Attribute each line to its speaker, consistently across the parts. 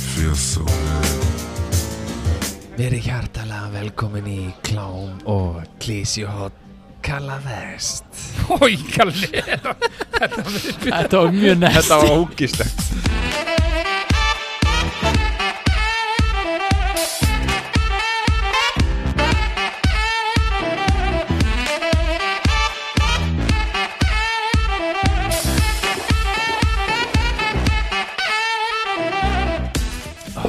Speaker 1: feels so good.
Speaker 2: Verið hjartalega velkomin í Klám og Klísjuhot Kalla Vest
Speaker 3: Hói, kalli
Speaker 4: Þetta var mjög næst
Speaker 3: Þetta var ógislegt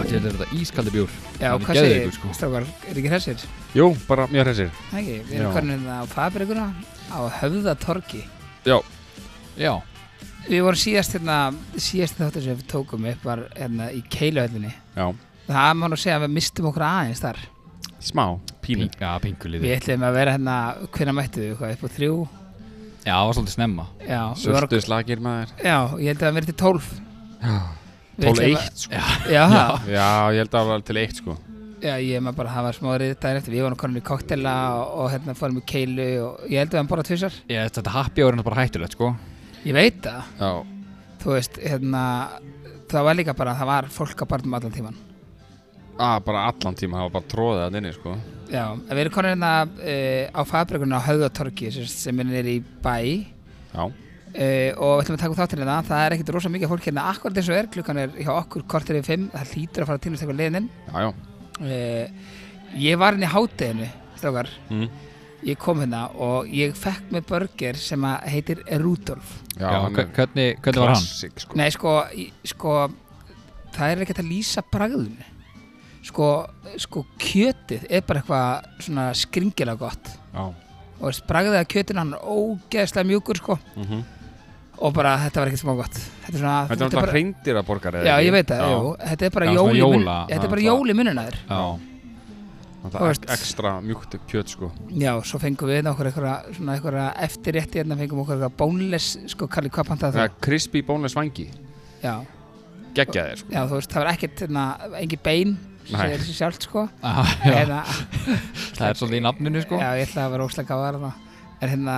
Speaker 4: Þetta er þetta ískaldi bjór
Speaker 5: Já,
Speaker 4: Hann er
Speaker 5: hvað segir,
Speaker 4: geðveikur, sko.
Speaker 5: strákar, er ekki þessir?
Speaker 3: Jú, bara mjög hressir
Speaker 5: Það ekki, við
Speaker 3: Já.
Speaker 5: erum komin það á fabrikuna á höfðatorki
Speaker 4: Já,
Speaker 5: Við vorum síðast hérna, síðast þáttur sem við tókum upp var hérna í keiluhöllinni
Speaker 3: Já,
Speaker 5: Það má nú segja að við mistum okkur aðeins þar
Speaker 3: smá
Speaker 4: pínu
Speaker 3: Pínu
Speaker 4: Já, pinkulíði
Speaker 5: Við ætlum að vera hérna, hvenær mættu við, hvað, upp á þrjú?
Speaker 4: Já, það var svolítið snemma
Speaker 5: Já, við vorum,
Speaker 3: Söldu slagir maður
Speaker 5: já, ég held að það verið til tólf Við
Speaker 3: 12
Speaker 5: ætlum að-
Speaker 3: eitt sko
Speaker 5: Já, já.
Speaker 3: Já, ég held að það var til eitt sko
Speaker 5: já, ég maður bara, það var smá rið daginn eftir Við vorum komin í koktela og, og hérna fórum í keilu og ég held að við hann borða tvisar
Speaker 4: Ég, Þetta happy hour er bara hættulegt, sko
Speaker 5: Ég veit það,
Speaker 3: Já,
Speaker 5: þú veist, hérna, það var líka bara, það var fólk á barnum allan tíman
Speaker 3: að bara allan tíma Það var bara tróðið að inni sko
Speaker 5: Já, en við erum konir hérna uh, á fabrikunum á Höðatorki sem, sem er nýri í bæ
Speaker 3: Já,
Speaker 5: uh, og við ætlum að taka þáttir hérna það er ekkert rosa mikið fólk hérna akkurat eins og er klukkan er hjá okkur kortir yfir fimm það hlýtur að fara að týnast eitthvað leiðin
Speaker 3: já, já
Speaker 5: uh, Ég var hérna í hátteginu strákar,
Speaker 3: Mm.
Speaker 5: ég kom hérna og ég fekk með burger sem að heitir Rudolf
Speaker 3: Já,
Speaker 4: Já,
Speaker 3: hann
Speaker 4: hve-
Speaker 3: er
Speaker 4: hvernig, hvernig var hann?
Speaker 3: klassik, sko.
Speaker 5: Nei, sko, í- sko það er ekkert að lýsa bragðun sko, sko kjötið er bara eitthvað svona skringilega gott
Speaker 3: Já,
Speaker 5: og veist, bragðið að kjötinu hann er ógeðslega mjúkur sko
Speaker 3: mhm
Speaker 5: og bara þetta var ekkert smá gott þetta er svona
Speaker 3: Þetta er alltaf
Speaker 5: bara,
Speaker 3: hreindir að borgar
Speaker 5: já ég veit það, jú, þetta er bara
Speaker 4: Já,
Speaker 5: jól
Speaker 4: svona
Speaker 5: í mun-
Speaker 4: jóla,
Speaker 5: þetta
Speaker 3: það
Speaker 5: er bara
Speaker 3: er það.
Speaker 5: jól í mununa þér
Speaker 4: Já,
Speaker 3: Það
Speaker 5: Þú
Speaker 3: er
Speaker 5: veist.
Speaker 3: ekstra mjúkt kjöt sko
Speaker 5: já, svo fengum við okkur eitthvað svona eitthvað eftirrétti hérna fengum okkur eitthvað bónless sko Karli hvað
Speaker 3: Það
Speaker 5: pantaði
Speaker 3: er crispy bónlega svangi
Speaker 5: það já,
Speaker 3: Geggjaðir sko
Speaker 5: já, þú veist, það var ekkert hérna, engin bein
Speaker 3: Nei.
Speaker 5: segir þessi sjálft sko
Speaker 4: Ah, já.
Speaker 5: hérna,
Speaker 4: það er svolítið í nafninu, sko
Speaker 5: já, ég ætla að vera óslega gáðar þarna En hérna,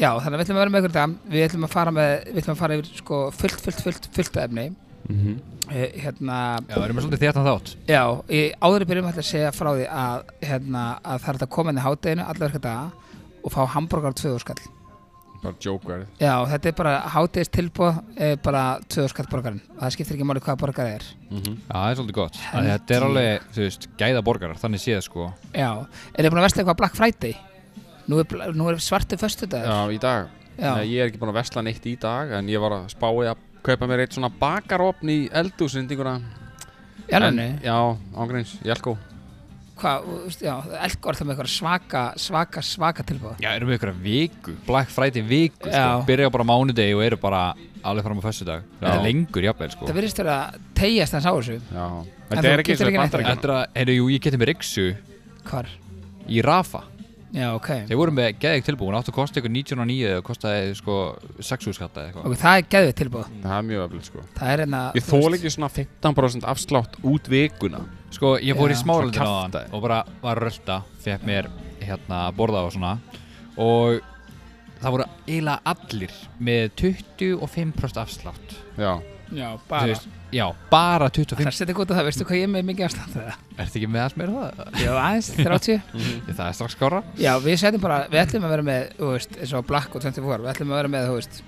Speaker 5: já, þannig að við ætlum að vera með ykkur í dag, við ætlum að fara með, við ætlum að fara yfir sko fullt, fullt, fullt, fullt af efni,
Speaker 3: Mhm.
Speaker 5: Eh, hérna,
Speaker 4: Já, við erum með svolítið þéttan þátt
Speaker 5: Já, ég áður í byrjum ætla að segja frá því að, hérna, að það er hægt að koma inn í hádeginu allar verka daga og fá hambúrgar tvöðurskall.
Speaker 3: Bara joker
Speaker 5: Já, þetta er bara hádegis tilbúð, eh, bara tvöðurskall borgarinn. Það skiptir ekki máli hvaða borgar það er.
Speaker 3: Mhm.
Speaker 4: Já, það er svolítið gott Að Þetta er alveg, þú veist, gæða borgarar Þannig séð, sko
Speaker 5: Já, er þið búin að versla eitthvað Black Friday? Nú er, bla- nú er svartu föstudagur.
Speaker 3: Já, í dag Nei, ég er ekki búin að vesla neitt í dag en ég var að spáði að kaupa mér eitt svona bakarofn í eldúsindinguna
Speaker 5: já, næmi.
Speaker 3: Já, ángreins, Jelko
Speaker 5: Hvað, þú veist, já, Elgor það með eitthvað svaka, svaka, svaka tilbúð.
Speaker 4: Já, erum við ykkur viku Black Friday viku,
Speaker 5: Já.
Speaker 4: sko Byrja bara á mánudegi og eru bara alveg fram á föstudag Þetta er
Speaker 3: Já.
Speaker 4: lengur, jafnvel, sko
Speaker 5: Það virðist vera að tegjast hans á þessu.
Speaker 3: Já,
Speaker 5: þú
Speaker 3: þetta er ekki eins
Speaker 5: getur
Speaker 3: og
Speaker 5: ekki
Speaker 3: í
Speaker 5: neitt
Speaker 3: bandaríkjunum
Speaker 4: Þetta er að, heyrðu, jú, ég geti mér yksu
Speaker 5: Hvar?
Speaker 4: í Rafa
Speaker 5: Já, ok.
Speaker 4: Þeir voru með geðið tilbúin, áttu að kosta ykkur 19.9 eða kostaði sko 6 úrskatta eða eitthvað.
Speaker 5: Ok, það er geðvitt tilbúð.
Speaker 3: Það er mjög öflut sko
Speaker 5: Það er hérna...
Speaker 3: Ég þól ekki svona 15% afslátt út vikuna
Speaker 4: Sko, ég fór
Speaker 5: Já.
Speaker 4: í smáralindina á
Speaker 3: Svo
Speaker 4: þann
Speaker 3: kjaftaði.
Speaker 4: og bara var að rölda, fekk mér hérna að borða og svona og það voru eiginlega allir með 25% afslátt.
Speaker 3: Já,
Speaker 5: Já,
Speaker 4: Þú
Speaker 5: bara.
Speaker 4: veist, Já, bara
Speaker 5: Það
Speaker 4: 25%.
Speaker 5: setja gott á það, veistu hvað ég er með mikið afstand það?
Speaker 4: Ertu ekki með allt meira það?
Speaker 5: Já, aðeins, 30
Speaker 4: Það er strax skára.
Speaker 5: Já, við setjum bara, við ætlum að vera með þú veist, eins og Black og 24, við ætlum að vera með þú veist,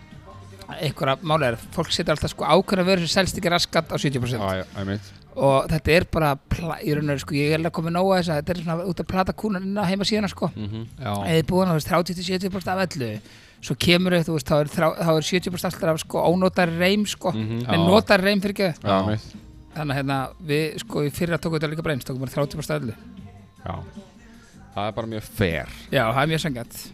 Speaker 5: einhverja málegar fólk setja alltaf sko ákveðna vörur sem selst ekki raskat á 70%
Speaker 3: já, já, ég mitt
Speaker 5: og þetta er bara, pla- í raun og veru sko ég er alveg komið nóga þess að þetta er svona út að plata kúnan inn á heima síðana sko
Speaker 4: Já,
Speaker 5: eða búin að þú veist 30-70% af öllu svo kemur þau, þú veist, þá er, þrá- þá er 70% alltaf af sko ónótar reym sko
Speaker 3: Mhm.
Speaker 5: en
Speaker 4: Já.
Speaker 5: nótar reym fyrir ekki
Speaker 3: Já, ég mitt
Speaker 5: þannig að hérna, við sko í fyrra tókum þetta líka breyns, tókum bara 30% af öllu
Speaker 3: Já Það er bara mjög fair
Speaker 5: Já, það er mjög sangjant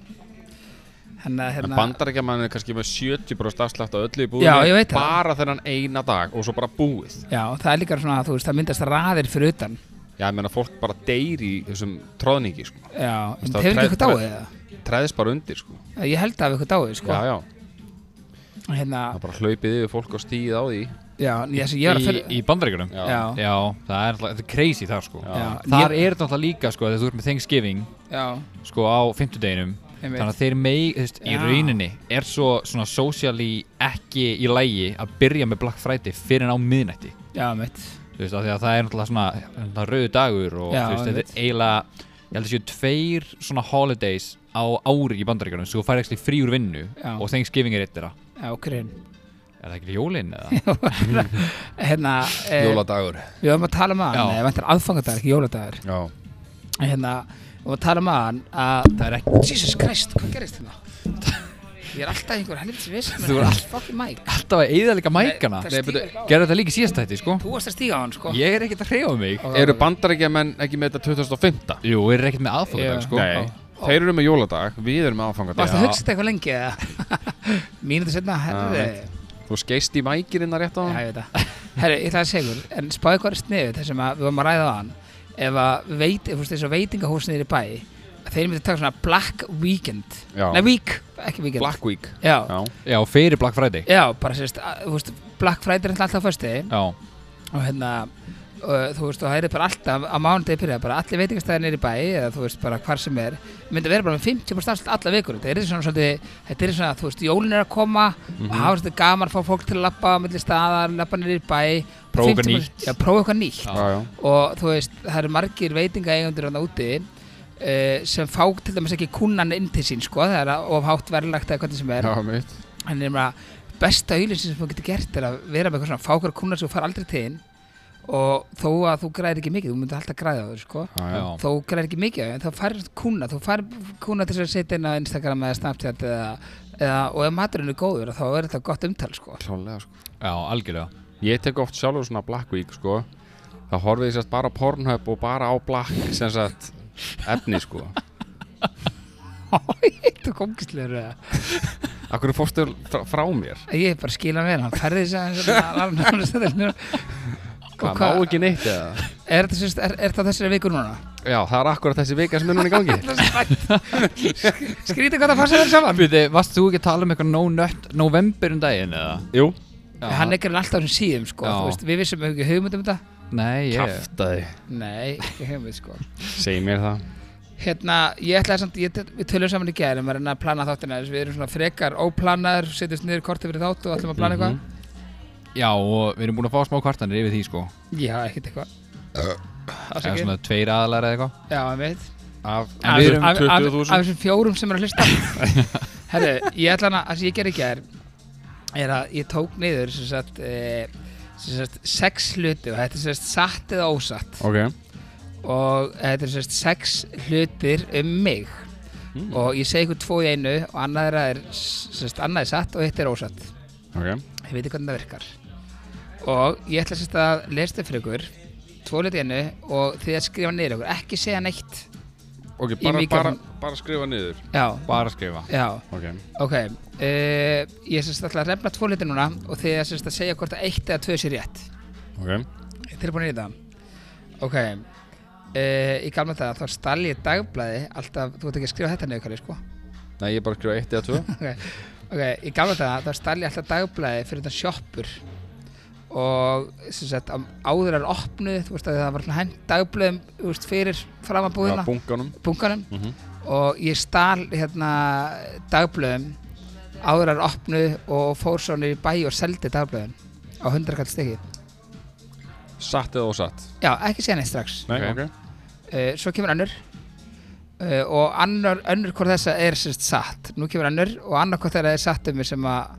Speaker 5: Þannig að
Speaker 3: En
Speaker 5: hérna
Speaker 3: bandarækjamann er kannski með 70% afslátt á öllu í búinu
Speaker 5: Já, ég veit það.
Speaker 3: Bara þennan eina dag og svo bara búið
Speaker 5: Já, það er líka svona að þú veist, það myndast raðir fyrir utan
Speaker 3: Já, ég meina fólk bara deyr í þessum tróðningi sko
Speaker 5: Já, en
Speaker 3: Veist,
Speaker 5: það
Speaker 3: það
Speaker 5: hefur ekki
Speaker 3: tre-
Speaker 5: eitthvað dáið það
Speaker 3: Træðist bara undir sko
Speaker 5: Ég held að hafi eitthvað dáið, sko
Speaker 3: Já, já,
Speaker 5: Hérna,
Speaker 3: það bara hlaupið yfir fólk og stíð á því
Speaker 5: já, en ég, ég var að
Speaker 4: í,
Speaker 5: fyrir
Speaker 4: í bandaríkunum.
Speaker 3: Já.
Speaker 5: Já,
Speaker 4: Já, það er, náttúrulega- þetta er crazy þar sko.
Speaker 3: Já.
Speaker 5: já,
Speaker 4: Þar
Speaker 5: ég,
Speaker 4: er þetta náttúrulega líka sko, þegar þú ert með Thanksgiving
Speaker 5: Já,
Speaker 4: sko á fimmtudeginum
Speaker 5: einmitt
Speaker 4: þannig að þeir megi, þú veist, í
Speaker 5: Já.
Speaker 4: rauninni er svo svona socially ekki í lægi að byrja með Black Friday fyrir en á miðnætti
Speaker 5: Já, einmitt
Speaker 4: Þú þú veist, af því að það er náttúrulega svona náttúrulega rauðu dagur og
Speaker 5: Já,
Speaker 4: þú veist, þetta
Speaker 5: einmitt.
Speaker 4: er eiginlega ég held að séu tveir svona holidays á ári í bandaríkjörnum svo þú fær ekki frí úr vinnu
Speaker 5: Já.
Speaker 4: og Thanksgiving er eitt þeirra
Speaker 5: Já, grinn
Speaker 4: er það ekki jólinn eða?
Speaker 5: Hérna, eh,
Speaker 3: Jóladagur
Speaker 5: við varum að tala með hann
Speaker 4: Já.
Speaker 5: Ég vantar aðfangadagur, ekki jóladagur
Speaker 3: Já
Speaker 5: Hérna, við varum að tala með hann að það er ekki Jesus Christ, hvað gerist hérna? Ég er alltaf einhver helvitis viss
Speaker 4: Þú er all-
Speaker 5: Fucking Mike
Speaker 4: alltaf að eiginlega líka mækana
Speaker 5: það
Speaker 4: Nei,
Speaker 5: stígur
Speaker 4: betur,
Speaker 5: ekki á.
Speaker 4: gerðu þetta líka í síðasta þetta sko
Speaker 5: Þú varst að stíga á hann, sko
Speaker 4: ég er ekkert að hreyfa mig
Speaker 5: Og-
Speaker 3: Eru bandarækjamenn ekki með þetta 2005?
Speaker 4: jú, er ekkert með
Speaker 5: Já.
Speaker 4: aðfokadag sko
Speaker 3: Nei, þeir eru með jóladag, við erum með
Speaker 5: Varst að
Speaker 3: aðfangadag
Speaker 5: hugsa þetta eitthvað lengi eða? Mínúti setna, herri
Speaker 3: Já, Þú skeist í mækirinn að rétt á
Speaker 5: Já,
Speaker 3: hann
Speaker 5: ég veit það Herri, ég ætla að segja ykkur En spáði hvað er sniðið þar sem að við varum að ræða á hann Ef að veit, ef þú veist, þessu veitingahúsniðir í bæ að Þeir myndi taka svona Black Weekend
Speaker 3: Já.
Speaker 5: Nei, Week, ekki Weekend
Speaker 3: Black Week
Speaker 5: Já,
Speaker 3: Já,
Speaker 4: já, fyrir Black Friday
Speaker 5: já bara sérst, að- þú veist Black Friday er náttúrulega alltaf á föstudegi
Speaker 4: já,
Speaker 5: og hérna og, þú veist, og það er bara alltaf á mánudegi byrja bara allir veitingastæðir niður í bæ eða þú veist, bara hvar sem er myndi vera bara með 50% afslut alla vikur þetta er svona svolítið, þetta er svona, þú veist, jólin er að koma
Speaker 4: Mhm.
Speaker 5: og hafa svolítið gaman að fá fólk til að labba á milli staðar, labba niður í bæ
Speaker 4: Prófa eitthvað
Speaker 5: 50%
Speaker 4: nýtt.
Speaker 5: já, prófa eitthvað nýtt
Speaker 3: já, já
Speaker 5: og þú veist, það eru margir veitingaeigundur hann úti uh, sem fá til dæmis ekki kunnan inn til sín sko, það er að- of hátt verðlagt eða hvernig sem er
Speaker 3: Já, mitt
Speaker 5: en ég meina, besta auðlýsing sem þú getur gert er að vera með eitthvað svona fákar kunnar sem þú far aldrei til þín og þó að þú græðir ekki mikið, þú myndir alltaf græða á þau sko
Speaker 3: Já,
Speaker 4: já,
Speaker 5: þó græðir ekki mikið á þau, en þá farir kuna þú farir kuna til þess að setja inn á Instagram eða Snapchat eða, eða og ef maturinn er góður þá er þetta gott umtal sko
Speaker 3: klálega sko
Speaker 4: já, algjörlega
Speaker 3: Ég tek oft sjálfur svona Black Week sko Það horfið ég sérst bara á Pornhub og bara á Black sem sagt efni sko
Speaker 5: Þetta er kókislegur eða
Speaker 3: Akkur fórstu frá, frá mér
Speaker 5: Ég bara skila mér, hann ferði þess að
Speaker 3: Hvað,
Speaker 5: hvað-
Speaker 3: má ekki neitt eða?
Speaker 5: Er þetta sem sagt- er- er þetta þessari vikur núna?
Speaker 3: Já, það er akkurat þessi vika sem er núna í gangi
Speaker 5: Skrítið hvað það fannst þér saman
Speaker 4: Bíti, varst þú ekki að tala um eitthvað no nut november um daginn eða?
Speaker 3: Jú
Speaker 5: Hann er ekki alltaf sem síðum sko
Speaker 4: Já.
Speaker 5: Þú veist, Við vissum ekki hugmynd um þetta
Speaker 4: Nei, ég
Speaker 3: Kaftaði
Speaker 5: Nei, ekki hugmynd sko
Speaker 3: Segir mér það
Speaker 5: Hérna, ég ætlaði samt, ég, við tölum saman í gæri um að reyna að plana þáttina þess við erum svona frekar óplanaðir, setjumst niður kortið fyrir þátt og ætlum að plana
Speaker 4: Já, og við erum búin að fá smá kvartanir yfir því sko
Speaker 5: eitthvað Já, ekkert eitthvað
Speaker 4: Eða
Speaker 5: Afsakið.
Speaker 4: svona tveir aðlar eða eitthvað
Speaker 5: Já, ég veit
Speaker 3: Af
Speaker 4: En við erum
Speaker 5: Af- af- af-
Speaker 3: 20.000.
Speaker 5: Af þessum fjórum sem eru að hlusta Herru, ég ætla hana, það sem ég gerði í gær er að ég tók niður sem sagt, e, sem sagt sex hluti og þetta er sem sagt satt eða ósatt
Speaker 3: Ok
Speaker 5: og eh, þetta er sérst sex hlutir um mig
Speaker 3: Mm.
Speaker 5: og ég segi ykkur tvo í einu og annað þeirra er sérst annað er satt og hitt er ósatt
Speaker 3: Ok
Speaker 5: ég veit hvernig það virkar og ég ætla sérst að lesa þetta fyrir ykkur tvo hluti í einu og þið að skrifa niður ykkur ekki segja neitt
Speaker 3: Ok,
Speaker 5: Í
Speaker 3: bara, bara,
Speaker 5: mikrofón.
Speaker 3: bara skrifa niður
Speaker 5: já,
Speaker 4: Bara að skrifa
Speaker 5: já,
Speaker 3: Ok
Speaker 5: ok uh, ég sérst ætla að refna tvo hluti núna og þið að sérst að segja hvort að eitt eða tvö sé rétt
Speaker 3: Ok
Speaker 5: Tilbúin í þetta Ok uh, Í gamla þetta þá stall ég dagblæði alltaf, þú ert ekki að skrifa þetta niður kalli sko
Speaker 3: Nei, ég bara skrifa eitt eða tvö
Speaker 5: Ok, í gamla þetta þá stall ég alltaf dagblæði fyrir þetta sjoppur og sem sagt á- áður er opnuð, þú veist að það var hend dagblöðum veist, fyrir
Speaker 3: Já,
Speaker 5: framabúðina,
Speaker 3: bunkanum
Speaker 5: bunkanum
Speaker 3: Mhm.
Speaker 5: og ég stal hérna dagblöðum áður er opnuð og fór svo niður í bæ og seldi dagblöðum á 100 kall stykki
Speaker 3: Satt eða ósatt
Speaker 5: Já, ekki segja neitt strax
Speaker 3: Nei,
Speaker 4: Ok.
Speaker 3: ok
Speaker 5: uh, svo kemur önnur uh, og annar, önnur hvort þessa er sérst satt nú kemur önnur og annar hvort þeirra er satt um mig sem að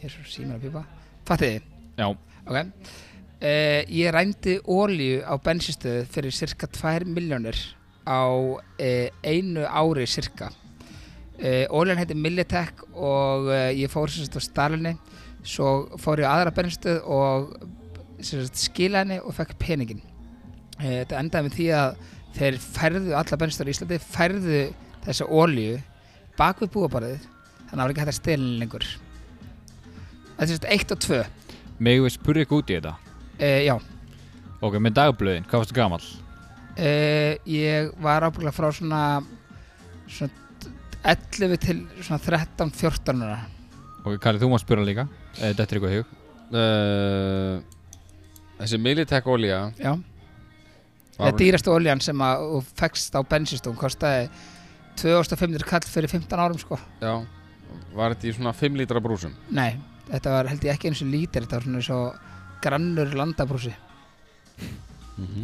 Speaker 5: ég er svo símur að pípa fattið þið,
Speaker 4: Já,
Speaker 5: ok uh, ég rændi ólíu á bensinstöðu fyrir cirka 2 miljónir á uh, einu ári cirka uh, ólían heitir Militech og uh, ég fór sérst á stalinni svo fór ég á aðra bensinstöð og sérst, skila henni og fekk peningin uh, þetta endaði með því að þeir færðu alla bensinstöður í Íslandi færðu þessa ólíu bak við búabarðið þannig að það var ekki hægt að stelin lengur þetta er sérst eitt og tvö uh,
Speaker 4: megum við spurði ekki út í þetta
Speaker 5: já
Speaker 4: Ok, með dagblöðin, hvað varstu gamall?
Speaker 5: Uh, ég var ábyggla frá svona, svona 11 til svona 13, 14 ára.
Speaker 4: Ok, Kalli, þú mátt spura líka eða Þetta er eitthvað í hug
Speaker 3: Uh, Þessi Militech olía
Speaker 5: Já.
Speaker 3: var-
Speaker 5: Þetta dýrasta oljan sem að þú fekst á bensinstum kostaði 2500 kall fyrir 15 árum sko.
Speaker 3: Já Var þetta í svona 5 lítra brúsum
Speaker 5: Nei, þetta var held ég ekki eins og lítir, þetta var svona eins og grannur landabrúsi.
Speaker 3: Mhm.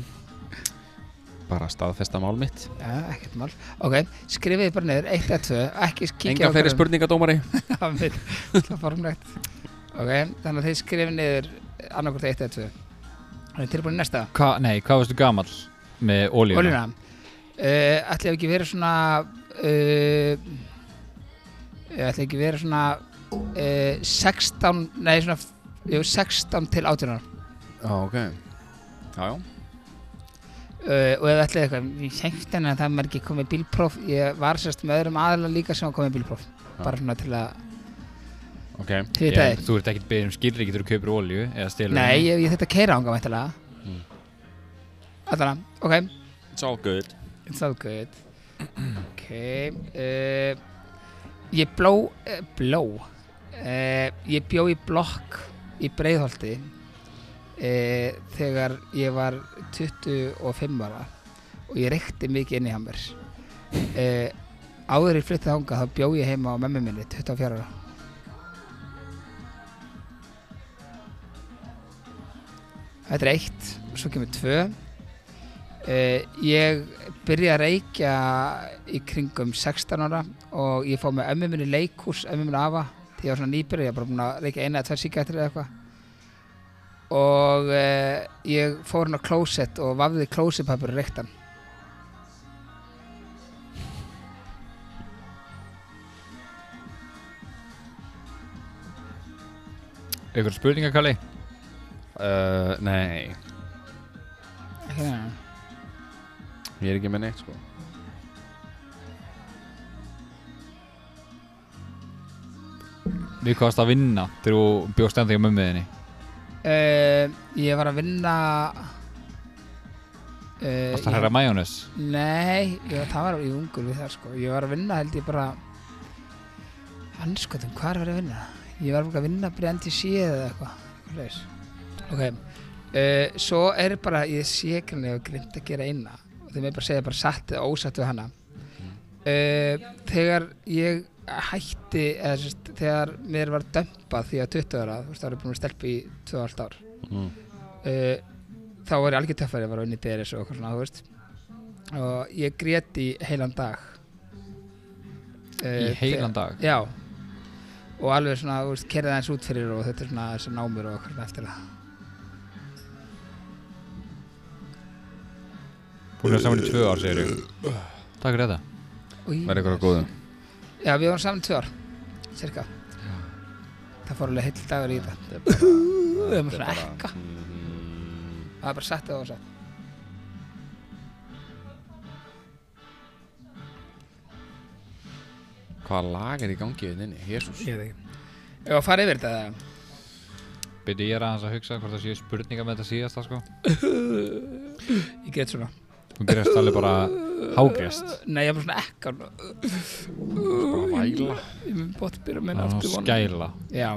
Speaker 3: bara staðfesta mál mitt
Speaker 5: Já, ekkert mál Ok, skrifiði bara neður, 1 eða 2 Ekki kíkja á
Speaker 3: enga fleiri
Speaker 5: hverjum-
Speaker 3: spurningadómari
Speaker 5: Það er það er formlegt Ok, þannig að þið skrifið niður annarkvort 1 eða 2 Það er tilbúin í næsta
Speaker 4: Hva, nei, hvað varstu gamall með ólíuna?
Speaker 5: Ólína uh, Ætli hef ekki verið svona uh, Ætli ekki verið svona uh, 16 Nei, svona jú, 16 til 18 ára
Speaker 3: já ok já já
Speaker 5: uh, og ef ætlaði eitthvað, ég hengt henni að það er ekki komið bílpróf, ég var sérst með öðrum aðla líka sem var komið bílpróf bara svona til að
Speaker 3: ok
Speaker 5: hvita
Speaker 4: Ég-
Speaker 5: þér
Speaker 4: Þú ert ekkert beðið um skilriki þegar þú kaupir ólíu eða stelur
Speaker 5: nei, ég, ég þetta keira ánga væntalega
Speaker 3: Mm.
Speaker 5: allan, ok,
Speaker 3: it's all good
Speaker 5: it's all good ok uh, ég bló uh, bló uh, ég bjó í blokk í Breiðholti uh, þegar ég var 25 ára og ég reykti mikið inn í hamur uh, áður ég flytti þangað þá bjó ég heima á memmi minni 24 ára Þetta er eitt, svo kemur tvö Uh, ég byrjaði að reykja í kringum 16 ára og ég fóð með ömmu minni leikús, ömmu minni afa því ég var svona nýbyrði, ég var bara búin að reykja eina eða tvær síkættir eða eitthvað og uh, ég fór hann á klósett og vafði klósettpapir og reyktan
Speaker 4: Ykkur spurningar, Kalli?
Speaker 3: uh, nei ég er ekki með neitt sko
Speaker 4: Við komast að vinna þegar þú bjóst ennþeg á mömmuðinni
Speaker 5: uh, ég var að vinna uh,
Speaker 4: Varst að hæra majónes?
Speaker 5: Nei, ég, það var í ungur við það sko Ég var að vinna held ég bara Hanskotum, hvað er verið að vinna? Ég var bara að vinna bara enn til síð eða eitthvað Leis. Ok uh, Svo er bara, ég sé ekki hvernig ég hef grimt að gera eina og þeim er bara að segja bara satt eða ósatt við hana uh, Þegar ég hætti eða sérst, þegar mér var dömpað því að 20 ára, þú veist, það var ég búin að stelpa í 2,5 ár
Speaker 3: mm.
Speaker 5: uh, þá var ég algjör töffari að var unni Beres og eitthvað svona, þú veist og ég grét í heilan dag Eh,
Speaker 4: Í heilan dag?
Speaker 5: Já og alveg svona, þú veist, kerði aðeins út fyrir og þetta er svona þessi námur og eitthvað svona eftir það
Speaker 4: Búin að saman í tvö ár, segir þú Eh, Takk fyrir þetta
Speaker 5: Új,
Speaker 3: verður ykkur á góðum
Speaker 5: Já, við vorum saman í tvö ár, cirka Það fór alveg heill dagur í þetta Það er svona ekka
Speaker 4: Mhm.
Speaker 5: Það er bara satt eða ósatt
Speaker 3: hvað lag er í gangi hérna við þinni jésús
Speaker 5: Ég veit ekki Ef að fara yfir þetta eða?
Speaker 4: Byrju ég er aðeins að hugsa hvort það séu spurningar með þetta síðasta, sko
Speaker 5: Ég grét svona
Speaker 4: Þú gerist alveg bara hágrist
Speaker 5: Nei, ég er bara svona ekka
Speaker 3: bara væla
Speaker 5: Ég mun bótt byrja
Speaker 4: Það
Speaker 5: minna Eh,
Speaker 4: er
Speaker 5: aftur
Speaker 4: nú
Speaker 5: vona.
Speaker 4: skæla
Speaker 5: Já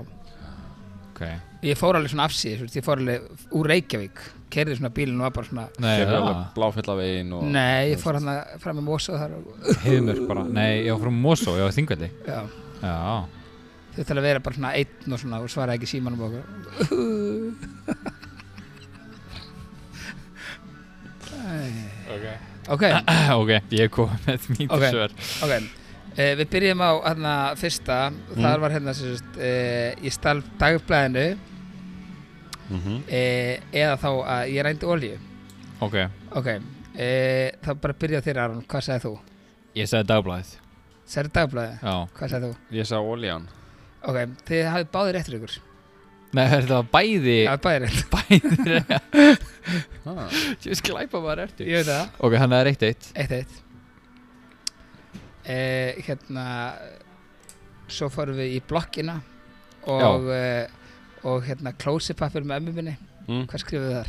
Speaker 4: Ok
Speaker 5: Ég fór alveg svona afsýðis, veist, ég fór alveg úr Reykjavík, kerði svona bílinn og var bara svona
Speaker 4: Nei,
Speaker 3: Kemur
Speaker 4: ja.
Speaker 3: alveg bláfjallavegin og
Speaker 5: Nei, ég fór hann fram í Mosó þar og,
Speaker 4: heiðmörk bara Nei, ég var frá Mosó, ég var þingvelli
Speaker 5: já,
Speaker 4: Já
Speaker 5: þau til að vera bara svona einn og svona og svara ekki símanum og okkur
Speaker 4: Ok
Speaker 5: Ok,
Speaker 4: Ok, ég kom með mín
Speaker 5: Ok.
Speaker 4: okay. svör
Speaker 5: ok Uh, við byrjum á hérna fyrsta og þar var hérna sem sagt uh, ég stal dagblæðinu
Speaker 3: Mhm.
Speaker 5: uh, eða þá að ég rændi olju
Speaker 4: Ok
Speaker 5: ok, uh, þá bara byrjaði þér Aron, hvað sagði þú?
Speaker 4: Ég sagði dagblæð
Speaker 5: Særi dagblæði,
Speaker 4: Já
Speaker 5: hvað sagði þú?
Speaker 3: ég sagði oljan
Speaker 5: Ok, þið hafið báðir réttur ykkur
Speaker 4: Nei, þetta var bæði
Speaker 5: Já, báðir rétt
Speaker 4: Bæði
Speaker 3: ah.
Speaker 4: Ég veist glæpa maður ertu
Speaker 5: Ég veit það
Speaker 4: Ok, hann er eitt eitt
Speaker 5: Eitt eitt eh, Hérna Svo fórum við í blokkina Og eh, Og hérna klósipapir með ömmu minni
Speaker 3: Mm.
Speaker 5: Hvað skrifum við þar?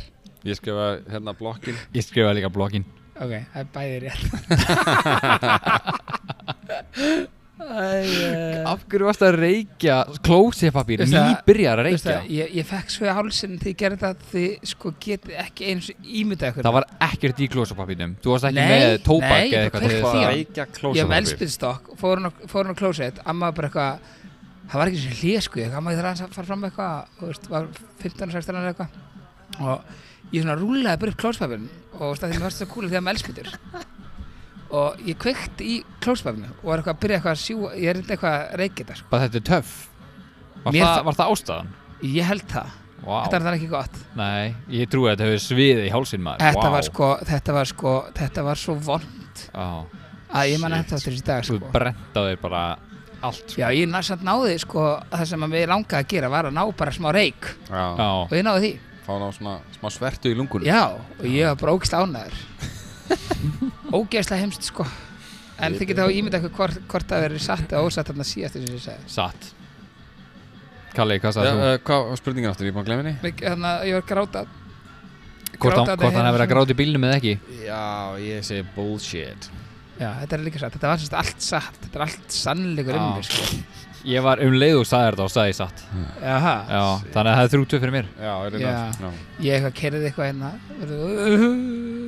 Speaker 3: ég skrifa hérna blokkin
Speaker 4: Ég skrifaði líka blokkin
Speaker 5: Ok, það er bæðir rétt eh, Æ,
Speaker 4: Af hverju varst að reykja klósepapír
Speaker 5: Veistu það-
Speaker 4: Nýbyrjar að
Speaker 5: Veistu
Speaker 4: reykja
Speaker 5: það, ég, ég fekk svo í hálsinn því ég gerði þetta því sko getið ekki eins og ímyndað ykkur
Speaker 4: Það var ekkert í klósepapírnum Þú varst ekki
Speaker 5: Nei,
Speaker 4: með tóbak
Speaker 5: nei,
Speaker 4: eða
Speaker 5: ég
Speaker 4: eitthvað
Speaker 5: bara kveikti
Speaker 4: til
Speaker 5: í
Speaker 4: þess að-
Speaker 5: hann. ég var með elspilstokk, fór hún á, fór hún á klósett amma var bara eitthvað það var ekki sem hlýja sko, ég amma ég þarf aðeins að fara fram með eitthvað þú veist, var 15 og 16 ára eða eitthvað og ég svona rúlaði bara upp klóspapirinn og stæði mér fast svo kúla því að maður elskmyndur og ég kveikti í klóspapirinu og var eitthvað að byrja eitthvað að sjú ég er eitthvað að reykja þetta sko.
Speaker 4: Bara þetta er töff Var,
Speaker 5: Mér
Speaker 4: það,
Speaker 5: fa-
Speaker 4: var það ástæðan?
Speaker 5: ég held það,
Speaker 4: Vá
Speaker 5: þetta var það ekki gott
Speaker 4: Nei, ég trúi að þetta hefur sviðið í hálsinn maður
Speaker 5: þetta,
Speaker 4: Vá.
Speaker 5: var sko, þetta var sko þetta var svo vond
Speaker 4: Já,
Speaker 5: að ég man
Speaker 4: Shit,
Speaker 5: eftir þessi dag
Speaker 4: Þú
Speaker 5: sko.
Speaker 4: brentaði bara allt sko.
Speaker 5: já ég ná- samt náði sko að það sem að mig langaði að gera var að ná bara smá reyk
Speaker 3: Já,
Speaker 4: Já,
Speaker 5: og ég náði því
Speaker 3: fá ná svona smá svertu í lungunum
Speaker 5: já og ég var bara ógæsla ánæður ógæsla heimst sko en þið geta á ímynda eitthvað hvort, hvort það verið satt eða ósatt þarna síðast eins og ég segi
Speaker 4: satt Kalli, hvað
Speaker 3: Já,
Speaker 4: sagði þú?
Speaker 3: uh, hvað var spurningin aftur, ég er búin að glemja henni?
Speaker 5: þannig að hérna, ég var að gráta
Speaker 4: Hvort hann,
Speaker 5: grátandi
Speaker 4: hvort hann
Speaker 5: hérna
Speaker 4: hefur verið að
Speaker 5: svona.
Speaker 4: gráta í bílnum eða ekki?
Speaker 3: Já, ég segi bullshit
Speaker 5: já þetta er líka satt þetta var sérst allt satt þetta er allt sannleikur um
Speaker 4: Já.
Speaker 5: mig sko
Speaker 4: Ég var um leið og sagði þetta og sagði satt
Speaker 5: Jaha.
Speaker 4: Já, þannig að það er þrjútu fyrir mér
Speaker 3: Já, er
Speaker 5: Já.
Speaker 3: þetta
Speaker 5: ég eitthvað kerði eitthvað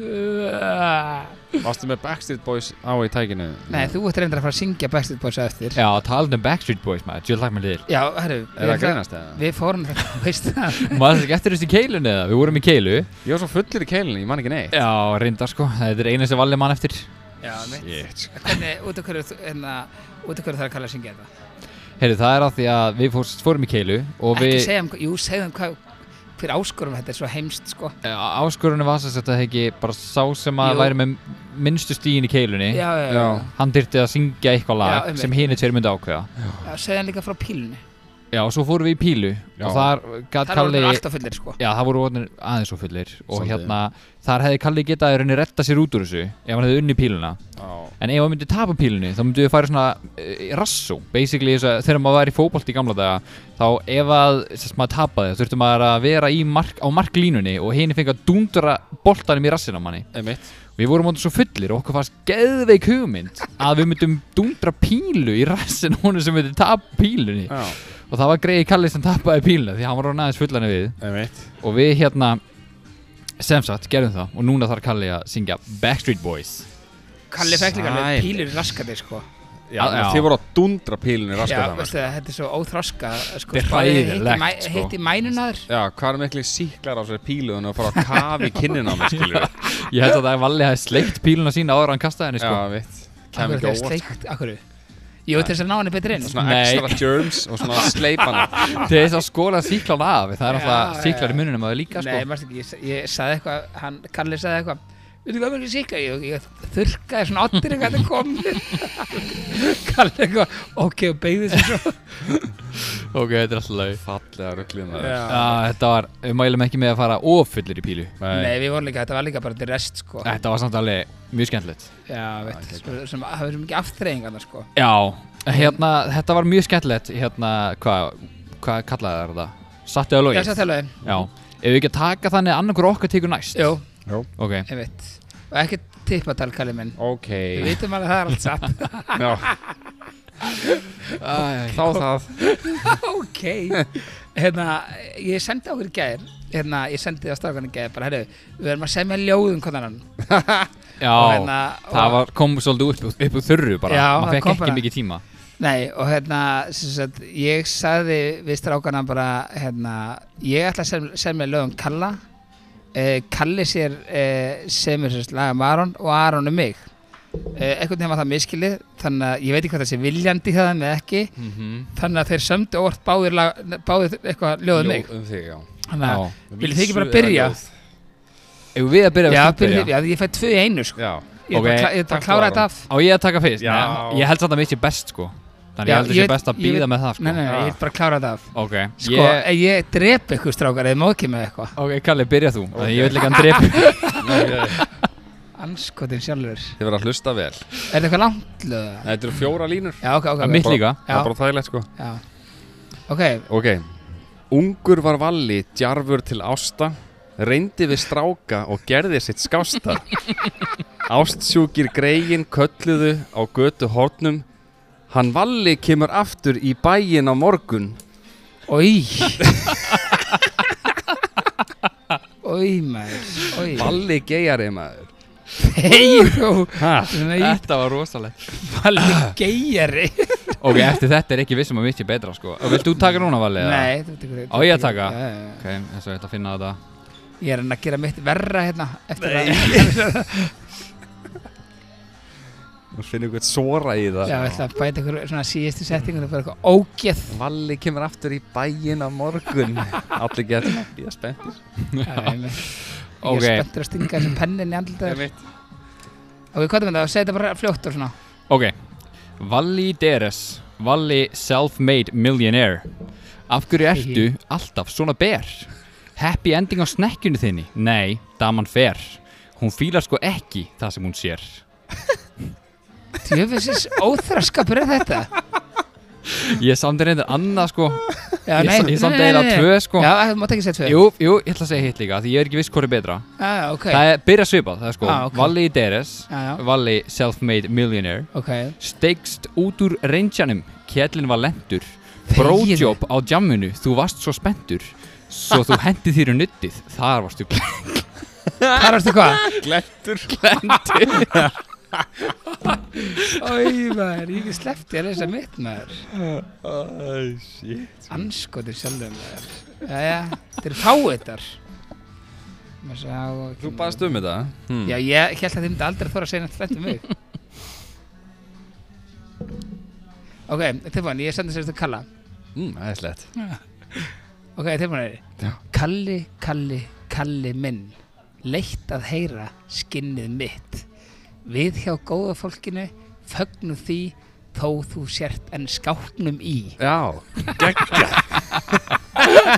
Speaker 5: hérna
Speaker 3: Varstu með Backstreet Boys á í tækinu?
Speaker 5: Nei, þú ert reyndar að fara að syngja Backstreet Boys á eftir
Speaker 4: Já, talandi um Backstreet Boys maður, Jill Lackman liðir
Speaker 5: Já, herru
Speaker 3: Er það að greinast eða?
Speaker 5: Við fórum þetta, veist það
Speaker 4: Maður er ekki eftir þessi keilun eða, við vorum í keilu
Speaker 3: Ég var svo fullur í keilinu, ég man ekki neitt
Speaker 4: Já, reyndar sko, þetta er eina sem valið mann eftir
Speaker 5: Já, mitt
Speaker 3: Shit, sko.
Speaker 5: Hvernig, út af hverju, þú- hérna, út af hverju það er að kalla að syngja þetta
Speaker 4: Heyrðu, það er að því að við fórst, fórum í keilu og
Speaker 5: Ekki
Speaker 4: við
Speaker 5: segja um, jú, segja um hvað Hver áskorum þetta er svo heimst, sko
Speaker 4: Áskorunum eh, var þess að þetta ekki bara sá sem að
Speaker 5: Jú.
Speaker 4: væri með minnstu stígin í keilunni
Speaker 5: Já, já, já,
Speaker 3: Já.
Speaker 4: Hann dyrti að syngja eitthvað
Speaker 5: Já,
Speaker 4: lag
Speaker 5: einmitt.
Speaker 4: sem hinn er tveir myndi ákveða
Speaker 5: já Segja hann líka frá pílunni
Speaker 4: Já, og svo fórum við í pílu og
Speaker 3: Já.
Speaker 4: þar gæt
Speaker 5: Það
Speaker 4: Kalli
Speaker 5: er alltaf fullir, sko
Speaker 4: Já, það voru orðin aðeins og fullir og
Speaker 3: Svolítið.
Speaker 4: hérna, þar hefði Kalli getað í rauninni retta sér út úr þessu ef hann hefði unni píluna
Speaker 3: Já.
Speaker 4: en ef hann myndi tapa pílunni þá myndi við fara í svona uh, rassó basically þess að þegar maður var í fótbolt í gamla daga þá ef að þess að maður tapaði þurfti maður að vera í mark, á marklínunni og hini fengi að dúndra boltanum í rassina á manni
Speaker 3: Einmitt
Speaker 4: við vorum orðin svo fullir og okkur fannst geðveik hugmynd að við myndum dúndra pílu í rassina á honum sem myndi tapa pílunni
Speaker 3: Já,
Speaker 4: og það var greiði Kalli sem tapaði píluna því hann var orðin aðeins fullan við
Speaker 3: einmitt
Speaker 4: og við hérna sem sagt gerðum það og núna þarf Kalli að syngja Backstreet Boys
Speaker 5: Kalli fekk líka alveg
Speaker 3: Sælir.
Speaker 5: pílur raskandi, sko
Speaker 3: Já,
Speaker 4: Já.
Speaker 3: þið voru að dundra pílinu
Speaker 5: Já,
Speaker 3: raskar
Speaker 5: veistu það, þetta er svo óþroska sko,
Speaker 4: Þetta er
Speaker 5: spáðu hitt í
Speaker 4: hræðilegt,
Speaker 5: mæ-
Speaker 4: sko.
Speaker 5: Hitt í mænunaður
Speaker 3: Já, hvað er miklu síklar á sér pílu þannig að fara að kafi kinnina á mig, skilju
Speaker 4: Ég held að það er valið að sleikt píluna sína áður en hann kastaði henni
Speaker 3: Já,
Speaker 4: sko
Speaker 3: veit Kæm
Speaker 5: Akkur þetta
Speaker 3: ekki
Speaker 5: er
Speaker 3: óvart
Speaker 5: sleikt, akkur Jú, til þess að ná henni betri inn sko.
Speaker 3: Svona
Speaker 4: Nei.
Speaker 3: extra germs og svona sleipana
Speaker 4: Til þess að skóla síklan af Það er
Speaker 5: Já,
Speaker 4: alltaf
Speaker 5: já,
Speaker 4: síklar
Speaker 5: já.
Speaker 4: í mununum að það líka sko
Speaker 5: Nei, maður ekki, ég, sa- ég saði eitthvað, hann, Kalli saði eitthvað Veitu hvað mjög sikla, ég, ég þurrkaði svona áttir eitthvað þetta kom Kalli eitthvað, ok, og beigði sér svo
Speaker 4: Ok, þetta er alltaf leið
Speaker 3: Fallega ruglið maður
Speaker 5: Já.
Speaker 4: Þetta var, við mælum ekki með að fara ofullir í pílu
Speaker 5: Nei, við vorum líka, þetta var líka bara til rest, sko
Speaker 4: Þetta var samt alveg mjög skemmtilegt
Speaker 5: Já, veit,
Speaker 4: hérna.
Speaker 5: sem, sem, það var svo mikið aftreying annars, sko
Speaker 4: Já, hérna, þetta var mjög skemmtilegt Hérna, hvað, hvað kallaði það þetta? Sattu á
Speaker 5: Já,
Speaker 4: logið
Speaker 5: satt alveg,
Speaker 4: Já, ef við ekki að taka þannig annar hver okkar tekur næst
Speaker 5: jú,
Speaker 4: Ok,
Speaker 5: ég veit Og ekki tippatal, Kalli minn
Speaker 3: Ok
Speaker 5: Við vitum alveg að það er allt satt
Speaker 3: Já, þá það
Speaker 5: ok hérna, ég sendi okkur í gær hérna, ég sendi það strákan í gær bara, herru, við erum að semja ljóðum konan hann
Speaker 4: já
Speaker 5: og hérna,
Speaker 4: Það
Speaker 5: og-
Speaker 4: var, kom svolítið upp, upp, upp úr þurru bara
Speaker 5: Já,
Speaker 4: Man
Speaker 5: það
Speaker 4: fekk
Speaker 5: kom
Speaker 4: ekki
Speaker 5: bara.
Speaker 4: mikið tíma
Speaker 5: nei, og hérna sem sagt, ég sagði við strákana bara, hérna, ég ætla að sem, semja ljóðum Kalla eh, Kalli sér eh, semur sérst lagum Aron og Aron um mig eh, einhvern veginn var það miskilið þannig að ég veit ekki hvað það sé viljandi hjá þeim eða ekki
Speaker 4: mm
Speaker 5: þannig að þeir sömdu óvart báðir, lag, báðir eitthvað ljóðum mig
Speaker 3: Um þig, já
Speaker 5: þannig að
Speaker 4: Já,
Speaker 5: Viljið þið ekki bara byrja?
Speaker 4: ef við að byrja
Speaker 5: Já,
Speaker 4: við að
Speaker 5: byrja,
Speaker 4: byrja
Speaker 5: já, ég fæ tvö í einu sko.
Speaker 3: Já,
Speaker 5: Ég ætla
Speaker 4: Ok,
Speaker 5: að klá- ég ætla
Speaker 3: takk
Speaker 5: að klára
Speaker 3: Aron.
Speaker 5: þetta af
Speaker 4: Á ég að taka fyrst?
Speaker 3: Já.
Speaker 4: Nei, Ég held samt að mitt sé best sko
Speaker 5: Já,
Speaker 4: Þannig ég held
Speaker 5: ég
Speaker 4: að sé
Speaker 5: veit-
Speaker 4: best að
Speaker 5: ég
Speaker 4: býða
Speaker 5: veit-
Speaker 4: með það sko
Speaker 5: Nei, nei, nei,
Speaker 3: Já.
Speaker 5: ég vil bara klára þetta af
Speaker 4: Ok,
Speaker 5: Sko,
Speaker 4: ég,
Speaker 5: ég, ég drep ykkur strákar eða má ekki með eitthvað
Speaker 4: ok, Kalli, byrja þú
Speaker 3: Ok.
Speaker 4: okay. Ég vil líka hann drepa
Speaker 5: Anskotin sjálfur
Speaker 3: Þið verða að hlusta vel
Speaker 5: Er
Speaker 3: Nei,
Speaker 5: þetta eitthvað langt lög?
Speaker 3: Þetta eru fjóra línur
Speaker 5: Já, ok, ok,
Speaker 4: Það
Speaker 5: ok
Speaker 4: er mitt líka
Speaker 3: Það
Speaker 5: Já.
Speaker 3: er bara þægilegt, sko
Speaker 5: Já. Ok,
Speaker 3: Ok Ungur var valli, djarfur til ásta Reyndi við stráka og gerði sitt skásta Ástsjúkir greiðin kölluðu á götu hornum Hann valli kemur aftur í bæin á morgun
Speaker 5: oi Oi, maður Oi
Speaker 3: Valli geyjari maður
Speaker 5: Hei, þú
Speaker 3: Ha?
Speaker 5: Nei,
Speaker 4: Þetta var rosalegt
Speaker 5: valið geyjari
Speaker 4: Ok, eftir þetta er ekki vissum að mitt sé betra sko Og vilt þú taka núna valið? eða?
Speaker 5: Nei, þú tekur
Speaker 4: Á ég að taka?
Speaker 5: Já, já, já.
Speaker 4: Ok, þess að ég ætla að finna þetta
Speaker 5: Ég er að reyna að gera mitt verra hérna eftir að
Speaker 3: Þú finnir eitthvað sora í það
Speaker 5: Já, ég ætla að bæta ykkur svona síðustu settingun og bara eitthvað ógeð
Speaker 3: Valli kemur aftur í bæin á morgun Allir getur Ég er spenntir
Speaker 5: Já, einmitt. Ég
Speaker 4: Ok.
Speaker 5: er spenntur að stinga þessum pennin í andlitaður
Speaker 3: Einmitt.
Speaker 5: Ok, hvað er með það? Segð þetta bara fljótt og svona
Speaker 4: Ok, Valli Deres Valli Self-Made Millionaire Af hverju ertu alltaf svona ber? Happy ending á snekkjunni þinni? Nei, daman fer Hún fílar sko ekki það sem hún sér
Speaker 5: Tjöfisins óþraskapur er þetta
Speaker 4: Ég samt er reyndar annað sko
Speaker 5: Já,
Speaker 4: Ég- ég samt eiginlega tvö, sko.
Speaker 5: Já, þú mátt ekki segja tvö
Speaker 4: Jú, jú, ég ætla að segja hitt líka Því ég er ekki viss hvort er betra
Speaker 5: Já, ok
Speaker 4: Það er byrja svipað, það er sko
Speaker 5: Ah, ok.
Speaker 4: Valli Deres
Speaker 5: Já, já,
Speaker 4: Valli Self-Made Millionaire
Speaker 5: ok
Speaker 4: Steigst út úr reynjanum Kjellin var lendur
Speaker 5: Þegiðu.
Speaker 4: Brójob á djamminu, þú varst svo spenntur Svo þú hendi þýru nuttið Þar varstu
Speaker 5: Þar varstu hvað?
Speaker 3: Glettur
Speaker 4: glendur
Speaker 5: Ói, maður, ég er ekki sleppt Ég er þess að mitt, maður
Speaker 3: oh, Shit
Speaker 5: Anskotir sjálfum, maður Jæja, þetta eru fáiðar
Speaker 3: Þú baðst um þetta hmm.
Speaker 5: Já, ég held að þið myndi aldrei þóra að segja nætt um mig Ok, tilbúin, ég sendi sér þetta Kalla
Speaker 3: mm, Það er slett
Speaker 5: Ok, tilbúin er
Speaker 3: Já.
Speaker 5: Kalli, Kalli, Kalli minn Leitt að heyra skinnið mitt Við hjá góða fólkinu Fögnu því Þó þú sért en skáknum í
Speaker 3: Já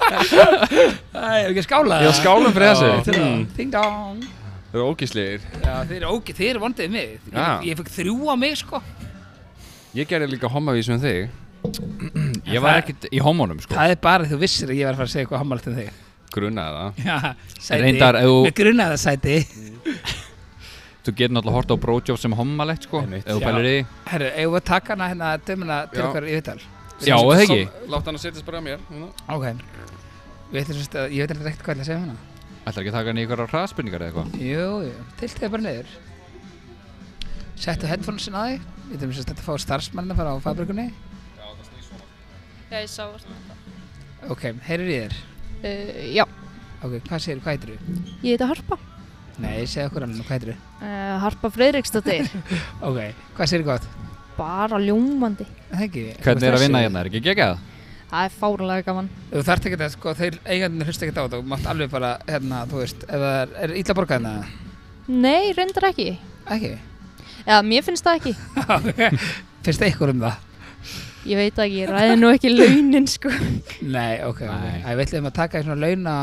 Speaker 5: Það er ekki að skála
Speaker 3: Ég á skálum fyrir þessu
Speaker 5: Mm. Ding dong
Speaker 3: Þau eru ógíslegir
Speaker 5: Já, þeir eru ógeð, þeir eru vondið mig Ég,
Speaker 3: Já.
Speaker 5: ég fekk þrjú á mig sko
Speaker 3: Ég gerði líka hommavísu um þig
Speaker 4: Ég var ekkert í homónum sko
Speaker 5: Það er bara því þú vissir að ég var að fara að segja eitthvað hammalegt um þig
Speaker 3: Grunnaði það
Speaker 5: Já, sæti,
Speaker 4: Reyndar, ef þú-
Speaker 5: með grunaða sæti
Speaker 4: Þú getur náttúrulega hort á brójob sem hommalegt sko
Speaker 3: Einmitt.
Speaker 4: Ef þú
Speaker 5: Já.
Speaker 4: pælir í því.
Speaker 5: Herru, eigum við að taka hana hérna dömuna til
Speaker 3: Já.
Speaker 5: okkar í viðtal
Speaker 4: Já,
Speaker 3: Sem-
Speaker 4: það ekki
Speaker 3: sem- Láttu hann að setjast bara að mér núna.
Speaker 5: Ok Við ætlum sérst að, ég veit eitthvað ekki hvað ég ætla að segja um hana
Speaker 4: Ætlar ekki að taka hann í ykkur hraðspurningar eða eitthvað
Speaker 5: Jú, jú, tilt þig bara niður Settu headphonesin á þig Við ætlum sérst að fá starfsmannina frá fabrikunni
Speaker 1: Já, ég sá það.
Speaker 5: Ok, heyrir í þér
Speaker 1: Uh, já,
Speaker 5: Ok, hvað segir, hvað heitir þú?
Speaker 1: ég heiti Harpa.
Speaker 5: Nei, segðu okkur annað, hvað heitir þú?
Speaker 1: Uh, Harpa Freyriksdóttir.
Speaker 5: Ok, hvað segir gott?
Speaker 1: Bara ljómandi.
Speaker 5: Það ekki
Speaker 4: Hvernig er að vinna hérna, er ekki geggjað?
Speaker 1: Það er fárlega gaman.
Speaker 5: Þú þarft ekki að, sko, þeir eigandir hlusta ekki á þetta og mátt alveg bara, hérna, þú veist, ef það er, er ítla borgaðina
Speaker 1: Nei, reyndar ekki.
Speaker 5: Ekki?
Speaker 1: Já, mér finnst það ekki.
Speaker 5: Finnst það ykkur um það?
Speaker 1: Ég veit það ekki, ég ræði nú ekki launin, sko.
Speaker 5: Nei, ok, ok.
Speaker 4: Nei.
Speaker 5: Æ, við ætlum að taka í svona launa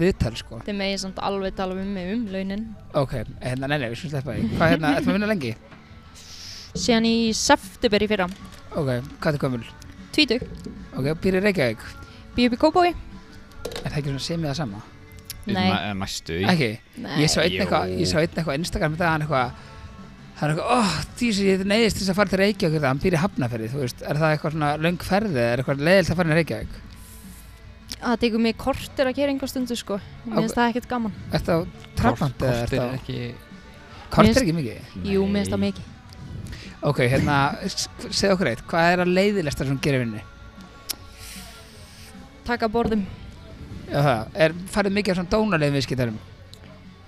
Speaker 5: viðtal, sko.
Speaker 1: Þið megið samt alveg tala um mig um launin.
Speaker 5: Ok, hérna, nei, nei, við skulum sleppa því. Hvað hérna, ætlum að vinna lengi?
Speaker 1: Síðan í september í fyrra.
Speaker 5: Ok, hvað er gömul?
Speaker 1: Tvítug.
Speaker 5: Ok, býr í Reykjavík.
Speaker 1: Býð upp í Kópói.
Speaker 5: Er það ekki svona sem ég það sama?
Speaker 1: Nei.
Speaker 4: Næ- Næstu í
Speaker 5: Ekki?
Speaker 1: Nei.
Speaker 5: Ég sá einn
Speaker 4: Jú.
Speaker 5: eitthvað, ég sá einn eitthvað á Instagram í dag, hann eitthvað, hann eitthvað, óh, oh, dísi, ég neyðist til þess að fara til Reykjavík, það, hann býr í Hafnarferði, þú veist, er það eitthvað svona löng ferði, er eitthvað leiðilt að fara í Reykjavík?
Speaker 1: Það tekur mig kortir að kera einhver stundu, sko. Mér finnst það ekkert gaman.
Speaker 5: Er það
Speaker 4: Kort-
Speaker 5: trafnandi
Speaker 4: Kortir
Speaker 5: eða
Speaker 4: er
Speaker 5: er það,
Speaker 4: ekki
Speaker 5: kort
Speaker 1: Mér
Speaker 5: er ekki mikið?
Speaker 1: Jú, mér finnst það
Speaker 4: Nei.
Speaker 1: mikið.
Speaker 5: Ok, hérna, s- segð okkur eitt, hvað er að leiðilegsta sem gerir vinni?
Speaker 1: Taka borðum.
Speaker 5: Já, það, er, farið mikið af svona dónalegum viðskiptarum?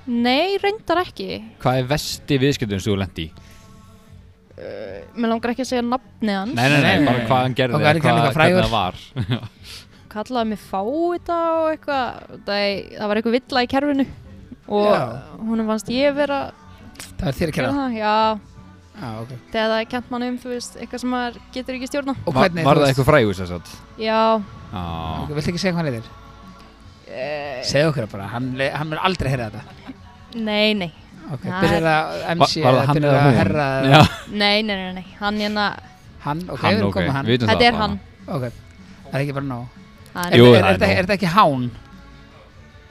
Speaker 1: Nei, reyndar ekki.
Speaker 4: Hvað er vesti viðskiptum sem þú lent í?
Speaker 1: Mér langar ekki að segja nafnið hans.
Speaker 4: Nei, nei, nei,
Speaker 5: Nei.
Speaker 4: bara hvað hann gerði
Speaker 5: Og hvað er ekki hann
Speaker 4: hvað-
Speaker 5: eitthvað frægur?
Speaker 4: hvernig það var
Speaker 1: kallaði mig fáita og eitthvað það, það var eitthvað villa í kerfinu og
Speaker 5: Já.
Speaker 1: honum fannst ég vera
Speaker 5: Það er þér að
Speaker 1: gera
Speaker 5: kæra?
Speaker 1: það, já,
Speaker 5: Já, ok.
Speaker 1: þegar það er kent manni um þú veist, eitthvað sem maður getur ekki stjórna
Speaker 5: Og
Speaker 4: Var
Speaker 5: hvernig,
Speaker 4: var
Speaker 5: þú
Speaker 4: það
Speaker 5: veist-
Speaker 4: eitthvað frægur sér satt?
Speaker 1: já,
Speaker 5: Ok, Viltu ekki segja hvað hann leiðir?
Speaker 1: eh,
Speaker 5: Segðu okkur það bara, hann, le- hann mun aldrei heyra þetta
Speaker 1: nei, nei
Speaker 5: Ok,
Speaker 1: Nei.
Speaker 5: byrjar að MC
Speaker 4: Var það hann
Speaker 5: byrjar
Speaker 4: eða
Speaker 5: að
Speaker 4: hún?
Speaker 5: herra
Speaker 4: Já.
Speaker 1: nei, nei, nei, nei, hann hérna
Speaker 5: Hann, ok,
Speaker 4: Hann,
Speaker 5: við erum
Speaker 4: ok,
Speaker 5: komið að hann
Speaker 4: við vitum
Speaker 1: þetta
Speaker 4: það
Speaker 1: er
Speaker 4: bara.
Speaker 1: hann,
Speaker 5: Ok, það er ekki bara nóg Er,
Speaker 1: hann
Speaker 4: Jú,
Speaker 5: er, er,
Speaker 4: það er
Speaker 5: þetta-
Speaker 4: nóg.
Speaker 5: er þetta ekki hán?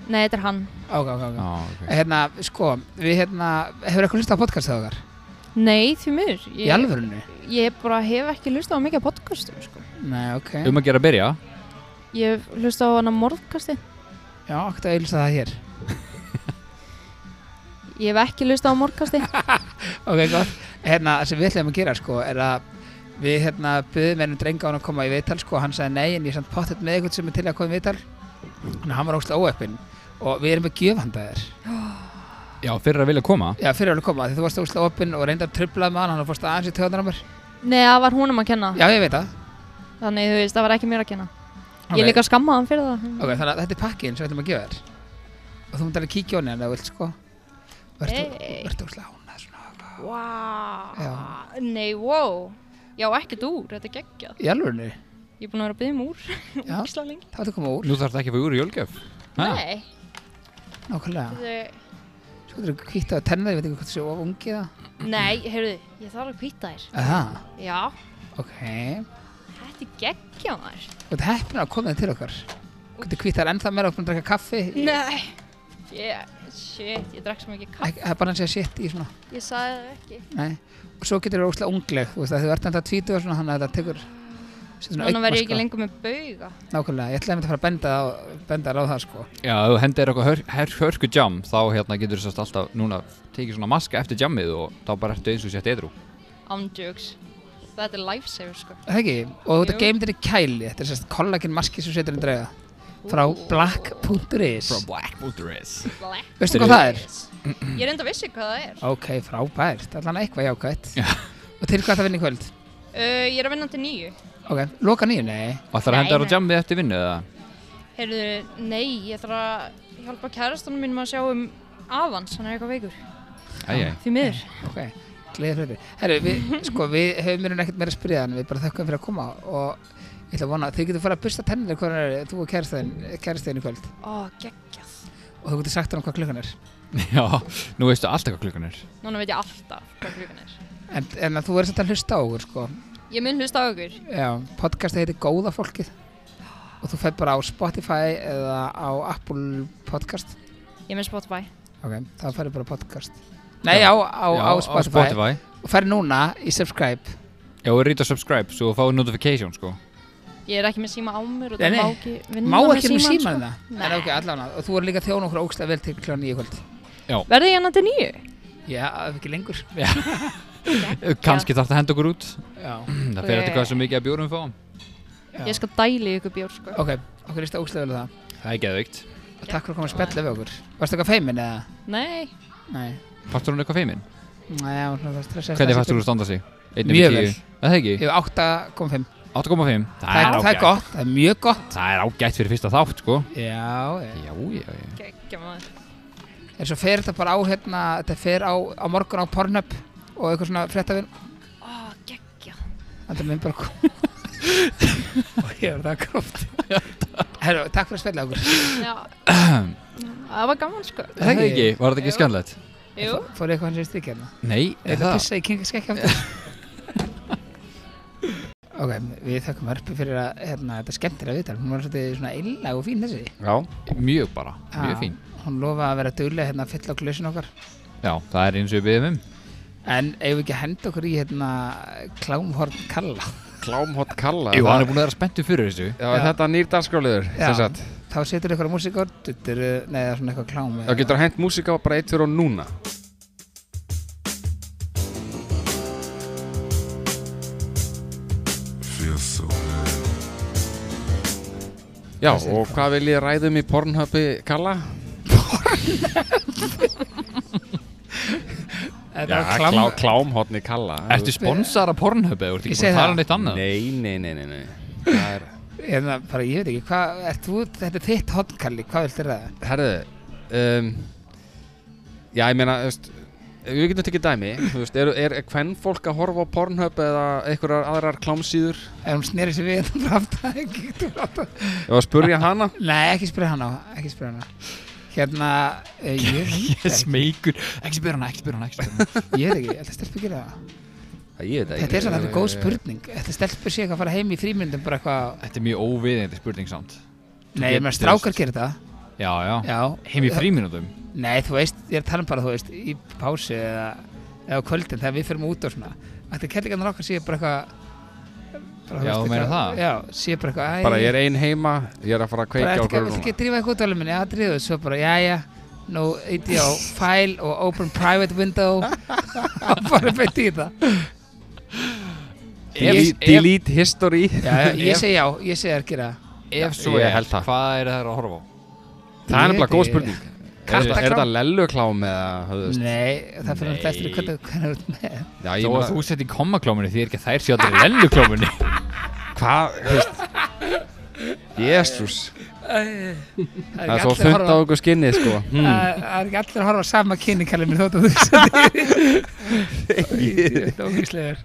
Speaker 1: nei, þetta er hann,
Speaker 5: Ok, ok, ok
Speaker 4: Já, ok.
Speaker 5: Hérna, sko, við hérna Hefur eitthvað hlustað á podcast það okkar?
Speaker 1: nei, því miður
Speaker 5: Í alvörunni?
Speaker 1: ég bara hef ekki hlustað á mikið af podcastum sko.
Speaker 5: Nei, ok
Speaker 4: Um að gera að byrja
Speaker 1: ég hef hlustað á hann að morðkasti
Speaker 5: Já, okkur að auðvitað það hér
Speaker 1: ég hef ekki hlustað á morðkasti
Speaker 5: Ok, gott Hérna, það sem við ætlum að gera, sko, er að Við hérna byðum ennum drenga á hann að koma í viðtal sko, og hann sagði nei en ég er samt pottet með eitthvað sem er til að koma í viðtal þannig að hann var ógstlega óöppin og við erum að gjöfanda þér
Speaker 4: Já, fyrir að vilja koma
Speaker 5: Já, fyrir alveg koma, því þú varst óslega opinn og reyndar trublaði með hann, hann fórst aðeins í töðunar á mér
Speaker 1: Nei, það var húnum að kenna
Speaker 5: Já, ég veit það
Speaker 1: Þannig, þú veist, það var ekki mér að kenna
Speaker 5: Ok.
Speaker 1: Ég líka skammaði hann fyrir það
Speaker 5: Ok, þannig að þetta er pakkin sem við ætlum að gefa þér og þú mútt alveg kíkja á henni ef þú vilt, sko Vertu,
Speaker 1: Hey.
Speaker 5: vertu óslega ánað svona
Speaker 1: Vá, nei, wow Já, ekkert úr, þetta er geggjað
Speaker 5: Í alvörinu,
Speaker 1: Ég er búin að vera að byggja um úr
Speaker 5: Já.
Speaker 1: Úksla lengi
Speaker 5: það var að koma úr,
Speaker 4: Nú þarf þetta ekki að fá úr í jólgjöf Ha?
Speaker 1: Nei,
Speaker 5: nákvæmlega
Speaker 1: þetta-
Speaker 5: Svo þetta er kvítt á tennar, ég veit ekki hvort þú séu of ungið það
Speaker 1: nei, heyrðu, ég þarf að pýta þér
Speaker 5: Aha,
Speaker 1: Já,
Speaker 5: ok
Speaker 1: þetta er geggjað maður
Speaker 5: Þú ert heppin að koma þér til okkar Þetta kvítt þær ennþá meira og búin að drekka kaffi
Speaker 1: Nei yeah, Shit, ég drakk svo mikið kaff
Speaker 5: Ek- Það er bara að segja shit í svona
Speaker 1: Ég sagði það ekki
Speaker 5: Nei, og svo getur þú óslega ungleg Þú veist að þú ert enda að tvítu og svona Þannig að þetta tekur sem svona
Speaker 1: Núna verð
Speaker 5: augnmaska.
Speaker 1: ég ekki lengur með bauga
Speaker 5: Nákvæmlega, ég ætlaði einmitt að fara að benda, á, benda þér á það sko
Speaker 4: Já, ef þú hendir eitthvað hör, hör, hörku jam þá hérna getur þess alltaf núna tekið svona maska eftir jammið og þá bara ertu eins og sett edru
Speaker 1: Ándjöks Þetta er lifesaver sko
Speaker 5: Er Það ekki, og þetta
Speaker 1: Jú.
Speaker 5: geymd er í kæli Þetta er sérst kollagen maski sem setur undir auða Frá black.is
Speaker 4: Black Motorist
Speaker 1: Black
Speaker 5: Veistu hvað það er?
Speaker 1: Yes. Ég er enda að vissi hvað það er
Speaker 5: Ok, frábært, allan eitthvað jákvætt Og til hvað það vinna í kvöld?
Speaker 1: uh, Ég er að vinna til nýju
Speaker 5: Ok, loka nýju, nei
Speaker 4: Og ætlar að henda
Speaker 1: Nei,
Speaker 4: þér á
Speaker 1: nei.
Speaker 4: jammið eftir vinnu eða?
Speaker 1: Heyrðu, nei, ég þarf að hjálpa kærastunum mínum að sjá um avans, hann er eitthvað veikur.
Speaker 4: Æj, æj
Speaker 1: Því miður.
Speaker 5: Ok, gleðið fyrir Herru, við, sko, við höfum mér ekkert meira að spyrja þannig Við bara þökkum fyrir að koma og ég ætla að vona Þið getur fara að busta tennir hvað er þú og kæristeðin í kvöld
Speaker 1: Ó, geggjað.
Speaker 5: Og þú getur sagt hann hvað klukkan er
Speaker 4: Já, nú veistu alltaf hvað klukkan er
Speaker 1: Núna veit ég alltaf hvað klukkan er.
Speaker 5: En, en að þú verður samt að hlusta á okkur sko.
Speaker 1: Ég mun hlusta á ykkur.
Speaker 5: Já, podcastið heitir Góða fólkið og þú fætt bara á Spotify eða á Apple podcast
Speaker 1: Ég mun Spotify.
Speaker 5: ok, þá færðu bara á podcast Nei,
Speaker 4: Já.
Speaker 5: á, á,
Speaker 4: Já,
Speaker 5: á, Spotify.
Speaker 4: Spotify
Speaker 5: og færðu núna í subscribe
Speaker 4: Já, og rýta subscribe svo þú fáið notification sko
Speaker 1: Ég er ekki með síma á mér og
Speaker 5: Nei,
Speaker 1: það má
Speaker 5: nei.
Speaker 1: ekki
Speaker 5: Má
Speaker 1: vinna
Speaker 5: ekki nú síma
Speaker 1: sko.
Speaker 5: það
Speaker 1: Nei.
Speaker 5: En ok, allavega, og þú er líka að þjóna okkur ógstlega vel til kljóðan í kvöld
Speaker 1: sko. Verði ég hann til nýju?
Speaker 5: Já, ekki lengur
Speaker 4: Kanski þarf það að henda okkur út
Speaker 5: Já.
Speaker 4: Það fer eftir hvað sem mikið að bjórum við fáum
Speaker 5: Já.
Speaker 1: Ég skal dæli ykkur bjór, sko.
Speaker 5: Ok, okkur líst ógstlega vel á það
Speaker 4: Það er geðveikt
Speaker 5: og takk fyrir að koma að spjalla við okkur Varstu eitthvað feimin eða?
Speaker 1: Nei,
Speaker 5: Nei,
Speaker 4: Fannst hún eitthvað feimin?
Speaker 5: Nei já, hún var stressað
Speaker 4: Hvernig fannst þú að standa sig? Einni
Speaker 5: Mjög
Speaker 4: við tíu.
Speaker 5: vel.
Speaker 4: Er Það ekki?
Speaker 5: Ég hef 8,5
Speaker 4: 8,5
Speaker 5: Það er- það er
Speaker 4: ágætt.
Speaker 5: gott, það er mjög gott
Speaker 4: Það er ágætt fyrir fyrsta þátt sko
Speaker 5: Já, já
Speaker 4: Já, já, já
Speaker 1: geggja maður.
Speaker 5: En svo fer þetta bara á hérna, þetta fer á, á morgun á Pornhub og eitthvað svona fréttavinn.
Speaker 1: Ó, geggja.
Speaker 5: Þetta er minn bara kom. og ég er það gróft. Herru, takk fyrir að spilla okkur.
Speaker 1: Já. Það var gaman, sko.
Speaker 4: Er Það ekki, var þetta ekki
Speaker 1: Jú.
Speaker 4: skemmtilegt?
Speaker 1: Jú.
Speaker 5: Fór eitthvað hans í stík hérna.
Speaker 4: Nei,
Speaker 5: Ég ætla að pissa í kinga skekki aftur. ok, við þakkum hörpu fyrir að hérna, þetta er skemmtilega viðtal. Hún var svolítið svona einlega og fín þessi.
Speaker 3: Já,
Speaker 4: mjög bara, mjög
Speaker 5: Já,
Speaker 4: fín
Speaker 5: Hún lofaði að vera duglega hérna að fylla okkur lausin okkar.
Speaker 4: Já, það er eins og við beðum um
Speaker 5: En eigum við ekki að henda okkur í hérna klámhorn kalla.
Speaker 3: klámhott kalla
Speaker 4: Jú, hann
Speaker 3: það,
Speaker 4: er búin að vera spenntu fyrir þessu
Speaker 3: Já, er þetta nýr dagskráliður
Speaker 5: Já.
Speaker 3: Þá
Speaker 5: Þá setur ykkur að músík og duttur, eh, nei, það er svona eitthvað klám. eða-
Speaker 3: getur hent músika og bara eitt fyrir og núna
Speaker 6: Feels so
Speaker 3: Já, og hvað vil ég ræðum í Pornhubi kalla?
Speaker 5: Þetta
Speaker 3: Já,
Speaker 5: var
Speaker 3: klám,
Speaker 5: klám
Speaker 3: klámhotni kalla
Speaker 4: Ertu sponsar af Pornhub eða, ertu
Speaker 5: Ég
Speaker 4: ekki
Speaker 5: segi það.
Speaker 4: búin að tala um neitt annað?
Speaker 3: Nei, nei, nei, nei, nei. Það er,
Speaker 5: hérna, bara, Ég veit ekki, hvað, ert þú, þetta er þitt hotkalli, hvað viltu ræða?
Speaker 3: herðu um, Já, ég meina, þú veist Við getum tekið dæmi, þú veist, er, er hvern fólk að horfa á Pornhub eða einhverjar aðrar klámsýður?
Speaker 5: Ef hún sneri sér við hérna frá aftan, ekki þú frá aftan
Speaker 3: Ég var að spurja hana
Speaker 5: Nei, ekki spyrja hana, ekki spyrja hana Hérna, eh, ég veit
Speaker 4: Yes,
Speaker 5: ekki,
Speaker 4: meikur, ekki spyrja hana, ekki spyrja hana, ekki spyrja hana
Speaker 5: ég veit ekki, ætla stelpur gera það
Speaker 3: Það ég veit
Speaker 5: Þetta
Speaker 3: það
Speaker 5: er svona
Speaker 3: ekki.
Speaker 5: þetta góð spurning, ætla stelpur sé eitthvað að fara heim í frímyndum bara eitthvað
Speaker 4: Þetta er mjög óviðeigandi spurning samt
Speaker 5: Nei, ég meina
Speaker 4: getur-
Speaker 5: strákar gera það,
Speaker 4: Já, já,
Speaker 5: já
Speaker 4: heim í fríminútum
Speaker 5: Nei, þú veist, ég er að tala um bara, þú veist, í pásu eða, eða á kvöldin þegar við fyrum út og svona Ætla kellingarnar okkar séu bara eitthvað bara, þú veist,
Speaker 4: Já, þú meinar
Speaker 5: eitthvað-
Speaker 4: það?
Speaker 5: Já, séu bara eitthvað æ,
Speaker 3: Bara ég er ein heima, ég er að fara að
Speaker 5: bara
Speaker 3: kveika
Speaker 5: ertu
Speaker 3: á
Speaker 5: ekki, ertu ekki
Speaker 3: grunum
Speaker 5: að drífa eitthvað út alveg minni, já, drífa þessu svo bara, jæja, nú eiti ég á file og open private window og bara beint í það
Speaker 4: Ef- ef-
Speaker 3: Delete history
Speaker 5: já, já, ég segi já, ég segi það að gera það.
Speaker 4: Ef svo
Speaker 3: Ég
Speaker 4: er,
Speaker 3: held það.
Speaker 4: hvað er það að horfa á?
Speaker 3: Það er nefnilega
Speaker 5: Ég
Speaker 3: góð
Speaker 5: veit
Speaker 3: spurning Er,
Speaker 5: Kattaklám?
Speaker 3: er þetta lelluklám eða höfðust?
Speaker 5: Nei, það fyrir alltaf eftir
Speaker 4: Nei.
Speaker 5: hvernig hvernig þú ert með
Speaker 3: Já, ég
Speaker 4: Þó að
Speaker 3: meina,
Speaker 4: þú sett í kommaklómunni því er ekki að þær séu allir í lennuklómunni
Speaker 3: hvað, þú veist Jésús, það er svo
Speaker 5: allir að
Speaker 3: þund á
Speaker 5: horfa-
Speaker 3: ykkur skinnið sko
Speaker 5: Það það er ekki allir að horfa á sama kynni kallið mér þótt að þú seti Það er ógíslegur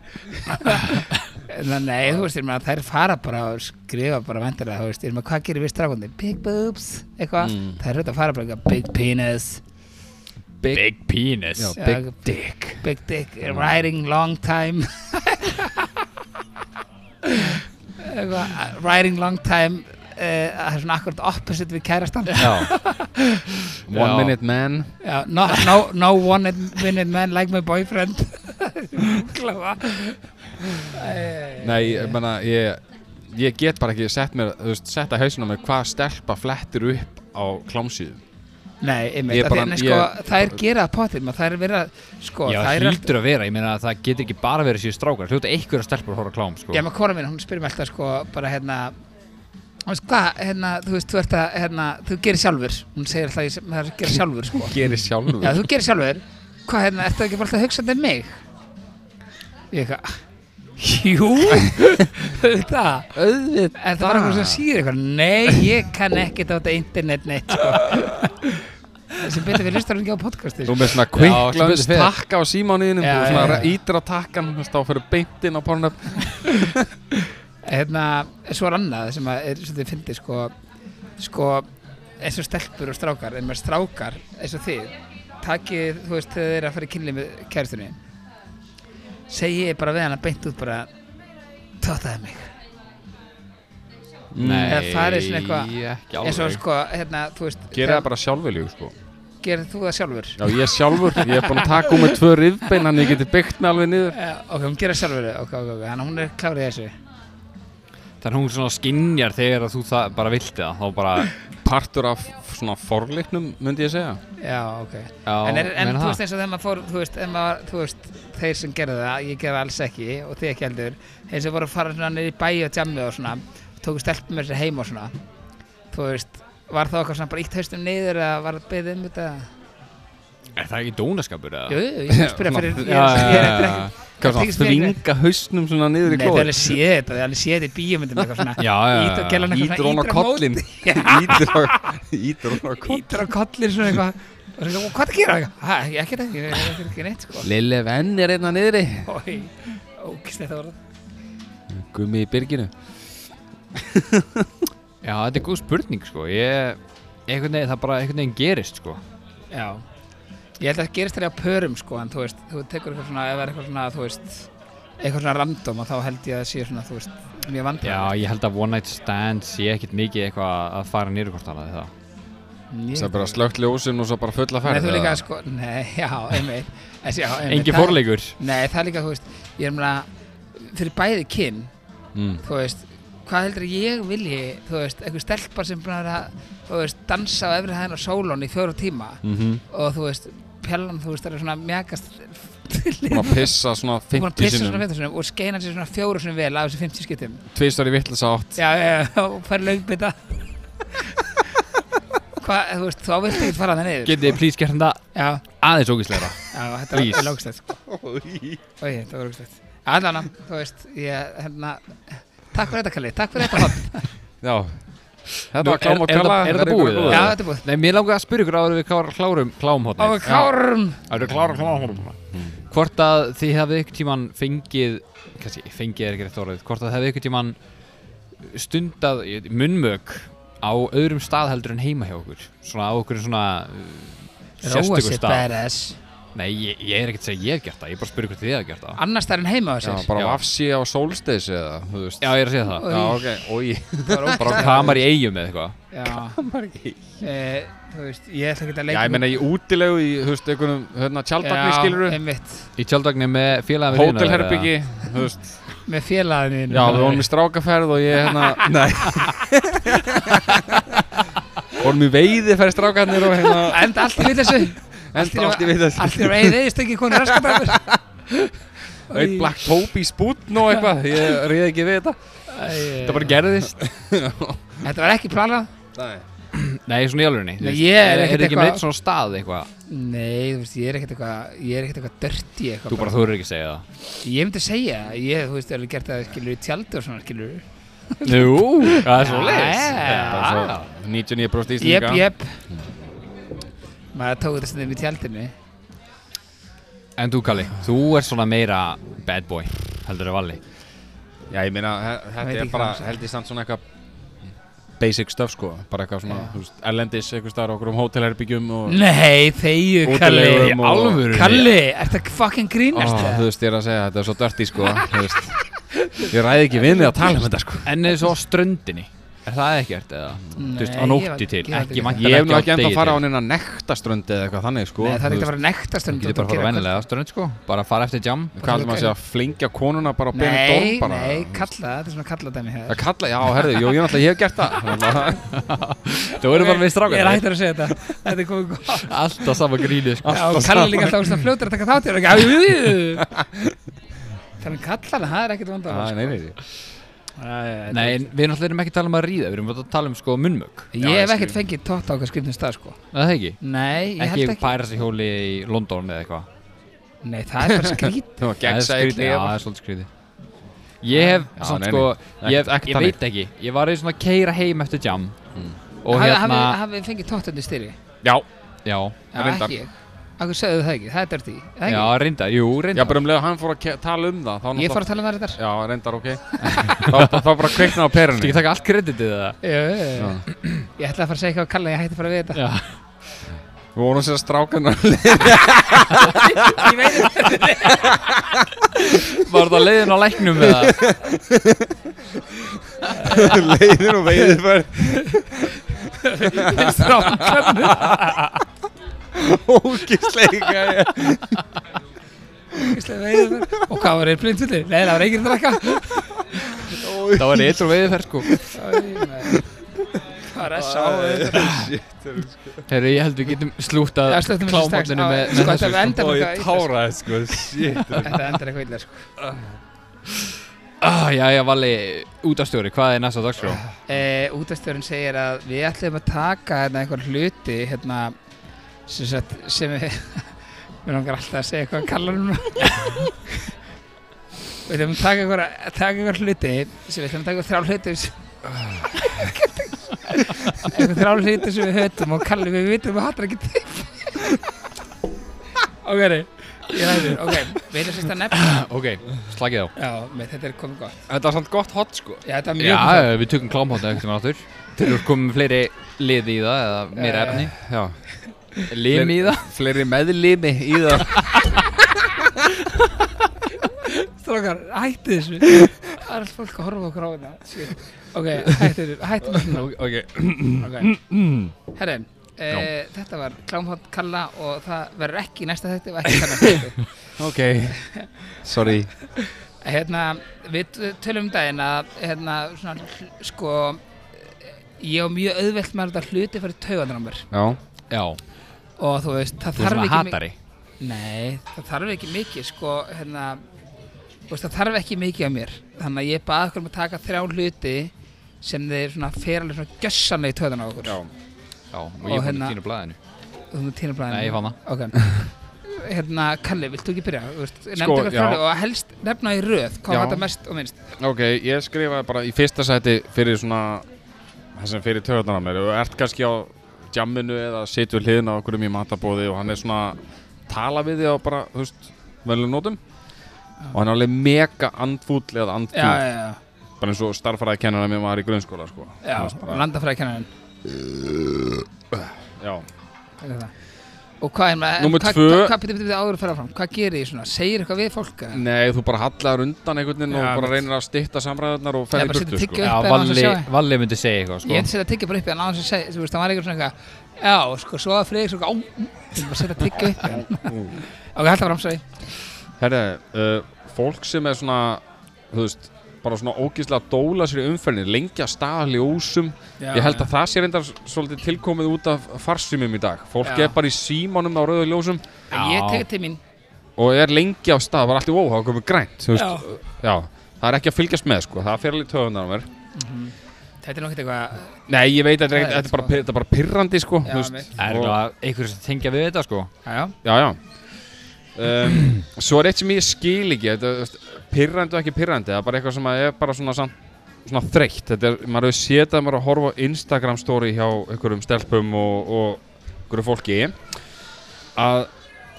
Speaker 5: Nei, þú veist, ég meina, þær fara bara og skrifa bara vendilega, þú veist, ég meina, hvað gerir við strákundi? Big boobs, eitthvað
Speaker 3: Mm.
Speaker 5: Það er þetta að fara bara eitthvað, big penis
Speaker 4: Big penis
Speaker 3: Já.
Speaker 5: Big dick Big dick, riding long time Eitthvað, riding long time eh, Það er svona akkurat opposite við kærastan
Speaker 3: Já One
Speaker 4: Já.
Speaker 3: minute man
Speaker 5: Já, no, no, no one minute man like my boyfriend Klafa
Speaker 3: Nei, ég meina, ég, ég get bara ekki sett mér, þú veist, setta hausinu á mér hvað stelpa flettir upp á klámsýðum.
Speaker 5: Nei,
Speaker 3: Ég
Speaker 5: einmitt, bara,
Speaker 3: bara-
Speaker 5: þeir, sko,
Speaker 3: ég-
Speaker 5: það er gerað pottir maður, það er verið að, sko,
Speaker 4: Já,
Speaker 5: það er allt
Speaker 4: hlýtur að vera, ég meina að það getur ekki bara verið sér strákar Hljóta einhverja stelpur að horfa á klám, sko
Speaker 5: Já, maður kona mín, hún spyr mér alltaf, sko, bara hérna þú veist Hvað, hérna, þú veist, þú ert að, hérna, þú gerir sjálfur Hún segir alltaf, ég- maður er að gera sjálfur, sko
Speaker 3: Gerir sjálfur.
Speaker 5: Já, þú gerir sjálfur Hvað, hérna, ertu ekki bara alltaf að hugsa þetta um mig? Ég eitthvað Jú, auðvitað
Speaker 3: auðvitað.
Speaker 5: Er það bara eitthvað sem sýr eitthvað? Nei, ég kann ekkert á þetta internet neitt sko. sem betur við hlustar ekki á podcasti sko.
Speaker 3: Þú með svona
Speaker 4: sem betur
Speaker 3: kvikklans
Speaker 4: fer.
Speaker 3: takka á símániðinum,
Speaker 5: Já,
Speaker 3: þú
Speaker 5: já,
Speaker 3: svona
Speaker 5: já.
Speaker 3: ítir á takkan, þú veist, þá fyrir beintinn á pornöf.
Speaker 5: hérna, en svo er annað sem að er svolítið fyndið sko, sko, eins og stelpur og strákar en maður strákar eins og þið takið, þú veist, þegar þið er að fara í kynli með kæristunni segi ég bara við hana beint út bara tótaði mig
Speaker 4: Nei,
Speaker 5: Eða farið svona eitthvað-
Speaker 4: ekki
Speaker 5: eins og
Speaker 4: alveg
Speaker 5: sko, hérna, þú veist
Speaker 3: Gerir það bara sjálfurljú, sko.
Speaker 5: gerir þú það sjálfur?
Speaker 3: Já, ég sjálfur, ég er búin að taka um með tvö rifbein, hann ég geti byggt mig alveg niður.
Speaker 5: Já, ok, hún gerir það sjálfur, ok, ok, ok, hann hún er klárið þessu
Speaker 4: Þannig hún svona skinjar þegar að þú það bara vilti það Þá bara,
Speaker 3: Partur af svona forleiknum, myndi ég segja.
Speaker 5: Já, ok
Speaker 4: já,
Speaker 5: en, er, en
Speaker 4: meina
Speaker 5: þú
Speaker 4: það.
Speaker 5: veist eins og þegar maður fór þú veist, ef maður, þú veist, þeir sem gerðu það ég gerði það alls ekki og þið ekki heldur þeir sem voru að fara svona niður í bæi og tjammi og svona tóku stelpum með sér heim og svona þú veist, var það okkar svona bara ítt haustum niður eða var það beðið um þetta
Speaker 4: Er það ekki dónaskapur eða?
Speaker 5: Jú, jú, ég er að spyrja fyrir ég er- ég er eftir ekki
Speaker 3: Hvað svona,
Speaker 5: Ég tekst mér ekki.
Speaker 3: þvinga hausnum svona niður í
Speaker 5: Nei, það er
Speaker 3: klóð.
Speaker 5: alveg séð þetta, það er alveg séð þetta í bíómyndum eitthvað svona
Speaker 4: Já, já,
Speaker 5: Ít- gæla hann eitthvað
Speaker 3: Ítir
Speaker 5: svona
Speaker 3: hún á
Speaker 5: ítir á
Speaker 3: kollin.
Speaker 5: móti.
Speaker 3: Ítir á- Ítir hún á kollin.
Speaker 5: Ítur á kollir svona eitthvað og svona, "Og hvað það gera? Hæ, ég ekki þetta, ég er ekki neitt sko
Speaker 3: Lille venn er einna niðri
Speaker 5: Ói, ókist þetta voru
Speaker 3: Gummi í byrginu
Speaker 4: Já, þetta er góð spurning, sko Ég, einhvern veginn, það bara einhvern veginn gerist, sko
Speaker 5: Já Ég held að það gerist þér á pörum sko en þú veist, þú tekur eitthvað svona ef það er eitthvað svona, þú veist eitthvað svona random og þá held ég að það sé svona, þú veist, mjög vandræði
Speaker 4: Já, ég held að one night stand sé ekkert mikið eitthvað að fara niður hvort annað það
Speaker 3: Það er bara slögt ljósin og svo bara fulla
Speaker 5: Nei,
Speaker 3: ferð
Speaker 5: þú líka sko, nei, já, einmitt En já, einmitt,
Speaker 4: Engi
Speaker 5: það-
Speaker 4: fórleikur
Speaker 5: Nei, það er líka, þú veist, ég er mjög fyrir bæði kyn,
Speaker 3: mm.
Speaker 5: þú veist hvað heldur ég vilji, þú veist einhver stelpar sem búin að vera að, þú veist, dansa á efri hæðin og sólón í fjóra tíma
Speaker 3: mm -hmm.
Speaker 5: og þú veist, pjallan, þú veist, það er svona mjagast
Speaker 3: Búin að pissa svona
Speaker 5: búin að
Speaker 3: 50
Speaker 5: pissa svona
Speaker 3: sinum
Speaker 5: 50 sinum og skeina sér svona fjóru sinum vel af þessum 50 skiptum
Speaker 3: Tvistar í vitlis átt
Speaker 5: já, já, já, og fær lögbita hvað, þú veist, þá viltu ekki fara það niður
Speaker 4: Getið þið please gert þetta
Speaker 5: já,
Speaker 4: aðeins ógísleira
Speaker 5: já, þetta
Speaker 4: Please.
Speaker 5: var lögstætt sko. Oj, þetta var lögstætt allan, þú veist, ég, hérna takk fyrir þetta Kalli, takk fyrir þetta hot
Speaker 3: Já Þetta
Speaker 4: Nú,
Speaker 3: var klám
Speaker 4: er-
Speaker 3: og
Speaker 4: er
Speaker 3: kalla
Speaker 4: það- er það búið,
Speaker 5: já,
Speaker 4: eða?
Speaker 5: þetta er búið
Speaker 4: Nei, mér langar að spyrja ykkur áður en við klárum- klárum
Speaker 5: á
Speaker 4: klámhotnið
Speaker 5: kárum
Speaker 4: Það eru klára klára Mm. Hvort að þið hefði ykkur tíman fengið kannski, fengið er ekki rétt orðið Hvort að hefði ykkur tíman stundað ég- munnmök á öðrum stað heldur en heima hjá okkur Svona á okkur svona uh,
Speaker 5: róa
Speaker 4: sérstöku
Speaker 5: sér
Speaker 4: stað
Speaker 5: badass
Speaker 4: Nei, ég, ég er ekkert að segja ég hef gert það Ég er bara að spyrja hvort þið hefði gert það
Speaker 5: annars það er en heima á
Speaker 3: Já,
Speaker 5: sér
Speaker 4: Já.
Speaker 3: bara vafsi á solsteis eða Þú veist
Speaker 4: Já, ég er að segja það
Speaker 5: Oj.
Speaker 3: Já, ok Ói
Speaker 5: það var
Speaker 4: Bara
Speaker 5: ógeðslega-
Speaker 4: kamar í eigum eða eitthvað
Speaker 5: já, Eh, þú veist, ég ætla ekki að
Speaker 3: Já,
Speaker 5: leika
Speaker 3: ég meina í útilegu í, þú veist, einhvernum, hérna, tjaldvagni skiluru
Speaker 5: einmitt,
Speaker 4: Í tjaldvagni með félagin við hliðina þeirra.
Speaker 3: Hótelherbyggi, þú veist
Speaker 5: með félaginu
Speaker 3: Já, við vorum í strákaferð og ég, hérna Nei Vorum í veiði ferð strákarnir og hérna
Speaker 5: Enda allt í við þessu
Speaker 3: Enda allt í við þessu
Speaker 5: Allt í við þessu ekki konur raskatabur
Speaker 3: Eitt Black Toby spútn og eitthvað Ég reyði ekki við þetta
Speaker 5: Þetta Eh.
Speaker 4: Þetta bara gerðist
Speaker 5: Þetta var ekki planað
Speaker 3: Nei
Speaker 4: Nei, svona í alvegni
Speaker 5: Nei, ég er ekkert
Speaker 4: ekki
Speaker 5: eitthvað-
Speaker 4: með eitt svona stað eitthvað
Speaker 5: Nei, þú veist, ég er ekkert eitthvað Ég er ekkert eitthvað dörti eitthvað
Speaker 4: Þú bara þorir ekki að segja það
Speaker 5: Ég myndi segja, það. ég, þú veist, er alveg gert það skilur í tjaldi og svona skilur
Speaker 4: Jú, það er svo
Speaker 5: Já.
Speaker 4: leis
Speaker 3: 99%
Speaker 5: Jep,
Speaker 3: Íslandinga
Speaker 5: jep Maður tók þetta stundum í tjaldinu
Speaker 4: En þú Kalli, þú er svona meira bad boy heldur en Valli
Speaker 3: Já, ég meina, he-
Speaker 5: Veit
Speaker 3: þetta
Speaker 5: ekki
Speaker 3: er
Speaker 5: hvað
Speaker 3: bara,
Speaker 5: það er.
Speaker 3: held ég samt svona eitthvað basic stuff sko, bara eitthvað svona,
Speaker 5: Já.
Speaker 3: þú veist, erlendis, eitthvað staðar á okkur um hótelherbyggjum og
Speaker 5: Nei, þegju,
Speaker 3: Útilegum
Speaker 5: Kalli
Speaker 3: Í alvörunni?
Speaker 5: Kalli, ert það fucking grínast
Speaker 3: Ó, þú
Speaker 5: það?
Speaker 3: veist, ég er að segja, þetta er svo dörti sko, þú veist, ég ræði ekki vinni að tala um þetta sko.
Speaker 4: En eins og á ströndinni Er það ekkert eða? Þú veist,
Speaker 5: Nei,
Speaker 4: á
Speaker 5: ég
Speaker 4: nótti
Speaker 5: var-
Speaker 4: til,
Speaker 5: ég var ekki-
Speaker 4: ekki væntanlega
Speaker 3: Ég hef nú ekki
Speaker 4: á
Speaker 3: enda
Speaker 4: degi
Speaker 3: að fara á
Speaker 4: til.
Speaker 3: neina nektaströndi eða eitthvað þannig sko.
Speaker 5: Nei, það er ekkert
Speaker 3: þú
Speaker 5: að
Speaker 3: veist,
Speaker 5: fara nektast
Speaker 4: Þú getur bara að fara vennilega á strönd sko Bara að fara eftir jam
Speaker 3: Hvað heldur maður að segja, flingja konuna bara á beinu
Speaker 5: Nei,
Speaker 3: dóm bara?
Speaker 5: nei, kalla, þetta er svona kalla dæmi
Speaker 3: Að kalla, já, herðu, jú, ég náttúrulega, ég hef gert það. Þannig að-
Speaker 4: Þú erum bara
Speaker 5: Ég
Speaker 4: við
Speaker 5: er
Speaker 4: strákar
Speaker 5: hættur að segja þetta Þetta er komið góð
Speaker 4: Alltaf sama gríni sko
Speaker 5: Já, og Kalli líka alltaf svona fljótur að taka þátt í þér ekki? Jú, jú, jú. Þannig kallar það er ekkert vandamál
Speaker 3: Æ,
Speaker 5: sko.
Speaker 3: Ah,
Speaker 5: Æ,
Speaker 3: Nei, nei, nei.
Speaker 4: Nei, en við náttúrulega erum ekki að tala um að ríða Við erum að tala um sko munnmög
Speaker 5: Ég hef ekkert fengið tótt á okkar skrifnum stað sko
Speaker 4: Er Það ekki?
Speaker 5: Nei, ég
Speaker 4: Ekki
Speaker 5: held ekki
Speaker 4: pæra sig hjóli í London eða eitthvað
Speaker 5: Nei, það er bara skrít
Speaker 3: Það
Speaker 4: Það
Speaker 3: var
Speaker 4: er
Speaker 3: gegnsæði
Speaker 4: skrítið, Já, það er svolítið skrítið Ég hef,
Speaker 3: Já,
Speaker 4: samt
Speaker 3: nei,
Speaker 4: sko,
Speaker 3: nei.
Speaker 4: ég,
Speaker 3: Ekkert- ekkert
Speaker 4: ég
Speaker 3: þannig.
Speaker 4: veit ekki Ég var í svona að keira heim eftir jam
Speaker 5: Mm.
Speaker 4: Og
Speaker 5: Hafið
Speaker 4: hérna,
Speaker 5: hafið- hafið fengið tótt undir styri
Speaker 3: Já,
Speaker 4: já,
Speaker 5: Já,
Speaker 3: Reyndar.
Speaker 5: ekki ég Akkur sögðu það ekki, það er dörti
Speaker 4: já, reyndar, jú,
Speaker 3: já,
Speaker 4: reyndar
Speaker 3: bara um leið að hann fór að ke- tala um
Speaker 5: Ég
Speaker 3: það, þá náttúrulega
Speaker 5: fór að tala um það þetta
Speaker 3: Já, reyndar ok þá, þá bara kveikna á
Speaker 4: Þú
Speaker 3: perunni
Speaker 4: ekki taka allt kreditið það
Speaker 5: Ég ætlaði að fara að segja eitthvað á Kalla, ég hætti bara við þetta
Speaker 4: Já,
Speaker 3: Við vorum sér strákarnar
Speaker 5: Ég veit þetta
Speaker 4: var það leiðin á læknum með það
Speaker 3: leiðin og veiðið fyrir
Speaker 5: strákarnir
Speaker 3: Ógisleika
Speaker 5: Og hvað var þeir blindfullir? Nei, það var enginn að drakka
Speaker 4: Það var eitt og veiðið fer sko
Speaker 5: Hvað er S.A. og þetta?
Speaker 4: Herru, ég held við getum slútað
Speaker 5: Já, slúttum þessu strax.
Speaker 4: klámhóllinu
Speaker 5: Já,
Speaker 4: með,
Speaker 5: sko,
Speaker 4: með
Speaker 5: þetta
Speaker 4: þessu
Speaker 5: var enda-
Speaker 4: sko.
Speaker 5: Og ég táraði,
Speaker 3: sko Shit
Speaker 5: Þetta endar eitthvað illa sko.
Speaker 4: ah, Já, já, Valli, útastjóri, hvað er næsta dagskrá?
Speaker 5: e, Útastjórun segir að við ætlum að taka hérna, einhver hluti hérna, sem, sagt, sem við við langar alltaf að segja eitthvað að kalla hann Við ætlum að taka einhver, taka einhver hluti sem við ætlum að taka þrjá hluti sem- einhver þrjá hluti sem við hötum og kallum við vitum að hattar ekki til Ok, nei, ég hættur, ok, við erum sérst að nefna
Speaker 4: Ok, slagið á
Speaker 5: Já, með þetta er komið gott
Speaker 3: Þetta var samt gott hot sko
Speaker 5: Já, þetta er mjög gott.
Speaker 4: Já, við tökum klámhóttið ekkert með áttur Til við komum með fleiri liði í það eða meira
Speaker 5: Já, já,
Speaker 4: efni
Speaker 3: Eh, Já
Speaker 4: Lim í það
Speaker 3: Fleiri meðlimi í það
Speaker 5: Strákar, hætti þessu Það er allt fólk að horfa okkur á þetta Shit. Ok, hætti þessu, hætti þessu
Speaker 3: Ok
Speaker 5: okay. Herri, e, þetta var Klámhótt Kalla og það verður ekki í næsta þetta og ekki í næsta þetta
Speaker 3: Ok Sorry
Speaker 5: Hérna, við tölum um daginn að hérna, svona, hl- sko ég á mjög auðvelt með að láta hluti fyrir taugandur á mér
Speaker 3: Já
Speaker 4: Já,
Speaker 5: og þú veist, það
Speaker 4: þú er
Speaker 5: þarf
Speaker 4: svona
Speaker 5: ekki mi-
Speaker 4: hatari
Speaker 5: Nei, það þarf ekki mikið sko, hérna þú veist, það þarf ekki mikið af mér þannig að ég baði okkur um að taka þrjá hluti sem þeir svona fer alveg svona gjössanlega í töðan á okkur
Speaker 3: Já
Speaker 4: Já, og
Speaker 5: Og
Speaker 4: ég kom
Speaker 5: hérna-
Speaker 4: með tínu blæðinu
Speaker 5: og þú týnir blæðin
Speaker 4: Nei, ég fann það.
Speaker 5: Ok Hérna, Kalli, viltu ekki byrja? Þú veist, nefndu
Speaker 3: Sko,
Speaker 5: eitthvað
Speaker 3: já.
Speaker 5: frá og helst nefna í röð hvað
Speaker 3: Já.
Speaker 5: var þetta mest og minnst
Speaker 3: Ok, ég skrifaði bara í fyrsta sæti fyrir svona það sem fyrir töðarnar á mér og ert kannski á jamminu eða situr hliðin á okkur um í matabóði og hann er svona tala við þig á bara, þú veist, velum nótum og hann er alveg mega andfúll eða andfúll,
Speaker 5: Já, já, já,
Speaker 3: bara eins og starffræði kennara mér var í grunnskóla, sko
Speaker 5: já,
Speaker 3: Þú veist, bara,
Speaker 5: landafræðkennan
Speaker 3: Já,
Speaker 5: Og hvað er maður
Speaker 3: Númer
Speaker 5: hvað,
Speaker 3: tvö.
Speaker 5: hvað, hvað, byrja, byrja, áður að fara fram Hvað gerir ég svona? Segir eitthvað við fólk? eða?
Speaker 3: nei, þú bara hallar undan einhvern veginn
Speaker 5: Já,
Speaker 3: og bara
Speaker 5: mitt.
Speaker 3: reynir að stytta samræðarnar og
Speaker 5: Já,
Speaker 3: ferði
Speaker 5: bara
Speaker 3: í
Speaker 5: setja
Speaker 3: burtu, sko
Speaker 5: tyggju.
Speaker 4: Já,
Speaker 5: upp eða annars að
Speaker 4: Valli,
Speaker 5: sjá það?
Speaker 4: Valli myndi segja eitthvað
Speaker 5: Ég
Speaker 4: sko.
Speaker 5: ætti að setja tyggja bara upp í hann á þess að segja, þú veist, það var eitthvað svona eitthvað, já, sko, svo að Friðrik svona, á, ég bara setja tyggja upp í hann. ok, hætti fram, sorry.
Speaker 3: Herra, uh, fólk sem er svona, þú veist bara svona ógíslega að dóla sér í umferðinni lengja staðal í ósum
Speaker 5: Já,
Speaker 3: ég held að það sé reyndar svolítið tilkomið út af farsýmum í dag fólk
Speaker 5: Já.
Speaker 3: er bara í símanum á rauðu ljósum
Speaker 5: En ég tek til mín,
Speaker 3: og er lengi á stað, bara allt í óhá komið grænt þú veist,
Speaker 5: já,
Speaker 3: já, það er ekki að fylgjast með sko, það fer alveg töðunar á mér
Speaker 5: Þetta er nú ekkert eitthvað
Speaker 3: Nei, ég veit að
Speaker 5: Það
Speaker 3: þetta
Speaker 5: er
Speaker 3: er ekkert- þetta er
Speaker 5: sko.
Speaker 3: bara, pir- þetta er bara pirrandi sko
Speaker 5: Já,
Speaker 3: þú veist.
Speaker 5: mitt.
Speaker 4: Það er
Speaker 3: Og-
Speaker 4: eitthvað einhverjum sem tengja við þetta sko
Speaker 5: Já, já
Speaker 3: Já, já um, Svo er eitt sem ég skil ekki þetta, þú veist, Pirrandi og ekki pirrandi Það er bara eitthvað sem að er bara svona, samt- svona þreytt Þetta er, maður hefur séð það að maður er að horfa á Instagram story hjá einhverjum stelpum og, og einhverju fólki að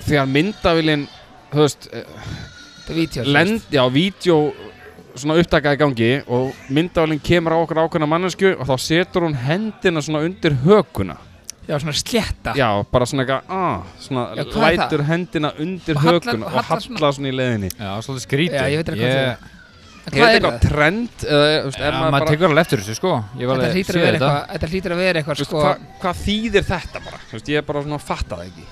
Speaker 3: þegar myndavilin höfst,
Speaker 5: Þetta er vítjó
Speaker 3: eh, lend, já, vídeo svona upptakaði gangi og myndavilin kemur á okkur ákveðna mannesku og þá setur hún hendina svona undir hökuna
Speaker 5: Já, svona slétta
Speaker 3: Já, bara svona eitthvað, ah, svona
Speaker 5: Já, hvað er
Speaker 3: lætur hendina undir
Speaker 5: Og hallar-
Speaker 3: hökun og
Speaker 5: og
Speaker 3: hallar,
Speaker 5: hallar
Speaker 3: svona, í leiðinni.
Speaker 4: Já, svolítið skrítið
Speaker 5: Já, ég veit ekki hvað
Speaker 4: Ég-
Speaker 5: það
Speaker 3: Er
Speaker 5: En Hvað
Speaker 3: þetta
Speaker 5: er
Speaker 3: eitthvað
Speaker 5: það?
Speaker 3: trend eða, þú veist,
Speaker 4: Já,
Speaker 3: er maður
Speaker 4: maður
Speaker 3: bara,
Speaker 4: tekur alveg eftir þessu sko Ég var
Speaker 5: Þetta
Speaker 4: alveg
Speaker 5: hlýtur að
Speaker 4: séð
Speaker 5: vera
Speaker 4: þetta.
Speaker 5: eitthvað Þetta hlýtur að vera
Speaker 3: þú
Speaker 5: eitthvað
Speaker 3: veist,
Speaker 5: sko
Speaker 3: hvað, hvað þýðir þetta bara? Þú veist, ég er bara svona að fatta það ekki.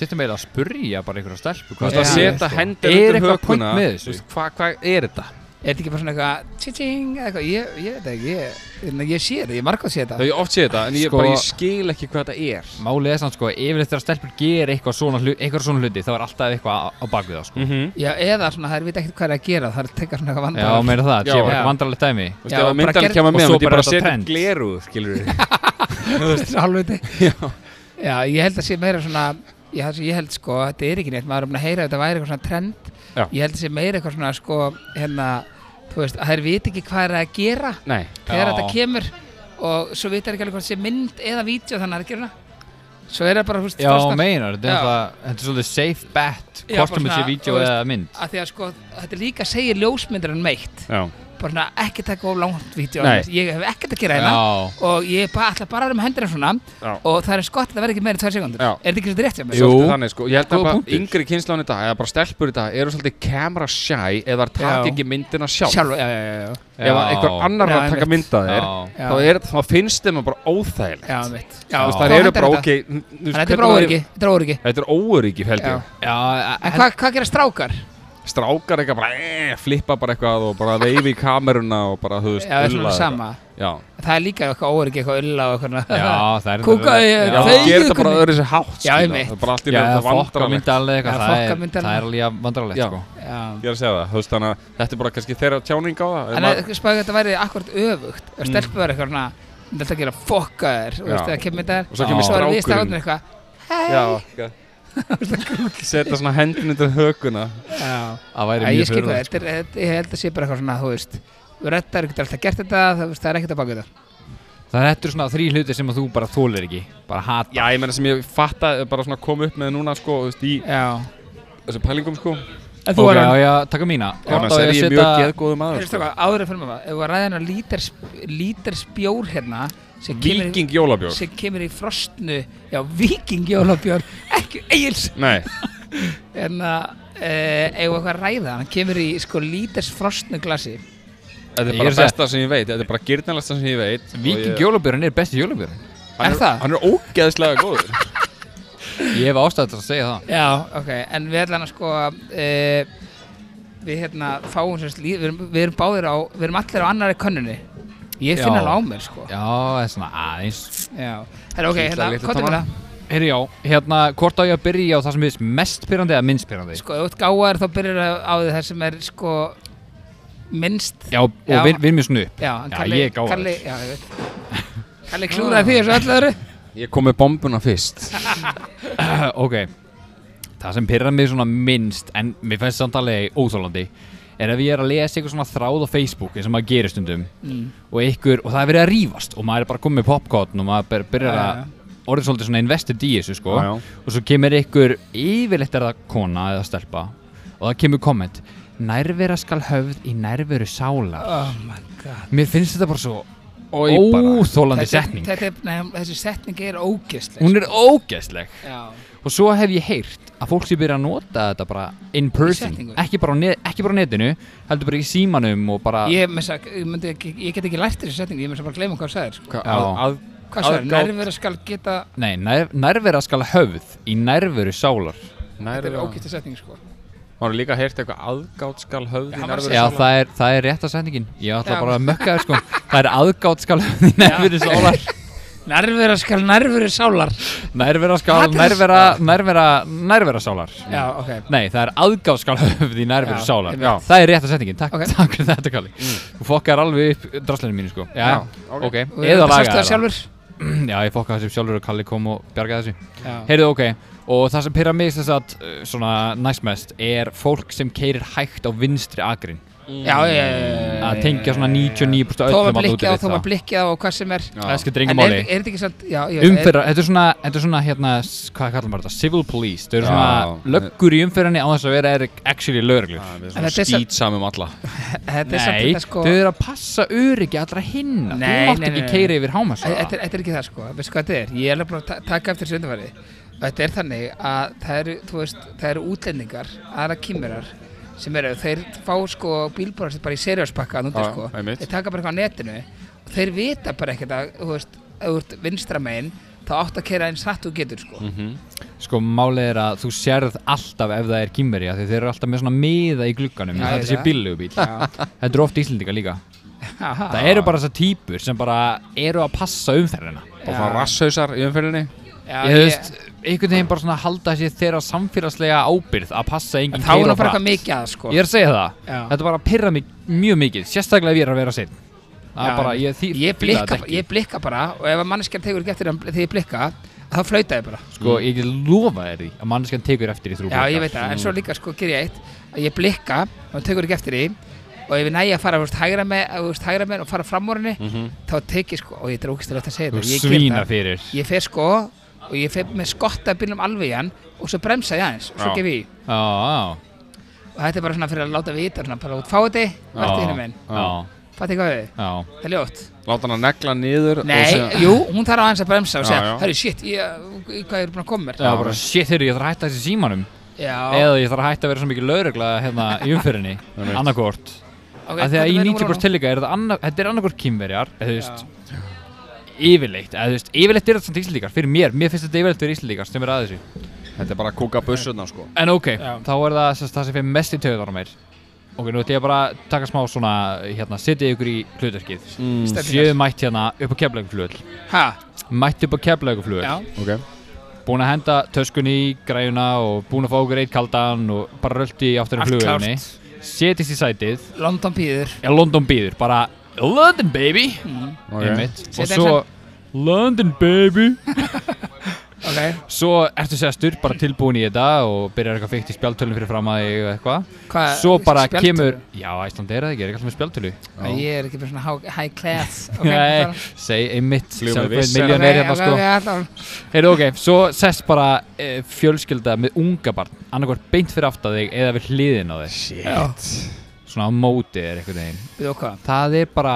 Speaker 4: Sittum eiginlega að spurja bara einhverja stelpu
Speaker 3: Þú
Speaker 4: hvað
Speaker 3: veist, að
Speaker 5: Já,
Speaker 4: það er.
Speaker 3: setja
Speaker 4: sko.
Speaker 3: hendina
Speaker 4: Er
Speaker 3: undir
Speaker 4: eitthvað point
Speaker 3: hökuna,
Speaker 4: með
Speaker 3: þú
Speaker 4: þessu?
Speaker 3: veist, hvað, hvað er þetta?
Speaker 5: Er þetta ekki bara svona eitthvað Tjitting eða eitthvað Ég, ég veit ekki Ég, ég, ég sé þetta, ég margóð sé þetta
Speaker 3: Þau ég oft sé þetta, en ég,
Speaker 4: Sko-
Speaker 3: bara, ég skil ekki hvað þetta er.
Speaker 4: Málið er samt sko, yfirleitt þegar stelpur ger eitthvað svona, hlu, eitthvað svona hluti þá er alltaf eitthvað á, á bakvið það sko
Speaker 3: -hmm.
Speaker 5: Já, eða svona það er vita ekkert hvað er að gera Það er að teka svona eitthvað
Speaker 4: Já,
Speaker 5: vandar
Speaker 4: meira það,
Speaker 3: Já.
Speaker 4: það er
Speaker 5: Já.
Speaker 4: vandralegt dæmi
Speaker 3: Þú
Speaker 5: Já,
Speaker 3: veist, ef
Speaker 5: bara
Speaker 3: að myndan
Speaker 5: gerð-
Speaker 3: kemur
Speaker 4: og
Speaker 3: með,
Speaker 4: svo
Speaker 3: myndi ég
Speaker 4: bara
Speaker 3: bara
Speaker 4: þetta
Speaker 3: setja
Speaker 4: trend.
Speaker 3: gleru, skilur við.
Speaker 5: Þetta er hálfviti Já, ég held að sé meira svona Já, það sem ég held sko, þetta er ekki neitt Maður er um að heyra að þetta væri eitthvað svona trend
Speaker 3: Já.
Speaker 5: Ég held að sé meira eitthvað svona sko Hérna, þú veist, að þær viti ekki hvað er að gera
Speaker 3: Nei,
Speaker 5: Þegar
Speaker 4: Já.
Speaker 5: þetta kemur Og svo vita þær ekki alveg hvað sé mynd eða vídeo Þannig að það er geruna Svo er það bara, þú veist,
Speaker 4: Já,
Speaker 5: fastar-
Speaker 4: meinar, þetta er
Speaker 5: Já.
Speaker 4: alltaf- þetta er svolítið safe bet
Speaker 5: Já, bara
Speaker 4: hvort um
Speaker 5: svona,
Speaker 4: þessi
Speaker 5: þú
Speaker 4: vídeo
Speaker 5: veist-
Speaker 4: eða mynd
Speaker 5: að því að sko, þetta líka segir ljósmyndir en meitt
Speaker 3: já.
Speaker 5: bara svona ekki taka of langt vídeo
Speaker 3: Nei.
Speaker 5: ég hef ekkert að gera hérna
Speaker 4: Já,
Speaker 5: og ég bara, ætla bara að vera með hendur svona
Speaker 3: Já.
Speaker 5: og það er eins gott að það verði ekki meira en tvær sekundur
Speaker 3: Já.
Speaker 5: er þetta ekki svolítið rétt hjá mig?
Speaker 4: Jú.
Speaker 3: Svolítið þannig, sko. Ég held að
Speaker 4: Góða
Speaker 3: bara
Speaker 4: punktur.
Speaker 3: yngri kynslan í dag, eða bara stelpur í dag, eru svolítið camera shy eða
Speaker 5: Já.
Speaker 3: takk ekki myndina sjálf.
Speaker 5: sjálf, já, já, já, já,
Speaker 3: Ef að einhver annar er
Speaker 5: Já,
Speaker 3: að taka
Speaker 5: einmitt.
Speaker 3: mynda þér,
Speaker 4: já
Speaker 5: já.
Speaker 3: þá, er, þá finnst þeim það bara óþægilegt
Speaker 5: já, mitt
Speaker 3: Já,
Speaker 4: Já.
Speaker 3: þú veist, þær
Speaker 5: Þá
Speaker 3: eru
Speaker 5: hentar
Speaker 3: bara
Speaker 5: þetta.
Speaker 3: ok n- þú veist,
Speaker 5: en þetta
Speaker 3: hvernig
Speaker 5: er bara
Speaker 3: það
Speaker 5: óryggi, þetta er óryggi
Speaker 3: Þetta er óöryggi held
Speaker 5: Já.
Speaker 3: ég
Speaker 4: Já,
Speaker 5: en hvað hva gera strákar?
Speaker 3: Strákar eitthvað bara eh, flippa bara eitthvað og bara veifi í kameruna og bara þú
Speaker 5: já,
Speaker 3: veist
Speaker 5: það er svona
Speaker 3: ulla
Speaker 5: sama
Speaker 3: þetta. Já,
Speaker 5: það er líka eitthvað óryggi, eitthvað ulla og eitthvað
Speaker 4: Já, það er
Speaker 5: Kúka eh, í-
Speaker 4: Já,
Speaker 3: já
Speaker 5: þau-
Speaker 3: það
Speaker 5: þegið
Speaker 3: gerir þetta bara
Speaker 5: hvernig-
Speaker 3: öðru sér
Speaker 5: Já,
Speaker 3: hátt skilur.
Speaker 5: einmitt.
Speaker 3: Það er bara allt
Speaker 4: Já,
Speaker 3: í ljóðum það
Speaker 4: fokka
Speaker 3: vandrarlegt
Speaker 4: myndalið
Speaker 5: Já,
Speaker 4: eitthvað, það
Speaker 5: fokka
Speaker 4: er-
Speaker 5: myndalið.
Speaker 4: það er alveg vandralegt
Speaker 3: Já.
Speaker 4: sko
Speaker 5: já.
Speaker 3: Ég er að segja það, þú veist þannig að þetta er bara kannski þeirra tjáning á það
Speaker 5: en
Speaker 3: maður-
Speaker 5: að- spáðu þetta væri akkurat öfugt ef stelpur verður eitthvað svona þetta er að gera fokka þér og
Speaker 3: Mm. Já.
Speaker 5: veist, það kemur þetta
Speaker 3: Og svo
Speaker 4: Já.
Speaker 3: kemur
Speaker 5: svo er við
Speaker 3: strákurinn
Speaker 5: stráknir eitthvað
Speaker 3: Já, ok. Setja svona hendin undir hökuna
Speaker 5: já
Speaker 4: Það
Speaker 5: Æ,
Speaker 4: væri
Speaker 5: ég
Speaker 4: mjög
Speaker 5: skil hvað,
Speaker 4: fyrir
Speaker 5: þetta er,
Speaker 3: sko.
Speaker 5: þetta- ég held að sé bara eitthvað svona, þú veist Röttar, þú getur alltaf gert þetta, það, það er ekkert að baka þetta
Speaker 4: Það er þetta eru svona þrý hluti sem að þú bara þólir ekki bara hata
Speaker 3: Já, ég meina sem ég fatta bara svona kom upp með núna sko, þú veist, í
Speaker 5: Já
Speaker 3: þessum pælingum sko
Speaker 5: En
Speaker 4: Ok, já, já, taka mína Hvort
Speaker 3: Annars
Speaker 4: á
Speaker 3: er
Speaker 4: að
Speaker 3: ég
Speaker 4: setja-
Speaker 3: mjög geðgóðu maður sko.
Speaker 5: Hrista hvað, áður að fyrir maður, ef við ræðum að líters, lítersbjór hérna sem kemur,
Speaker 3: Viking
Speaker 5: í,
Speaker 3: jólabjór
Speaker 5: sem kemur í frostnu, já, vikingjólabjór, ekki eigils
Speaker 3: Nei,
Speaker 5: En að, e, eigum við eitthvað að ræða, hann kemur í sko líters frostnu glasi
Speaker 3: þetta
Speaker 4: Ég
Speaker 3: er
Speaker 4: er
Speaker 3: bara
Speaker 4: að segja-
Speaker 3: besta sem ég veit Þetta er bara gyrnalasta sem ég veit
Speaker 4: Viking jólabjörn er besti jólabjörn
Speaker 3: Hann
Speaker 5: Er það?
Speaker 3: Hann er ógeðslega góður
Speaker 4: Ég hef ástæði til að segja það
Speaker 5: Já, ok, en við ætlum að sko e, Við hérna fáum sérst líf, við, erum- við erum báðir á, við erum allir á annari könnunni Ég finn
Speaker 4: Já.
Speaker 5: alveg á mér sko
Speaker 4: Já, það er svona aðeins
Speaker 5: Já, hérna ok,
Speaker 3: Sýtla
Speaker 5: hérna,
Speaker 3: litla
Speaker 5: hvað er
Speaker 3: tánana.
Speaker 5: það?
Speaker 4: Herri já, hérna, hvort á ég að byrja á það sem við mest pyrrandi eða minnst pyrrandi
Speaker 5: Sko, ef þú ert gáðar þá byrjar það á því það sem er sko minnst
Speaker 4: Já, og
Speaker 5: Já.
Speaker 4: vin, vinn mér svona upp
Speaker 5: Já, en
Speaker 4: Já,
Speaker 5: Kalli,
Speaker 4: ég er gáfaður.
Speaker 5: Kalli, já, ég veit Kalli klúraði því þessu öllu öðru
Speaker 3: Ég kom með bombuna fyrst
Speaker 4: Ok Það sem pyrrar mig svona minnst En mér finnst samt alveg óþólandi Er ef ég er að lesa eitthvað svona þráð á Facebook eins og maður gerir stundum
Speaker 5: Mm.
Speaker 4: og, ykkur, og það er verið að rífast og maður er bara komið með popcorn og maður ber- byrjar
Speaker 5: Já,
Speaker 4: að orðið svolítið svona invested í þessu sko
Speaker 3: Já, já.
Speaker 4: og svo kemur ykkur yfirleitt er það kona eða stelpa og það kemur komment Nærvera skal höfð í nærveru sálar
Speaker 5: Oh my god
Speaker 4: Mér finnst þetta bara svo
Speaker 3: Og ég bara
Speaker 4: óþólandi
Speaker 5: Þetta-
Speaker 4: setning
Speaker 5: þetta er- nei, Þessi setning er ógeðsleg sko.
Speaker 4: Hún er ógeðsleg
Speaker 5: Já,
Speaker 4: Og svo hef ég heyrt að fólk sé byrja að nota þetta bara in person
Speaker 5: setningu.
Speaker 4: ekki bara, á net, ekki bara á netinu, heldur bara í símanum og bara
Speaker 5: ég, meira að segja- ég, myndi ekki- ég get ekki lært þessi setning, ég myndi bara að gleyma hvað það sagði sko.
Speaker 3: Hva-
Speaker 4: Já.
Speaker 3: að, að,
Speaker 5: Hvað svo er,
Speaker 3: Aðgát.
Speaker 5: nærvera skal geta
Speaker 4: Nei, nær, nærvera skal höfð í nærveru sálar
Speaker 5: Þetta er
Speaker 3: Nærvera
Speaker 5: ógæsta setning sko
Speaker 3: Má líka heyrt eitthvað aðgátt skal höfði
Speaker 5: Hann var að
Speaker 3: nærvera
Speaker 5: segja-
Speaker 4: Já,
Speaker 5: sálar.
Speaker 4: það er, það er rétta setningin Ég ætla
Speaker 5: Já.
Speaker 4: bara að mökka þér sko Það er aðgátt skal höfð í nærveru sálar
Speaker 5: Nærvera skal nærveru sálar
Speaker 4: Nærvera skal,
Speaker 5: Hatrið-
Speaker 4: nærvera, nærvera, nærvera sálar
Speaker 5: Já, ok
Speaker 4: Nei, það er aðgáð skal höfð í nærveru
Speaker 5: Já,
Speaker 4: sálar
Speaker 5: einmitt.
Speaker 4: Það er rétta setningin, takk,
Speaker 5: Ok. Mm.
Speaker 4: takk fyrir þetta Kalli Þú fokkar alveg upp draslinu mínu sko Já, ok, eða
Speaker 5: laga
Speaker 4: laga
Speaker 5: það sjálfur
Speaker 4: Já, ég fokkaði þessu sjálfur og Kalli kom og bjargaði þessu
Speaker 5: Já.
Speaker 4: Heyrðu, ok, og það sem pyrra mig þess að svona næst mest er fólk sem keirir hægt á vinstri agrin
Speaker 5: já, já, já, já
Speaker 4: að tengja svona 99% af
Speaker 5: Tóma
Speaker 4: öllum að
Speaker 5: blikkið á,
Speaker 4: útivita
Speaker 5: tóma blikkið á og hvað sem er
Speaker 4: Það skiptir
Speaker 5: En
Speaker 4: engum
Speaker 5: er,
Speaker 4: máli
Speaker 5: er þetta ekki samt já, já,
Speaker 4: Umferðar, þetta er svona, þetta er svona hérna, s- hvað kallar maður þetta, civil police Þau eru
Speaker 3: Já.
Speaker 4: svona löggur í umferðinni á þess að vera er actually lögreglur
Speaker 5: En þetta er samt-
Speaker 3: Skýtsamum alla
Speaker 5: er, Þetta er samt
Speaker 4: Nei,
Speaker 5: þetta sko
Speaker 4: þau eru að passa öryggi allra hinna Þú
Speaker 5: Nei,
Speaker 4: mátt
Speaker 5: nei, nei,
Speaker 4: ekki
Speaker 5: nei.
Speaker 4: keira yfir hámasa
Speaker 5: Þetta er- þetta er ekki það sko, veistu hvað þetta er? Ég er alveg bara að ta- taka eftir þessu undanfæri Þetta er þannig að það eru, þú veist, það eru útlendingar, aðra kýmurar sem eru, þeir fá sko bílbúrarstu bara í seriáspakka að núti
Speaker 3: Já,
Speaker 5: sko
Speaker 3: einmitt.
Speaker 5: Þeir taka bara eitthvað á netinu og þeir vita bara ekkert að, þú veist, ef þú ert vinstra megin þá átt að kera eins hratt þú getur sko
Speaker 4: Sko, málið er að þú sérð alltaf ef það er kýmveri Þegar þeir eru alltaf með svona miða í glugganum
Speaker 5: Já,
Speaker 4: Þetta
Speaker 5: ég
Speaker 4: sé
Speaker 5: veit það.
Speaker 4: bíllugubíl Þetta eru oft íslendinga líka
Speaker 5: Haha.
Speaker 4: Það eru bara þessar típur sem bara eru að passa umferðina
Speaker 3: Og það rasshausar í umferðinni
Speaker 5: Já,
Speaker 4: Ég veist, einhvern veginn bara svona halda sér þeirra samfélagslega ábyrð að passa enginn
Speaker 5: Þá er
Speaker 4: keyra
Speaker 5: það bara
Speaker 4: hratt.
Speaker 5: eitthvað mikið að sko
Speaker 4: Ég er að segja það,
Speaker 5: Já.
Speaker 4: þetta bara pyrra mig mjög mikið, sérstaklega ef ég er að vera sinn Það er
Speaker 5: Já,
Speaker 4: bara, ég þý-
Speaker 5: ég,
Speaker 4: fíla
Speaker 5: blikka,
Speaker 4: þetta ekki.
Speaker 5: ég blikka bara og ef að manneskjarn tegur ekki eftir þeim- þegar ég blikka þá flauta ég bara
Speaker 4: Sko, ég get lofa þér því að manneskjan tekur eftir í þrjú
Speaker 5: Já, ég veit það, en svo líka sko ger ég eitt að ég blikka og tekur ekki eftir því og ef ég næja að fara úrst hægra með, úrst hægra með og fara fram úr henni þá tek ég sko, og ég er ógæstilegt að segja
Speaker 4: Mhm. Þú
Speaker 5: þetta ég geri
Speaker 4: svína
Speaker 5: það.
Speaker 4: fyrir
Speaker 5: Ég fer sko og ég fer með skotta bílum alveg í hann og svo bremsa ég aðeins og svo
Speaker 3: Já.
Speaker 5: gef ég í
Speaker 4: Já, já,
Speaker 5: og þetta er bara svona fyrir að láta vita svona bara út fáti, verði
Speaker 4: Já.
Speaker 5: hinn minn
Speaker 4: já,
Speaker 5: Fatti hvað við,
Speaker 4: já
Speaker 5: það er ljótt
Speaker 3: Láta hana negla niður og
Speaker 5: Nei,
Speaker 3: segja-
Speaker 5: jú, hún þarf aðeins að bremsa og
Speaker 3: Já,
Speaker 5: segja,
Speaker 3: já.
Speaker 5: herri, shit, ég, hvað er búin að koma mér?
Speaker 4: Það er bara, shit, þeirri, ég þarf að hætta þessi símanum
Speaker 5: Já,
Speaker 4: Eða ég þarf að hætta að vera svo mikið lögregla hérna í umferðinni Annarkort
Speaker 5: ok,
Speaker 4: Af því að
Speaker 5: hvað
Speaker 4: í
Speaker 5: er númer
Speaker 4: 90%
Speaker 5: núna?
Speaker 4: tilíka er þetta annað- þetta er annarkort kýmverjar Eða þú veist,
Speaker 5: Já.
Speaker 4: yfirleitt eða þú veist, yfirleitt er þetta samt Íslandíkar fyrir mér, mér finnst þetta yfirleitt fyrir Íslandíkar sem er að þessu
Speaker 3: Þetta er bara að kúka bussuna sko
Speaker 4: en ok,
Speaker 5: Já.
Speaker 4: þá er það sérst, það sem fyrir mest í töðunar á mér ok, nú ætlum ég bara að taka smá svona hérna, setja ykkur í hlutarkið
Speaker 3: mm.
Speaker 4: séu mætt hérna upp á keflauguflöð
Speaker 5: Ha,
Speaker 4: mætt upp á keflauguflöð
Speaker 5: já,
Speaker 3: Ok
Speaker 4: búin að henda töskunni í græjuna og búin að fá okkur eitt kaldan og bara rölti í áttur af
Speaker 5: Allt
Speaker 4: flugveginni setjast í sætið,
Speaker 5: London býður
Speaker 4: já London býður bara London baby
Speaker 3: Ok
Speaker 4: einmitt, og
Speaker 5: Setja
Speaker 4: svo London baby
Speaker 5: Ok,
Speaker 4: Svo ertu sestur, bara tilbúin í þetta og byrjar eitthvað fyrkt í spjaltölun fyrir fram að þig og eitthvað.
Speaker 5: Hva,
Speaker 3: Eh,
Speaker 4: Svo bara kemur... Já, Æsland er það ekki, er ekki alltaf með spjaltölu.
Speaker 5: Ég er ekki með svona há- high class ok, bara-
Speaker 4: Nei, seg einmitt,
Speaker 3: Flugum við
Speaker 4: sjálfbúin
Speaker 3: Wizz Air.
Speaker 5: Ok,
Speaker 4: miljónir hérna
Speaker 5: ok,
Speaker 4: sko.
Speaker 5: ok, allan.
Speaker 4: Heyrðu, ok, svo sest bara e, fjölskylda með unga barn, annarkvært beint fyrir aftan þig eða við hliðin á þig.
Speaker 2: Shit.
Speaker 4: Svona á móti er einhvern veginn.
Speaker 5: Við og hvað? Það
Speaker 4: Það er bara,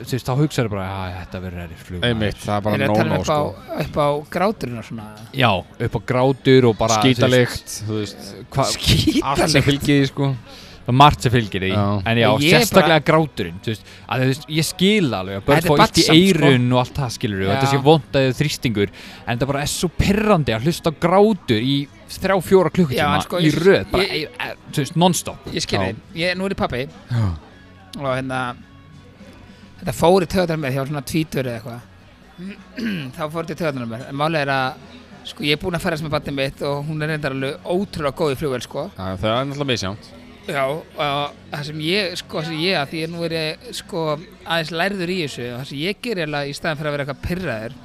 Speaker 4: þú veist, þá hugsaður bara, að þetta verður errið flug.
Speaker 3: Einmitt, það er
Speaker 5: er
Speaker 3: bara
Speaker 5: að tala
Speaker 3: no-no
Speaker 5: um upp á,
Speaker 3: sko
Speaker 5: upp á gráturinn og svona
Speaker 4: Já, upp á grátur og bara...
Speaker 3: Skítalikt, þú veist
Speaker 4: Hvað,
Speaker 3: Allt sem
Speaker 5: Skítaleg
Speaker 3: fylgir því sko
Speaker 4: það er margt sem fylgir því
Speaker 3: Já.
Speaker 4: en já,
Speaker 5: Og ég er
Speaker 4: sérstaklega gráturinn þú veist, að, þú veist, ég skil alveg að
Speaker 5: Þetta
Speaker 4: börn
Speaker 5: er
Speaker 4: fá illt í
Speaker 5: barnsamt, sko.
Speaker 4: eirun og allt það skilur og
Speaker 5: Já.
Speaker 4: þetta sé vondaðið þrýstingur en þetta bara er svo perrandi að hlusta á grátur í þrjá, fjóra
Speaker 5: Já,
Speaker 4: klukkutíma
Speaker 5: en sko,
Speaker 4: í
Speaker 5: ég-
Speaker 4: röð, bara,
Speaker 5: ég-
Speaker 4: ég, ég, þú veist, non-stop
Speaker 5: Ég skil
Speaker 3: Já.
Speaker 5: þig, Ég- nú er ég pappi og hérna þetta fór í töðunar mér, ég var svona tvítur eða eitthvað þá fór þetta í töðunar mér en málega er að sko ég er búinn að ferðast með batnið mitt og hún er reyndar alveg ótrúlega góð í flugvél sko
Speaker 3: Já, Það er náttúrulega misjánt
Speaker 5: Já, og það sem ég, sko, það sem ég, að því ég nú er ég, sko, aðeins lærður í þessu og það sem ég gerir eiginlega í staðan fyrir að vera eitthvað pirraður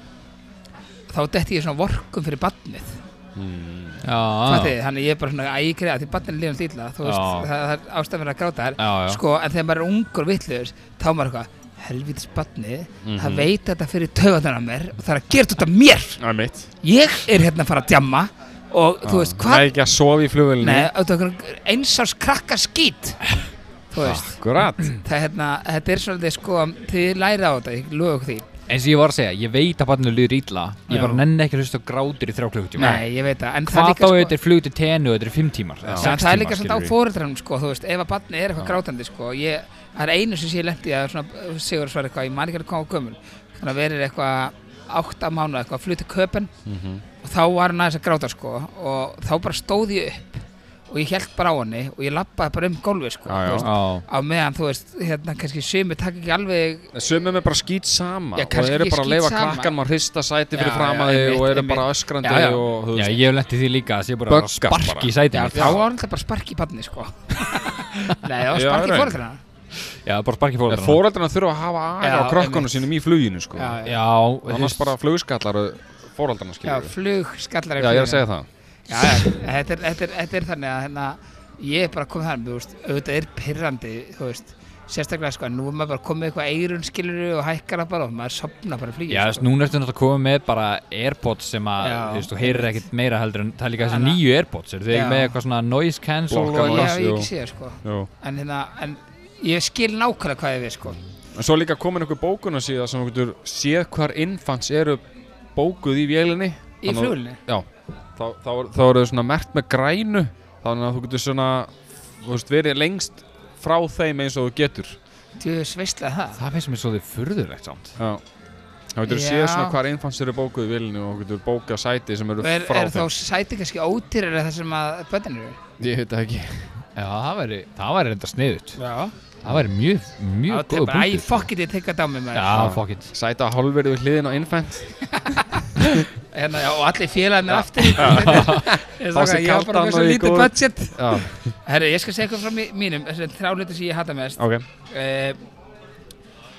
Speaker 5: þá detti ég svona vorkum fyrir badnið
Speaker 4: Ah.
Speaker 3: Hmm,
Speaker 4: já,
Speaker 5: Fattið, þannig ég er bara svona að ég greiða því badnið lífum stíla þú veist,
Speaker 4: Já.
Speaker 5: það, það er ástæðan fyrir að gráta þær
Speaker 4: já, já.
Speaker 5: sko, en þegar maður er ungur vittlur þá er maður eitthvað, helvitis badnið
Speaker 4: Mhm.
Speaker 5: það veit þetta fyrir taugarnar á mér og það er að gera þetta út af mér
Speaker 3: Það er mitt
Speaker 5: ég er hérna að fara að djamma og
Speaker 4: Ah.
Speaker 5: þú veist,
Speaker 3: Það
Speaker 5: hvað,
Speaker 3: er ekki að Mm. sofa í flugvölinni
Speaker 5: nei, þetta er einhver einsás krakka skít þú veist
Speaker 3: Akkurat
Speaker 5: það, hérna, þetta er svolítið sko þið læra á þetta, ég lofa ykkur því
Speaker 4: eins og ég var að segja, ég veit að barninu líður illa ég
Speaker 5: Já.
Speaker 4: bara nenni ekki að hlusta á grátur í þrjá klukkutíma
Speaker 5: nei, ég veit það en það
Speaker 4: hvað
Speaker 5: er
Speaker 4: þá
Speaker 5: líka
Speaker 4: þetta er flug til tenu, þetta er fimm tímar eða
Speaker 3: Já.
Speaker 5: sko,
Speaker 4: sex
Speaker 5: en það er líka svolítið
Speaker 4: tímar,
Speaker 5: á
Speaker 4: skilurðu.
Speaker 5: fóreldranum sko, þú veist, ef að barni er eitthvað grátandi sko, ég, það er einu sem sé lendi að svona, sigur svar eitthvað, ég man ekki að koma á gömul þannig að verið eitthvað átta mánuð eitthvað, flutti köpen
Speaker 3: Mhm.
Speaker 5: og þá var hann aðeins að gráta sko og þá bara stóð ég upp og ég held bara á henni og ég lappaði bara um gólfi sko,
Speaker 3: Já, já.
Speaker 5: þú veist,
Speaker 4: Já,
Speaker 5: á meðan þú veist, hérna kannski sömu takk ekki alveg
Speaker 3: Sumum er bara skýt sama
Speaker 5: Já,
Speaker 3: og
Speaker 5: kannski
Speaker 3: eru
Speaker 5: ekki
Speaker 3: bara að leifa
Speaker 5: skítsama.
Speaker 3: krakkan maður hrista sæti fyrir
Speaker 5: Já,
Speaker 3: fram að
Speaker 5: já,
Speaker 3: þig og
Speaker 5: einmitt,
Speaker 3: eru
Speaker 5: einmitt.
Speaker 3: bara öskrandi
Speaker 5: Já, já.
Speaker 3: og þú
Speaker 4: já
Speaker 3: veist
Speaker 4: ég hef lendið því líka að ég bara að
Speaker 3: Böggast
Speaker 4: spark
Speaker 3: bara.
Speaker 4: í sætinu
Speaker 5: Já,
Speaker 4: mitt.
Speaker 5: þá var alltaf bara spark í badni sko Nei, það var
Speaker 3: Já,
Speaker 5: spark í
Speaker 3: raun.
Speaker 5: fórhaldrana
Speaker 4: Já, bara spark í
Speaker 3: En
Speaker 4: fólk
Speaker 3: Fóreldrarna þurfa að hafa aga á
Speaker 5: Já,
Speaker 3: krökkunum
Speaker 5: einmitt.
Speaker 3: sínum í fluginu sko
Speaker 5: Já, já.
Speaker 4: Já,
Speaker 3: Annars bara flugskallar fóreldrarna
Speaker 5: Já,
Speaker 3: skilur
Speaker 5: flug skallar í
Speaker 3: Já, ég
Speaker 5: fluginu.
Speaker 3: er að segja það
Speaker 5: Já, já, þetta er, þetta, er, þetta er þannig að hérna, ég er bara komið þannig, þú veist, auðvitað er pirrandi, þú veist, sérstaklega sko, nú er maður bara komið eitthvað eirun skiluru og hækkar það bara og maður sopna bara sko. flýið.
Speaker 4: Já, þess, núna ertu náttúrulega að koma með bara Airpods sem að,
Speaker 5: Já.
Speaker 4: þú veist, þú heyrir ekkert meira heldur en það er líka þessi
Speaker 5: Þannig að-
Speaker 4: nýju Airpods, eru þið
Speaker 5: Já.
Speaker 4: ekki með eitthvað svona noise cancel
Speaker 3: Blokka
Speaker 4: og
Speaker 5: Já,
Speaker 3: noise.
Speaker 4: eitthvað?
Speaker 5: ég
Speaker 3: jú.
Speaker 5: ekki séð sko,
Speaker 3: Jú.
Speaker 5: en hérna, en ég skil nákvæmlega hvað ég við sko.
Speaker 3: En svo er líka komin einhver bókun að síða sem þú getur séð hvar infants eru bókuð í vélinni
Speaker 5: Í
Speaker 3: Þannig að-
Speaker 5: flugulni?
Speaker 3: Já, þá, þá, þá eru þau svona mert með grænu þannig að þú getur svona þú veist, verið lengst frá þeim eins og þú getur
Speaker 5: Þú sveislaði það?
Speaker 4: Það finnst mér svo þið furðulegt samt.
Speaker 3: Já Þá getur
Speaker 5: Já.
Speaker 3: séð svona hvar infants eru bókuð í vélinni og þú getur bókað sæti sem eru
Speaker 5: Og er,
Speaker 3: frá
Speaker 5: er þá
Speaker 3: þeim
Speaker 5: sæti kannski ótýrar þar sem að bönnin eru?
Speaker 3: Ég veit það ekki
Speaker 4: Já, það væri, það væri reynda sniðut.
Speaker 5: Já.
Speaker 4: Það væri mjög,
Speaker 5: Þá
Speaker 4: mjög
Speaker 5: er
Speaker 4: góð
Speaker 5: bara, æ,
Speaker 4: punktur.
Speaker 5: fuck it, ég tek þetta á mig maður.
Speaker 4: Já, fuck it.
Speaker 3: Sæta hálfverðu við hliðin á infant
Speaker 5: hérna, já, og allir félagarnir aftur ég
Speaker 3: Fá sér
Speaker 5: sagði, ég var bara
Speaker 3: kaldan
Speaker 5: með svo
Speaker 3: og í
Speaker 5: lítið
Speaker 3: góðum-
Speaker 5: budget
Speaker 3: Já,
Speaker 5: herru, ég skal segja eitthvað frá mi- mínum þessum þrálutu sem ég hata mest
Speaker 3: ok
Speaker 5: uh,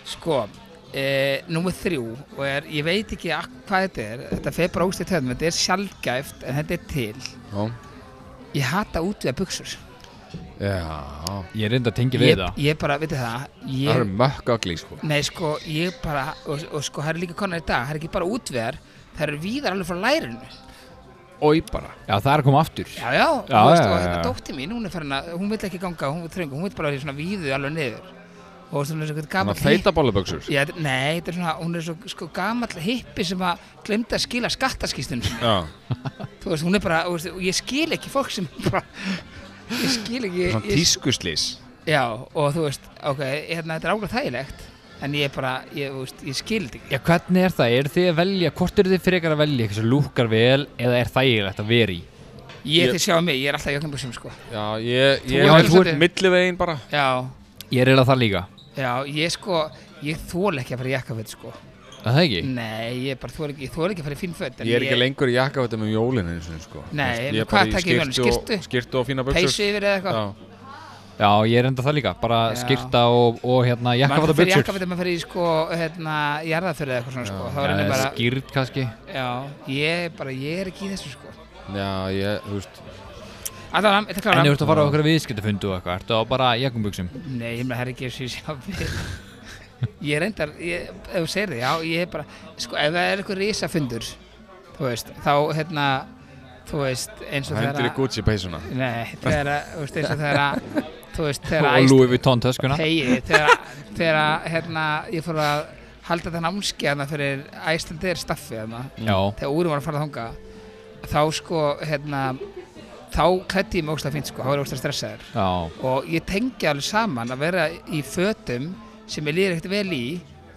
Speaker 5: sko uh, númer þrjú og er, ég veit ekki ak- hvað þetta er þetta fer bara ógst í töðum, þetta er sjálfgæft en þetta er til
Speaker 3: Já,
Speaker 5: ég hata útviða buksur
Speaker 3: Já.
Speaker 4: Ég reynda að tengja við
Speaker 5: ég,
Speaker 4: það.
Speaker 5: ég bara, veitu það
Speaker 3: það eru
Speaker 5: ég,
Speaker 3: mökk ögli sko
Speaker 5: nei sko, ég bara og, og sko, það eru líka konar í dag, það eru ekki bara útviðar það eru víðar alveg frá lærinu
Speaker 3: Ói bara
Speaker 4: Já, það er að koma aftur.
Speaker 5: Já, já,
Speaker 4: Já,
Speaker 5: þú veist, og
Speaker 4: já, já,
Speaker 5: hérna
Speaker 4: já.
Speaker 5: dótti mín, hún er farin að, hún vill ekki ganga, hún er þröng, hún vill bara vera í svona víðu alveg niður. Og þú veist, hún er svona
Speaker 3: Þannig
Speaker 5: gamall
Speaker 3: að feita bóluböksur
Speaker 5: Já, þetta- nei, þetta er svona, hún er svo sko, gamall hippi sem að glemta að skila skattaskýstunum. sinni.
Speaker 3: Já
Speaker 5: þú veist, hún er bara, þú veist, og ég skil ekki fólk sem bara, ég skil ekki.
Speaker 3: Svona
Speaker 5: ég,
Speaker 3: tískuslís
Speaker 5: já, og þú veist, ok, hérna, þetta er áglæð þægilegt, en ég bara, ég, þú veist, ég skil þetta ekki.
Speaker 4: Já, hvernig er það? Er þið að velja, hvort eru þið frekar að velja eitthvað sem lúkar vel eða er þægilegt að vera í?
Speaker 5: Ég,
Speaker 3: Ég-
Speaker 5: þið sjá mig, ég er alltaf í okkur sko.
Speaker 3: Já, ég,
Speaker 5: Þú
Speaker 3: ég
Speaker 5: er
Speaker 3: held-
Speaker 5: svolítið-
Speaker 3: millivegin bara
Speaker 5: Já,
Speaker 4: Ég er eiginlega það líka.
Speaker 5: já, ég sko, ég þól ekki að fara í jakkaföt, sko.
Speaker 4: Er Það ekki?
Speaker 5: Nei, ég bara þóri ekki, þóri ekki að fara í fín fött
Speaker 3: Ég er ekki lengur í jakkafötum um jólinn eins og sko
Speaker 5: Nei,
Speaker 3: Ég er
Speaker 5: en
Speaker 3: bara
Speaker 5: hvað
Speaker 3: í
Speaker 5: takk ég með honum?
Speaker 3: skyrtu
Speaker 5: Skyrtu?
Speaker 3: og- Skyrtu og fína
Speaker 5: Peysu
Speaker 3: buksur
Speaker 5: yfir eða eitthvað
Speaker 4: Já, ég er enda það líka, bara
Speaker 5: Já.
Speaker 4: skyrta og, og hérna jakkafata
Speaker 5: Maður fer í
Speaker 4: buksur.
Speaker 5: jakkaföt ef maður fer í sko, hérna, jarðaförð eða eitthvað svona sko Þá er
Speaker 4: Já,
Speaker 5: henni bara,
Speaker 4: skýrt kannski.
Speaker 5: já, ég bara, ég er ekki í þessu sko
Speaker 3: Já, ég, þú veist
Speaker 5: Allá, þetta
Speaker 4: En
Speaker 5: klára
Speaker 4: ef þú ert að fara á okkur viðskiptafundu og eitthvað, ertu á bara jakkumbuksum?
Speaker 5: Nei, ég meina, það er ekki þessu ég sjá við Ég reyndar, ég, ef þú segir þið, já, ég er bara Sko, ef það er eitthvað risafundur, þú veist, þá, hérna, þú veist, eins og
Speaker 3: Hendur í
Speaker 5: þegar að
Speaker 3: Gucci peysuna
Speaker 5: Nei, þegar að, þú veist, eins og þegar að Þú veist, þegar að
Speaker 4: Og
Speaker 5: Ice-
Speaker 4: Louis Vuitton töskuna?
Speaker 5: Hegi, þegar, þegar að, hérna, ég fór að halda þetta námskeið hérna fyrir Æslandir staffi hérna,
Speaker 4: Já,
Speaker 5: þegar úrum var að fara þanga þá sko, hérna þá klætti ég mig ógstlega fínt sko, þá var ég ógstlega stressaður
Speaker 4: já,
Speaker 5: og ég tengi alveg saman að vera í fötum sem ég líður ekkert vel í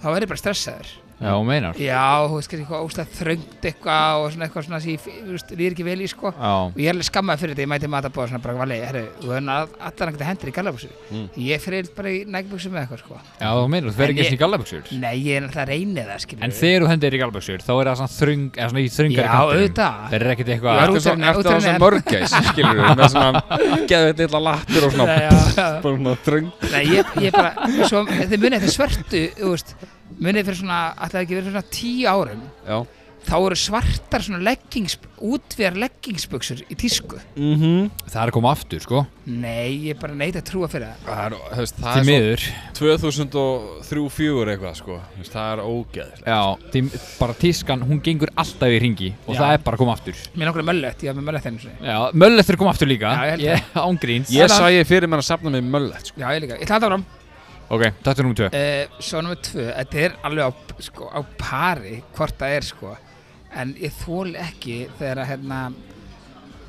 Speaker 5: þá verður ég bara stressaður
Speaker 4: já, hún meinar.
Speaker 5: já, þú veist, kannski eitthvað ógstlega þröngt eitthvað og svona eitthvað svona sem ég þú veist, líður ekki vel í sko
Speaker 4: Já,
Speaker 5: og ég er alveg skammaði fyrir þetta, ég mæti matabóð svona bara valið, herru, þú hefur allar nægt að hendur í gallabúsu
Speaker 3: Mm.
Speaker 5: ég fyrir bara í nægbúsu með eitthvað sko
Speaker 4: já, hún meinar, þú
Speaker 5: En
Speaker 4: verður ekki
Speaker 5: ég-
Speaker 4: eins og gallabuksur.
Speaker 5: Nei, ég er náttúrulega reynið það, skilur
Speaker 4: En þegar þú hendir í gallabuksur, þá er það svona þröng, eða svona í þröngari
Speaker 5: Já,
Speaker 4: kantinum.
Speaker 5: auðvitað.
Speaker 4: Það er ekkert
Speaker 5: Ég var
Speaker 4: eitthvað,
Speaker 5: út-
Speaker 3: Eftir svo,
Speaker 5: útrunni-
Speaker 3: eftir það sem
Speaker 5: útrunni-
Speaker 3: mörgæs, skilur við Með svona, geðveit lilla lattur og svona
Speaker 5: Nei, já.
Speaker 3: Bara svona dröng
Speaker 5: Nei, ég, ég bara, svo, þið munið þetta svörtu, þú veist, munið fyrir svona, ætlaði ekki verið fyrir svona tíu árum,
Speaker 3: Já
Speaker 5: þá eru svartar svona leggings, útvíðar leggingsbuksur í tísku.
Speaker 4: það er að koma aftur, sko,
Speaker 5: Nei, ég bara neita að trúa fyrir það.
Speaker 3: Það er, þú veist,
Speaker 4: því
Speaker 3: það er
Speaker 4: miður.
Speaker 3: svona 2003-4 eitthvað, sko Þú veist, Það er ógeðislegt
Speaker 4: Já, því bara tískan, hún gengur alltaf í ringi og
Speaker 5: Já.
Speaker 4: það er bara að koma aftur.
Speaker 5: Mér langar að möllett, ég var með möllett henni svona.
Speaker 4: Já, möllett þurr koma aftur líka,
Speaker 5: Já, ég held
Speaker 4: ég ángríns.
Speaker 3: Ég sæi fyrir mér að safna mig möllet, sko
Speaker 5: Já, ég líka. Ég ætla að áram.
Speaker 4: Ok, þetta er nummer 2.
Speaker 5: Uh, svo nummer tvö, þetta er alveg á, sko, á pari hvort það er, sko. En ég þól ekki þegar að, hérna,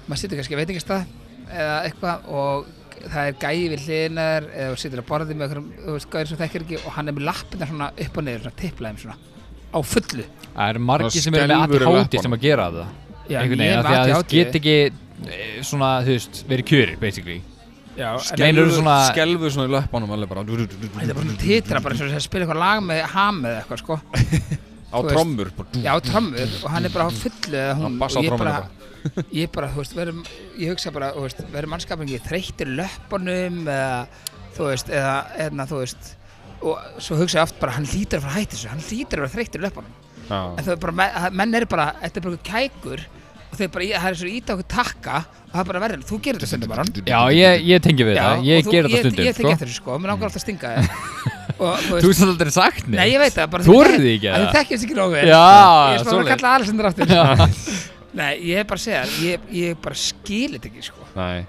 Speaker 5: maður situr kannski að veitingastað eða eitthvað og það er gæi við hlinar eða þú situr að borðið með einhverjum þú veist, gæri sem þekkir ekki og hann er með lappina svona upp og niður, svona tipplaðum svona á fullu
Speaker 4: Það eru margir
Speaker 3: Það
Speaker 4: sem eru með
Speaker 3: skelfur í
Speaker 4: ADHD
Speaker 3: löppunum.
Speaker 4: sem að gera það.
Speaker 5: Já,
Speaker 4: einhvern veginn, af því að þú veist, get ekki eh, svona, þú veist, verið kjörir, basically Nei,
Speaker 5: Þetta
Speaker 4: Skælur- eru svona-
Speaker 3: Skelfur svona í löpunum alveg bara
Speaker 5: er bara svona titra bara eins og þess að spila eitthvað lag með ham eða eitthvað sko
Speaker 3: Á
Speaker 5: þú veist.
Speaker 3: trommur bara, dú.
Speaker 5: Já, trommur og hann er bara á fullu eða hún
Speaker 3: Hann bassa á
Speaker 5: og ég
Speaker 3: trommuna
Speaker 5: bara Ég bara, þú veist, verum, ég hugsa bara, þú veist, verður mannskapin ekki þreyttir í löppunum eða, þú veist, eða, eða, þú veist og svo hugsa ég oft bara, hann lítur að fara að hætti þessu, hann lítur að vera þreyttir í löppunum
Speaker 3: Já.
Speaker 5: en það er bara, me- menn eru bara, þetta er bara einhver kækur og þeir bara, það er svo ít á okkur takka og það er bara verður, þú gerir þetta stundum bara
Speaker 4: Já, ég, ég tengi
Speaker 5: Já,
Speaker 4: við það,
Speaker 5: og
Speaker 4: ég
Speaker 5: þú-
Speaker 4: ger þetta
Speaker 5: ég,
Speaker 4: stundum,
Speaker 5: ég þekki
Speaker 4: sko
Speaker 5: eftir þessu sko, mér langar alltaf að stinga þér og þú
Speaker 4: Þú
Speaker 5: veist,
Speaker 4: veist það aldrei sagt neitt
Speaker 5: nei ég veit það bara
Speaker 4: Þorði ekki
Speaker 5: að
Speaker 4: það?
Speaker 5: þið þekkjast ekki nógu vel.
Speaker 4: Já,
Speaker 5: ég er svona að
Speaker 4: svoleiðis.
Speaker 5: kalla Alessandur aftur nei, ég er bara að segja þér, ég, ég bara skil þetta ekki sko
Speaker 3: Nei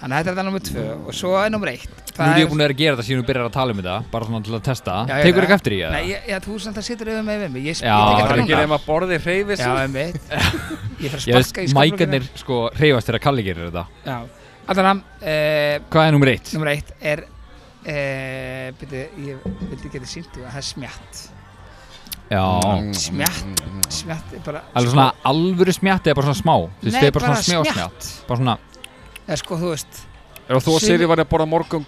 Speaker 5: þannig að þetta er þetta nummer tvö og svo er nummer eitt
Speaker 4: Nú er ég búin að vera að gera þetta síðan við byrjar að tala um þetta Bara svona til að testa
Speaker 5: Já, ég
Speaker 4: Tekur
Speaker 5: veit
Speaker 4: ekki
Speaker 5: það.
Speaker 4: eftir í
Speaker 5: nei,
Speaker 4: það?
Speaker 5: ég, já, þú samt að situr yfir með mig ég skil
Speaker 4: Já,
Speaker 5: þetta
Speaker 3: Það er
Speaker 5: ekki
Speaker 3: ekki
Speaker 5: núna.
Speaker 3: nema borðið hreyfið
Speaker 5: já,
Speaker 3: sér
Speaker 5: einmitt ég fer að
Speaker 4: Ég veist,
Speaker 5: sparka í
Speaker 4: mækarnir sko reyfast þegar Kalli gerir þetta
Speaker 5: já, allan hann eh,
Speaker 4: Hvað er nummer eitt?
Speaker 5: Númer eitt er Uh, byrju, ég vildi geta sínt og það er smjatt
Speaker 4: Já
Speaker 5: Mm. smjatt, smjatt er bara
Speaker 4: mm, Alveg svona alvöru smjatt eða bara svona smá Þú
Speaker 5: Sko-
Speaker 4: veist,
Speaker 5: Nei,
Speaker 4: það er bara
Speaker 5: bara
Speaker 4: svona smjá
Speaker 5: smjatt.
Speaker 4: smjatt Bara svona,
Speaker 5: eða sko þú veist
Speaker 3: Ef þú og
Speaker 5: Sumir-
Speaker 3: Siri var að borða morgun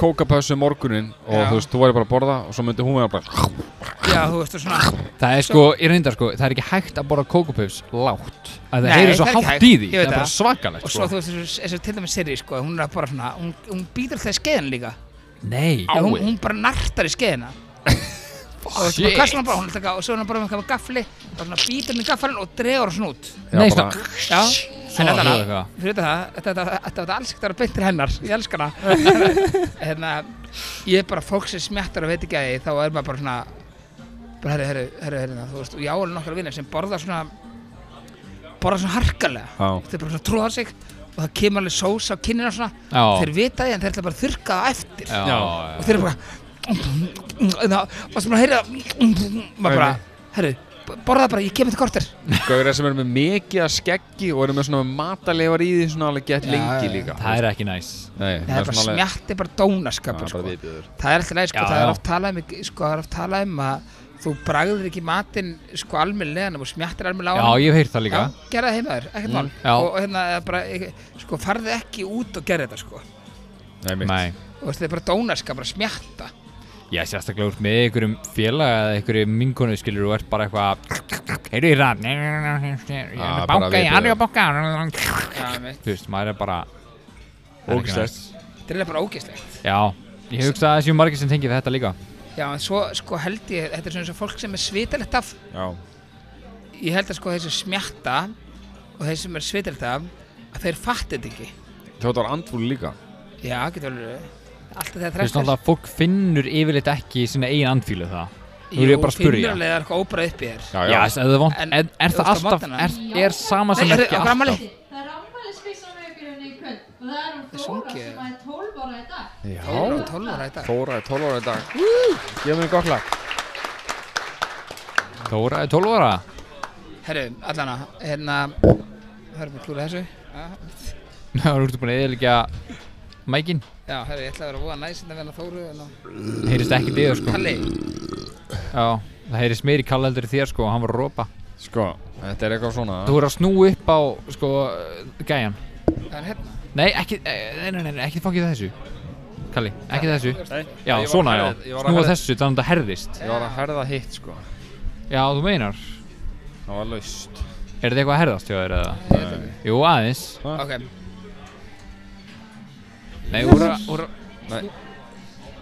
Speaker 3: kókapössu morgunin og
Speaker 5: Já.
Speaker 3: þú veist, þú væri bara að borða og svo myndi hún vera bara
Speaker 5: já þú veist og svona
Speaker 4: það er sko, ég reyndar sko Það er ekki hægt að borða kókupöfs lágt
Speaker 5: Nei,
Speaker 4: Að það heyri svo
Speaker 5: það er ekki
Speaker 4: hátt
Speaker 5: hægt.
Speaker 4: í því
Speaker 5: Ég veit
Speaker 4: Það er bara
Speaker 5: það.
Speaker 4: svakalegt
Speaker 5: og svo
Speaker 4: sko
Speaker 5: þú veist eins og- eins og til dæmis Siri sko hún er bara svona hún, hún býtur alltaf í skeiðan líka
Speaker 4: Nei,
Speaker 5: Eða hún, hún bara nartar í skeiðina og þú veist
Speaker 4: Shit.
Speaker 5: bara kastar hún bara hún er alltaf og svo er hún bara með eitthvað gafli og svona býtur hún í gaflinn og dregur hún svona út
Speaker 4: nei,
Speaker 3: Já, bara-
Speaker 4: svona
Speaker 5: já en
Speaker 4: Svona
Speaker 5: allan
Speaker 4: hljóð
Speaker 5: að
Speaker 4: eitthvað.
Speaker 5: fyrir þetta það þetta- þetta þetta var alls ekkert að vera beint til hennar ég elska hana hérna ég er bara fólk sem smjattar og veit ekki að því þá er maður bara svona bara herru herru herru herru þú veist og ég álega nokkra vinnar sem borða svona borða svona harkalega
Speaker 3: Já.
Speaker 5: þeir bara svona tróða sig og það kemur alveg sós á kinnina og svona
Speaker 4: Já.
Speaker 5: þeir vita því en þeir ætla bara að þurrka það eftir
Speaker 4: Já,
Speaker 3: Já.
Speaker 4: já.
Speaker 5: og þeir eru bara það var sem að heyra maður bara herru borða það bara ég kemur til korter
Speaker 3: Gauðir sem eru með mikið að skeggi og eru með svona mataleifar í því svona alveg gett lengi líka
Speaker 4: Það er ekki næs
Speaker 3: Nei,
Speaker 5: það er bara
Speaker 3: alveg-
Speaker 5: smjatti bara dónaskapur
Speaker 3: Já, bara
Speaker 5: sko.
Speaker 3: viðbjóður.
Speaker 5: það er alltaf leið sko,
Speaker 4: Já,
Speaker 5: það
Speaker 4: já.
Speaker 5: er oft talað um sko, það er oft talað um að þú bragðir ekki matinn sko almennilega og smjattir almennilega á
Speaker 4: Já,
Speaker 5: hann
Speaker 4: ég hef heyrt það líka Mm,
Speaker 5: gera það heimaður, ekkert mál
Speaker 4: já.
Speaker 5: og, og hérna, eða bara, ekki- sko, farði ekki út og gera þetta sko og
Speaker 3: Nei, mitt.
Speaker 4: Nei
Speaker 5: þetta er bara dónaskap, bara smjatta
Speaker 4: Já, sérstaklega úr með einhverjum félaga eða einhverjum minkonu skilur og ert bara eitthvað Heyrðu í rann Ég er
Speaker 3: Ah,
Speaker 4: að
Speaker 3: bara
Speaker 4: banka, ég er
Speaker 3: viðbjóður.
Speaker 4: að banka
Speaker 5: Já, einmitt.
Speaker 4: Þú veist, maður er bara það er ekki
Speaker 3: Ógeðslegt.
Speaker 4: næs.
Speaker 5: þetta er bara ógeðslegt
Speaker 4: Já, ég hugsa að það séu margir sem tengi við þetta líka
Speaker 5: já, en svo sko held ég, þetta er svona eins og fólk sem er svitalegt af
Speaker 3: Já.
Speaker 5: ég held að sko þessi smjatta og þessi sem er svitalegt af að þeir fatti þetta ekki
Speaker 3: Þetta var andfúli líka
Speaker 5: já, getur alveg alltaf þegar
Speaker 4: Þú
Speaker 5: þrættir
Speaker 4: veist, náttúrulega að fólk finnur yfirleitt ekki sína eigin andfílu það Nú er ég bara að spyrja
Speaker 5: finnurlega er eitthvað óbrað upp í þér
Speaker 4: Já, þess að það er vont
Speaker 5: En-
Speaker 4: Er, er
Speaker 5: þú
Speaker 4: það
Speaker 5: veist, á
Speaker 4: alltaf,
Speaker 5: morgnana?
Speaker 4: er, er sama sem
Speaker 5: Nei, heyrðu,
Speaker 4: ekki
Speaker 5: á afmæli.
Speaker 4: alltaf
Speaker 6: Það er afmæliskvísan við ykkur henni í kvöld og það er hún
Speaker 5: Þessu
Speaker 6: Flóra
Speaker 5: ungi.
Speaker 6: sem er 12 ára í dag.
Speaker 5: Þóra og 12 ára í dag
Speaker 3: Þóra er 12 ára í dag Ég mér gott lag
Speaker 4: Þóra er 12 ára
Speaker 5: Herru, allana, hérna Það er bara að klúra þessu Ja.
Speaker 4: Nú er úrstu búin að eðilegja mækin
Speaker 5: Já, herru, ég ætla að vera búið að næs Þetta verða Þóru en á-
Speaker 4: Heyrist ekki þér sko
Speaker 5: Kalli,
Speaker 4: Já, það heyrist meiri kallaldur þér sko Hann var að ropa
Speaker 3: Sko, þetta er eitthvað svona
Speaker 4: Þú voru að snú upp á, sko, gæjan
Speaker 5: það er hérna
Speaker 4: Nei, ekki, eh, nei, nei, nei, nei, ekki fangið þessu Kalli, ekki þessu Já,
Speaker 3: Ég var
Speaker 4: svona
Speaker 3: að
Speaker 4: já,
Speaker 3: herða- ég var að
Speaker 4: snúa
Speaker 3: herða-
Speaker 4: þessu þannig að það herðist
Speaker 3: Ég var að herða hitt sko
Speaker 4: Já, þú meinar
Speaker 3: Það var laust
Speaker 4: Er þetta eitthvað að herðast hjá þér eða? Jú, aðeins
Speaker 5: Ok,
Speaker 4: Nei, úr að, úr að
Speaker 3: Nei.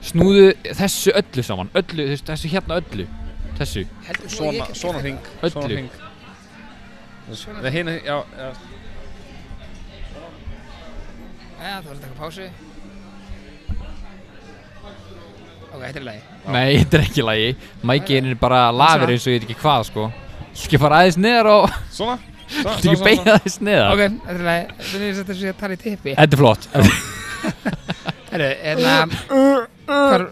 Speaker 4: Snúðu þessu öllu saman Öllu, þessu, þessu hérna öllu Þessu
Speaker 5: heldur þú að
Speaker 3: Svona,
Speaker 5: ég get
Speaker 3: svona hring
Speaker 4: Öllu.
Speaker 3: Svona hring Nei, hinn, já, já
Speaker 5: Já, þú verður að taka pásu Ok, þetta er í lagi
Speaker 4: Nei, þetta er ekki í lagi Mækin er bara lafir eins og ég veit ekki hvað, sko Ég skal bara aðeins neðar og
Speaker 3: Svona Svona,
Speaker 4: Þetta ekki beina aðeins neðar
Speaker 5: Ok, þetta er í lagi Þetta er þetta sem ég tala í tippi
Speaker 4: Þetta er flott
Speaker 5: Herru, hérna Hvar,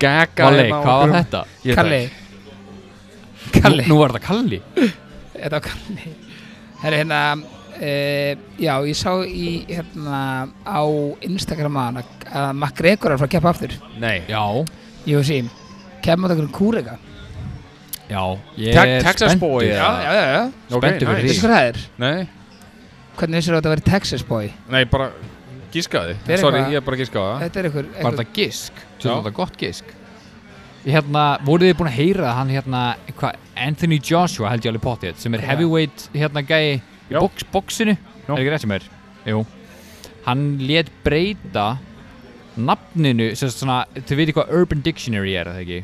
Speaker 3: Gagga
Speaker 4: Kalli, hvað var þetta?
Speaker 5: Kalli,
Speaker 4: Kalli Nú var þetta Kalli
Speaker 5: þetta var Kalli Herru, hérna Uh, já, ég sá í hérna á Instagram að, að MacGregor er að fara að keppa aftur
Speaker 3: Nei
Speaker 4: Já
Speaker 5: Jú, sí, kemur það einhverjum kúrega
Speaker 4: Já, ég
Speaker 3: Te-
Speaker 4: er
Speaker 3: Texas boy,
Speaker 4: spenntur.
Speaker 3: já, já,
Speaker 5: já, já
Speaker 4: Spenntur fyrir
Speaker 5: Veistu
Speaker 4: því.
Speaker 5: hvað það er?
Speaker 3: Nei,
Speaker 5: Hvernig vissir þetta að vera Texas boy?
Speaker 3: nei, bara gískaði
Speaker 5: Þetta er
Speaker 3: Sorry,
Speaker 5: eitthvað-
Speaker 3: ég er bara að gíska á það
Speaker 5: Þetta er einhver,
Speaker 4: Var
Speaker 5: einhver
Speaker 4: þetta gisk?
Speaker 3: Já.
Speaker 4: Þetta var þetta gott gisk Ég hérna, voruð þið búin að heyra að hann hérna hva, Anthony Joshua held ég alveg pottið sem er
Speaker 5: Já.
Speaker 4: heavyweight hérna gæi í
Speaker 3: Já.
Speaker 4: box, boxinu
Speaker 3: Já.
Speaker 4: er ekki rétt sem er Jú Hann lét breyta nafninu sem sagt svona, þau veitir hvað Urban Dictionary er, er það ekki?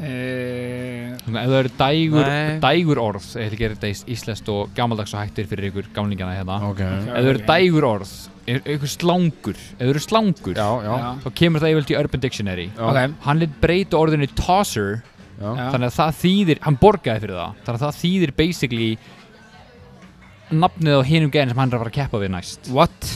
Speaker 5: uh,
Speaker 4: Svona, ef það eru dægur,
Speaker 3: Nei.
Speaker 4: dægur orð ég ætla að gera þetta íslest og gamaldags og hættir fyrir ykkur gamlingana hérna
Speaker 3: Ok
Speaker 4: Ef það eru dægur orð, ef- ef ykkur slangur ef það eru slangur,
Speaker 3: Já, já,
Speaker 5: Já,
Speaker 4: þá kemur það yfirlt í Urban Dictionary
Speaker 3: já,
Speaker 5: ok
Speaker 4: hann lit breyta orðinu tosser
Speaker 3: já.
Speaker 5: Já.
Speaker 4: þannig að það þýðir, hann borgaði fyrir það þannig að það þýðir basically nafnið á hinum gæðin sem hann er að fara að keppa við næst
Speaker 5: What?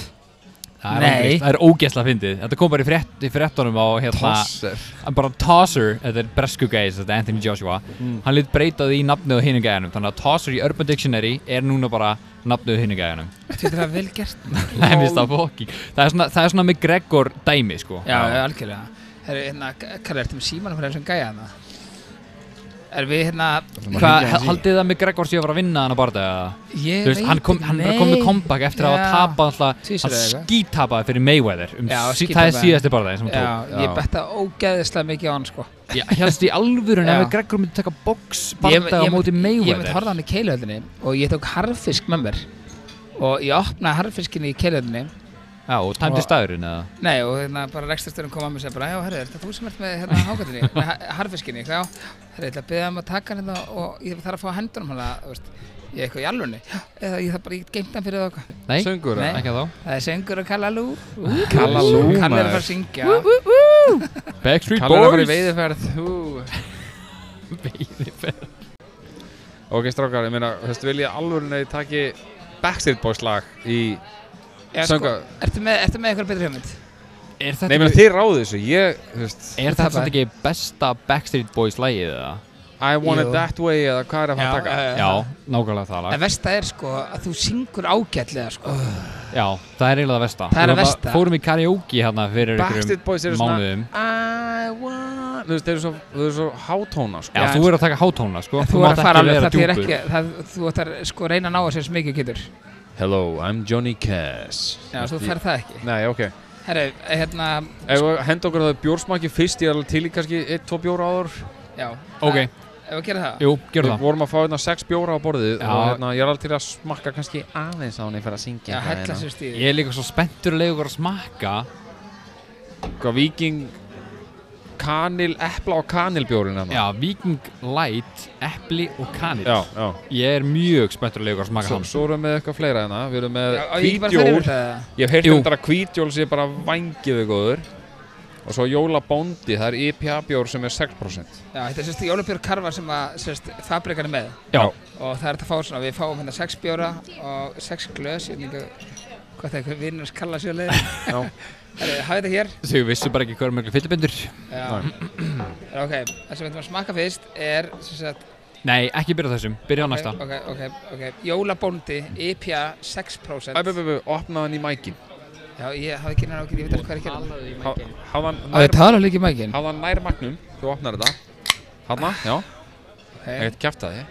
Speaker 4: það er,
Speaker 5: Nei.
Speaker 4: ángríns, það er ógeðsla fyndið þetta kom bara í, frétt, í fréttunum á hérna,
Speaker 3: Tosser
Speaker 4: bara tosser, þetta er bresku gæðis þetta er Anthony Joshua,
Speaker 5: Mm.
Speaker 4: hann lit breytaði í nafnið á hinum gæðinum, þannig að tosser í Urban Dictionary er núna bara nafnið á hinum gæðinum
Speaker 5: Þetta er það vel gert
Speaker 4: það, er það, fucking- það er svona, það er svona McGregor dæmi sko
Speaker 5: Já, já, algjörlega Herru, hérna, Kalli, ertu með símanum fyrir þessum gæja hana? Er við hérna
Speaker 4: Hvað, haldið það McGregor sé að fara að vinna hann að barða eða?
Speaker 5: Ég
Speaker 4: Þú veist, hann, kom, hann er komið comeback eftir að
Speaker 5: Já.
Speaker 4: hafa tapað alltaf,
Speaker 5: Tvisvar
Speaker 4: hann
Speaker 5: eða eitthvað.
Speaker 4: skítapaði fyrir Mayweather um
Speaker 5: Já,
Speaker 4: sí, það er
Speaker 5: skítapaði.
Speaker 4: síðasti barðaði sem hann
Speaker 5: Já, ég betta ógeðislega mikið á hann sko
Speaker 4: tók Já, hérst í alvöru
Speaker 5: Já.
Speaker 4: ef Gregor myndi taka box
Speaker 5: Ég-
Speaker 4: barða á
Speaker 5: ég-
Speaker 4: móti
Speaker 5: Ég mynd
Speaker 4: Mayweather
Speaker 5: horfði á hann í keilöðinni og ég tók harfisk með mér og ég opnaði harfiskinni í keilöðinni
Speaker 4: Já, og tæmdi staðurinn eða
Speaker 5: Nei, og hérna bara rekstasturinn kom að mér og segja bara, já, herri, er þetta þú sem ert með hérna hákatinni, með ha- harfiskinni, já, herri, ég ætla að byggja um að taka hann hérna og ég þarf að fá að hendunum hana, þú veist, ég er eitthvað í alvunni, eða ég þarf bara, ég get geimt hann fyrir það okkar.
Speaker 4: Nei,
Speaker 3: Söngur
Speaker 5: Nei.
Speaker 4: ekki þá
Speaker 5: Það er söngur og kallalú,
Speaker 3: Kallalú,
Speaker 5: hann er að
Speaker 3: maður.
Speaker 5: fara að syngja,
Speaker 4: Backstreet
Speaker 3: Kallar að fara í
Speaker 4: Boys
Speaker 3: veiðiferð hú. Ok, strákar, ég meina, þú veist, vil ég alvöru að ég taki Backstreet Boys lag í
Speaker 5: Já, sko,
Speaker 3: sönga
Speaker 5: ertu með, ertu með eitthvað betri hugmynd?
Speaker 4: Er
Speaker 3: Nei,
Speaker 4: þetta
Speaker 3: ég meina,
Speaker 4: ekki-
Speaker 3: þið ráðu þessu, ég, þú veist
Speaker 4: er þetta
Speaker 5: Tapaði.
Speaker 4: samt ekki besta Backstreet Boys lægið eða?
Speaker 3: I want
Speaker 5: Jú.
Speaker 3: it that way eða hvað er að fara að taka
Speaker 4: Já, nákvæmlega það
Speaker 5: En
Speaker 4: lag
Speaker 5: versta er sko að þú syngur ágætlega sko.
Speaker 4: Já, það er eiginlega það versta
Speaker 5: Það er
Speaker 4: Við
Speaker 5: að versta.
Speaker 4: Fórum í karaoke hérna fyrir
Speaker 3: Backstreet Boys eru
Speaker 4: einhverjum
Speaker 3: svona
Speaker 4: mánuðum
Speaker 3: I want Þú veist, þeir eru svo, þeir eru svo hátóna, sko
Speaker 4: Já, þú er að taka hátónla, sko
Speaker 5: Þú er
Speaker 4: mátt
Speaker 5: að fara alveg,
Speaker 4: vera
Speaker 5: það þýr
Speaker 4: djúpur.
Speaker 5: ekki, það, þú ætlar sko að reyna að ná þessu sem mikið getur.
Speaker 3: Hello, I'm Johnny Cash
Speaker 5: Já, þú
Speaker 3: Ég-
Speaker 5: ferð það ekki.
Speaker 3: Nei, ok
Speaker 5: Herru, hérna,
Speaker 3: Ef við henda okkur það bjórsmaki fyrst, ég er alveg til í kannski 1-2 bjóra áður
Speaker 5: já.
Speaker 4: Ok,
Speaker 5: Ef við gera það?
Speaker 4: jú, gerðu
Speaker 3: Við
Speaker 4: það
Speaker 3: vorum að fá hérna 6 bjóra á borðið
Speaker 4: Já.
Speaker 3: og hérna, ég er alveg til að smakka kannski aðeins á henni fyrir að
Speaker 5: Já,
Speaker 3: syngja eitthvað
Speaker 5: hella sér stíði.
Speaker 4: Ég er líka svo spenntur að leiða ykkur að smakka
Speaker 3: hérna. Hvað viking, kanil, epla og kanilbjórin hérna
Speaker 4: Já, Viking Light, Epli og Kanil
Speaker 3: já, já.
Speaker 4: Ég er mjög spenntur að leiða ykkur að smakka
Speaker 3: Svo,
Speaker 4: hans
Speaker 3: svo erum við með eitthvað fleira hérna Við erum með
Speaker 5: Já, á ég ekki bara að fara
Speaker 3: hvítjól
Speaker 5: yfir það?
Speaker 3: Ég hef heyrt
Speaker 4: Jú.
Speaker 3: um þetta að hvítjól sé bara vangiðu góður Og svo jólabóndi, það er IPA bjór sem er 6%
Speaker 5: Já, þetta er sérst jólabjörg karfa sem að, sérst, fabrikan er með.
Speaker 4: Já,
Speaker 5: Og það er þetta að fá svona, við fáum hérna sex bjóra og sex glös, ég veit ekki hvað það er, hvað vinnur kalla sér leið.
Speaker 3: Já.
Speaker 5: Herru, hafið þetta hér.
Speaker 4: þau vissu bara ekki hvað er mjög fyllibindur
Speaker 5: Já. Herru, ok, það sem við ætlum að smakka fyrst er, sem sagt,
Speaker 4: Nei, ekki byrja á þessum, byrja á næsta
Speaker 5: Ok, ok, ok. Jólabóndi, E IPA 6%.
Speaker 3: Æ, bu, bu, bu, opnaði hann í mækin
Speaker 5: Já, ég hafði ekki náttúrulega ekki, ég veit ekki hvað er ekki hérna.
Speaker 3: Hafðan nær,
Speaker 5: tala líka í mækinn.
Speaker 3: hafði hann nær magnum, þú opnar þetta Eh. Hanna, já,
Speaker 5: Ok,
Speaker 3: ekkert kæft að þið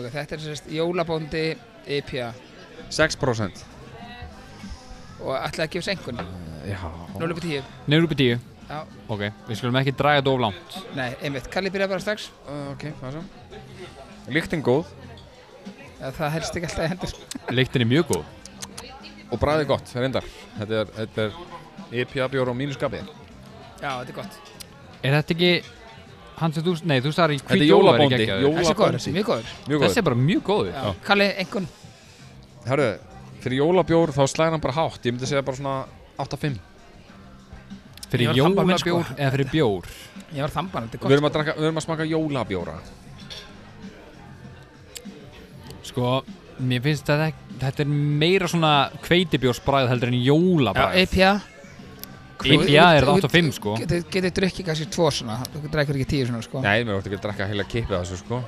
Speaker 5: ok, þetta er sérst jólabóndi, E IPA
Speaker 3: 6%
Speaker 5: og ætlaði að gefa sér einhvern.
Speaker 3: Já
Speaker 5: 0 upp í 10.
Speaker 4: Nefnir upp í tíu
Speaker 5: Já,
Speaker 4: Ok, við skulum ekki draga þetta of langt
Speaker 5: nei, einmitt. Kalli byrja bara strax.
Speaker 3: Uh, ok, hvað svo? Líktin góð
Speaker 5: Já, það helst ekki alltaf í hendur.
Speaker 4: Lyktin er mjög góð
Speaker 3: og bræði gott, reyndar Þetta er, þetta er IPA bjór á mínu skapi Þetta
Speaker 5: Já, þetta er gott.
Speaker 4: Er þetta ekki, hans sem þú, nei, þú sagði
Speaker 3: er jólabóndi,
Speaker 5: Þessi er góður,
Speaker 3: jólabóndi
Speaker 5: mjög góður.
Speaker 3: Mjög góð
Speaker 4: Þessi er bara mjög góð
Speaker 5: Já, Kalli, einhvern.
Speaker 3: Herru, fyrir jólabjór þá slæðir hann bara hátt Ég myndi segja bara svona 8-5
Speaker 5: Ég
Speaker 4: Fyrir
Speaker 5: var þamba minn,
Speaker 4: jólabjór
Speaker 5: sko.
Speaker 4: eða fyrir bjór
Speaker 5: Ég var þamban, þetta er gott.
Speaker 3: Við
Speaker 5: sko.
Speaker 3: erum að, draka, við erum að smaka jólabjóra
Speaker 4: Sko, mér finnst að þek- þetta er meira svona hveitibjórsbræð heldur en jólabræð
Speaker 5: Já, IPA.
Speaker 4: IPA er það 8 og 5 sko
Speaker 5: Getur getið drukkið kannski tvo svona, þú drekkur ekki tíu svona sko.
Speaker 3: Nei, mér vartu ekki að drakka heila kippið þessu sko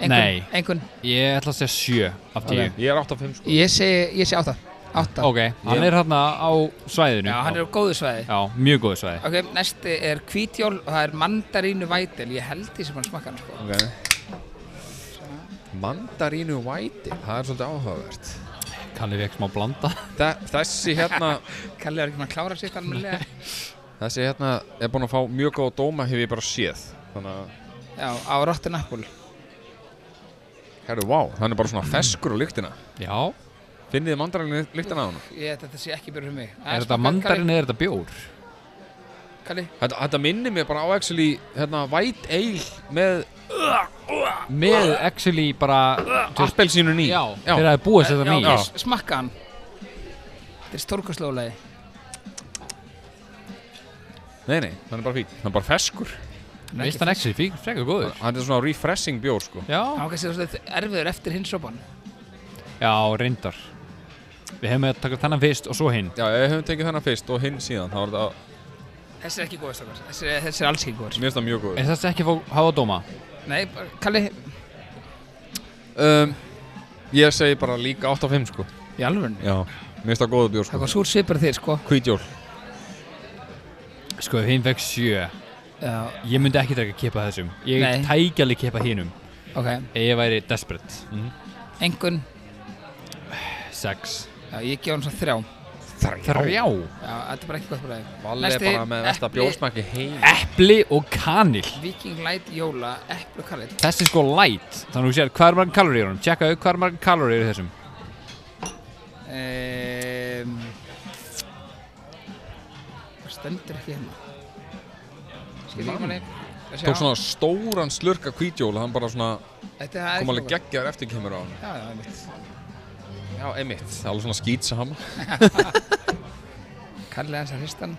Speaker 5: Einhvern-
Speaker 4: Nei.
Speaker 5: Einhvern,
Speaker 4: Ég ætla að segja 7 af 10
Speaker 3: Ég er 8-5 sko
Speaker 5: ég segi, ég segi átta. Átta.
Speaker 4: Ok, hann er hérna á svæðinu
Speaker 5: Já, hann er á góðu svæði.
Speaker 4: Já, mjög góð svæði
Speaker 5: Ok, næsti er hvítjól og það er mandarínu vætel. Ég held því sem hann smakka hann sko.
Speaker 3: okay. Mandarínu væti, það er svolítið áhugavert
Speaker 4: Kalli við ekki smá blanda
Speaker 3: Þa, Þessi hérna
Speaker 5: Kalli var ekki maður að klára sitt alveg
Speaker 3: Þessi hérna er búin að fá mjög góða dóma hef ég bara séð Þannig að,
Speaker 5: Já, á Rotten Apple
Speaker 3: herru, vá, hann er bara svona feskur á lyktina
Speaker 4: Já,
Speaker 3: Finnið þið mandarínu lyktina á hann?
Speaker 5: Ég, þetta sé ekki byrjum mig
Speaker 4: er þetta mandarin eða er þetta bjór?
Speaker 5: Kalli,
Speaker 3: Þetta, þetta minnir mér bara á actually hérna, white ale með
Speaker 5: Ah.
Speaker 4: Með actually bara
Speaker 3: appelsínu ný
Speaker 4: Já, þegar það er búið að setja
Speaker 5: já,
Speaker 4: hann í
Speaker 5: ég s- smakka hann Þetta er stórkastlólagi
Speaker 3: Nei, nei, hann er bara fín Hann er bara feskur
Speaker 4: Veist hann actually fík, frekar góður
Speaker 3: Hann er svona refreshing bjór, sko
Speaker 4: Já,
Speaker 5: Hann var kannski svolítið erfiður eftir hins sopan
Speaker 4: já, reyndar Við hefum að taka þennan fyrst og svo hinn
Speaker 3: Já, ef við höfum tekið þennan fyrst og hinn síðan þá var þetta,
Speaker 5: Þessi er ekki góður strókar Þessi, er- þessi er alls ekki góður
Speaker 3: mér finnst það mjög góð
Speaker 4: Er þetta ekki að fá- hafa dóma?
Speaker 5: Nei, bara- Kalli,
Speaker 3: um, Ég segi bara líka 8 af 5, sko
Speaker 5: í alvörunni
Speaker 3: Já, mér finnst það góða bjór,
Speaker 5: Það
Speaker 3: sko
Speaker 5: var súr svipur þér, sko
Speaker 3: Hvítjól
Speaker 4: Sko, hinn fekk sjö
Speaker 5: Já,
Speaker 4: Ég myndi ekki taka kipa þessum Ég
Speaker 5: Nei.
Speaker 4: tæki alveg kipa hinnum
Speaker 5: ok
Speaker 4: Ef ég væri desperate
Speaker 5: Engun
Speaker 4: Sex
Speaker 5: Já, ég gef hann svo þrjá Já,
Speaker 4: Þrjá
Speaker 5: þetta er bara ekki gott bræði
Speaker 3: Valli er
Speaker 5: Næsti,
Speaker 3: bara með versta
Speaker 5: epli.
Speaker 3: bjórsmæki heim
Speaker 4: Epli og kanil
Speaker 5: Viking Light Jóla, eplu kallið
Speaker 4: Þessi er sko light Þannig að þú sér hvað er margir kaloríur í honum Tjekkaðu hvað er margir kaloríur í þessum
Speaker 5: um, Það stendur ekki hérna Skil ekki manni Að sjá.
Speaker 3: Tók svona stóran slurka hvítjól Hann bara svona
Speaker 5: Þetta er
Speaker 3: kom
Speaker 4: sko.
Speaker 3: alveg
Speaker 5: ekki gott.
Speaker 3: geggjar eftir kemur á hann
Speaker 5: Já, já, einmitt
Speaker 3: Já, einmitt Alveg svona skýtsam
Speaker 5: Kallið hans að hristan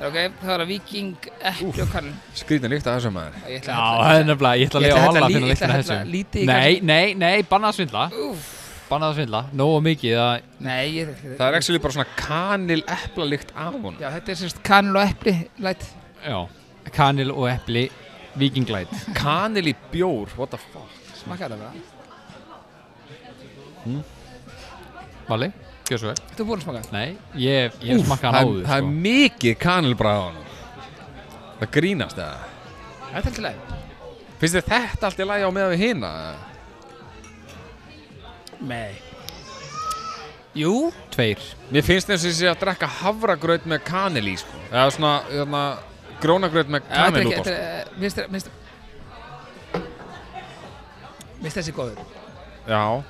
Speaker 5: Ok, það var að Viking, eplu og kallið
Speaker 3: Skrítin líkt að þessu maður
Speaker 5: Ég ætla
Speaker 4: Já,
Speaker 5: að-
Speaker 4: það er nefnilega Ég ætla að
Speaker 5: Ég
Speaker 4: lega
Speaker 5: ætla að
Speaker 4: Olla
Speaker 5: hella
Speaker 4: að finna
Speaker 5: lí- ég ætla
Speaker 4: lyktina
Speaker 5: að
Speaker 4: af
Speaker 5: hella lítið
Speaker 4: þessu
Speaker 5: í
Speaker 4: Nei, nei, nei, bannað að svindla
Speaker 5: Úff.
Speaker 4: Bannað að svindla Nóa mikið að
Speaker 5: Nei, ég ætla
Speaker 3: Það er actually bara svona kanil epla líkt af hún
Speaker 5: Já, þetta er sérst kanil og epli Light
Speaker 4: Já Kanil og epli Vikinglæt
Speaker 3: Kanil í bjór, what the fuck
Speaker 5: Smakka þetta bara
Speaker 4: Vali Gjör svo vel
Speaker 5: Þetta er búin að smaka
Speaker 4: Nei, ég, ég smakka hann
Speaker 3: það,
Speaker 4: áður
Speaker 3: það er
Speaker 4: sko.
Speaker 3: mikið kanilbræð á hann Það grínast eða
Speaker 5: Þetta er til leið
Speaker 3: Finnst þér þetta allt í lagi á meðan við hina?
Speaker 5: Nei Jú
Speaker 4: Tveir
Speaker 3: Mér finnst eins og ég sé að drekka havragraut með kanil í sko Eða svona, hérna, grónagraut með
Speaker 5: Þetta
Speaker 3: kanil
Speaker 5: er
Speaker 3: út á
Speaker 5: ekki-
Speaker 3: sko
Speaker 5: þetta er, eh, Mér finnst- mér finnst Mér finnst þessi góður
Speaker 3: Já,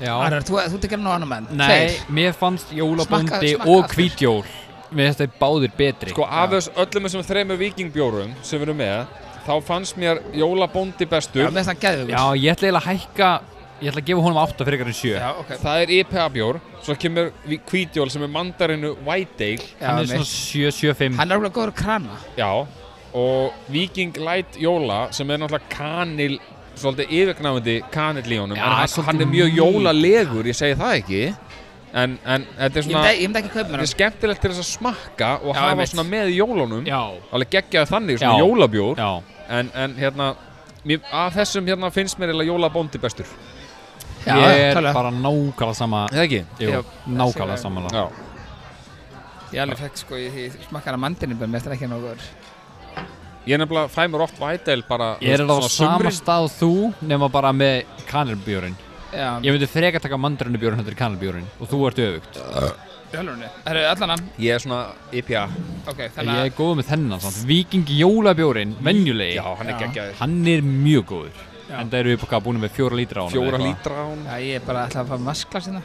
Speaker 4: Já
Speaker 5: Arnar, þú þú tekir hann á annan menn
Speaker 4: Nei, mér fannst jólabóndi
Speaker 5: Smakka- smakka
Speaker 4: og
Speaker 5: aftur.
Speaker 4: hvítjól Mér finnst þeir báðir betri
Speaker 3: Sko af þess öllum þessum þremur vikingbjórum sem við erum með þá fannst mér jólabóndi bestur
Speaker 5: Mér finnst hann gæðugur
Speaker 4: Já, ég ætla eiginlega að hækka Ég ætla að gefa honum 8 fyrir en 7
Speaker 5: já, ok
Speaker 3: Það er IPA bjór svo kemur vi- hvítjól sem er mandarinu White Ale
Speaker 5: Já,
Speaker 4: Hann er
Speaker 5: mér-
Speaker 4: svona 7, 7, 5
Speaker 5: Hann er alveg góður krana
Speaker 3: Já og Viking Light Jóla sem er náttúrulega kanil svolítið yfirgnafandi kanill í honum
Speaker 4: Já,
Speaker 3: en hann,
Speaker 4: svolítið
Speaker 3: hann er mjög
Speaker 4: mjúk.
Speaker 3: jólalegur, ég segi það ekki en, en þetta er
Speaker 5: Ég
Speaker 3: svona
Speaker 5: myndi- ég myndi ekki kaupa mér
Speaker 3: þetta er
Speaker 5: hann
Speaker 3: skemmtilegt til þess að smakka og
Speaker 5: Já,
Speaker 3: hafa
Speaker 5: einmitt.
Speaker 3: svona með í jólunum
Speaker 4: Já,
Speaker 3: alveg geggjaði þannig,
Speaker 4: Já.
Speaker 3: svona jólabjór
Speaker 4: já
Speaker 3: en, en hérna mér, af þessum hérna finnst mér eiginlega jólabóndi bestur
Speaker 5: Já,
Speaker 4: Ég er
Speaker 5: klálega.
Speaker 4: bara nákvæmlega sama
Speaker 3: eða ekki?
Speaker 4: Jú,
Speaker 5: Já,
Speaker 4: nákvæmlega
Speaker 5: þessi-
Speaker 4: samanlega
Speaker 3: Já,
Speaker 5: Ég alveg fekk sko Ég ég smakka hann að mandinu Mér finnst hann ekki nógu góður
Speaker 3: ég nefnilega fæ mér oft vætel bara
Speaker 4: Ég er alveg á sama
Speaker 3: sumrin.
Speaker 4: stað og þú nema bara með kanelbjörn
Speaker 5: Já,
Speaker 4: Ég myndi frekar taka mandarinubjörn heldur kanelbjörn og þú ert öfugt
Speaker 5: í alvörunni. Það eru allan hann
Speaker 3: Ég er svona IPA
Speaker 5: Ok, þannig
Speaker 4: Ég
Speaker 5: að
Speaker 4: er góð með þennan samt Viking jólabjörn, venjulegi
Speaker 3: Já, hann er
Speaker 5: Já.
Speaker 3: geggjaður
Speaker 4: Hann er mjög góður
Speaker 5: Já.
Speaker 4: En það eru við búin búin með fjóra lítra á hann
Speaker 3: Fjóra lítra á hann
Speaker 5: Já, ég er bara að ætla að fá maskla sinna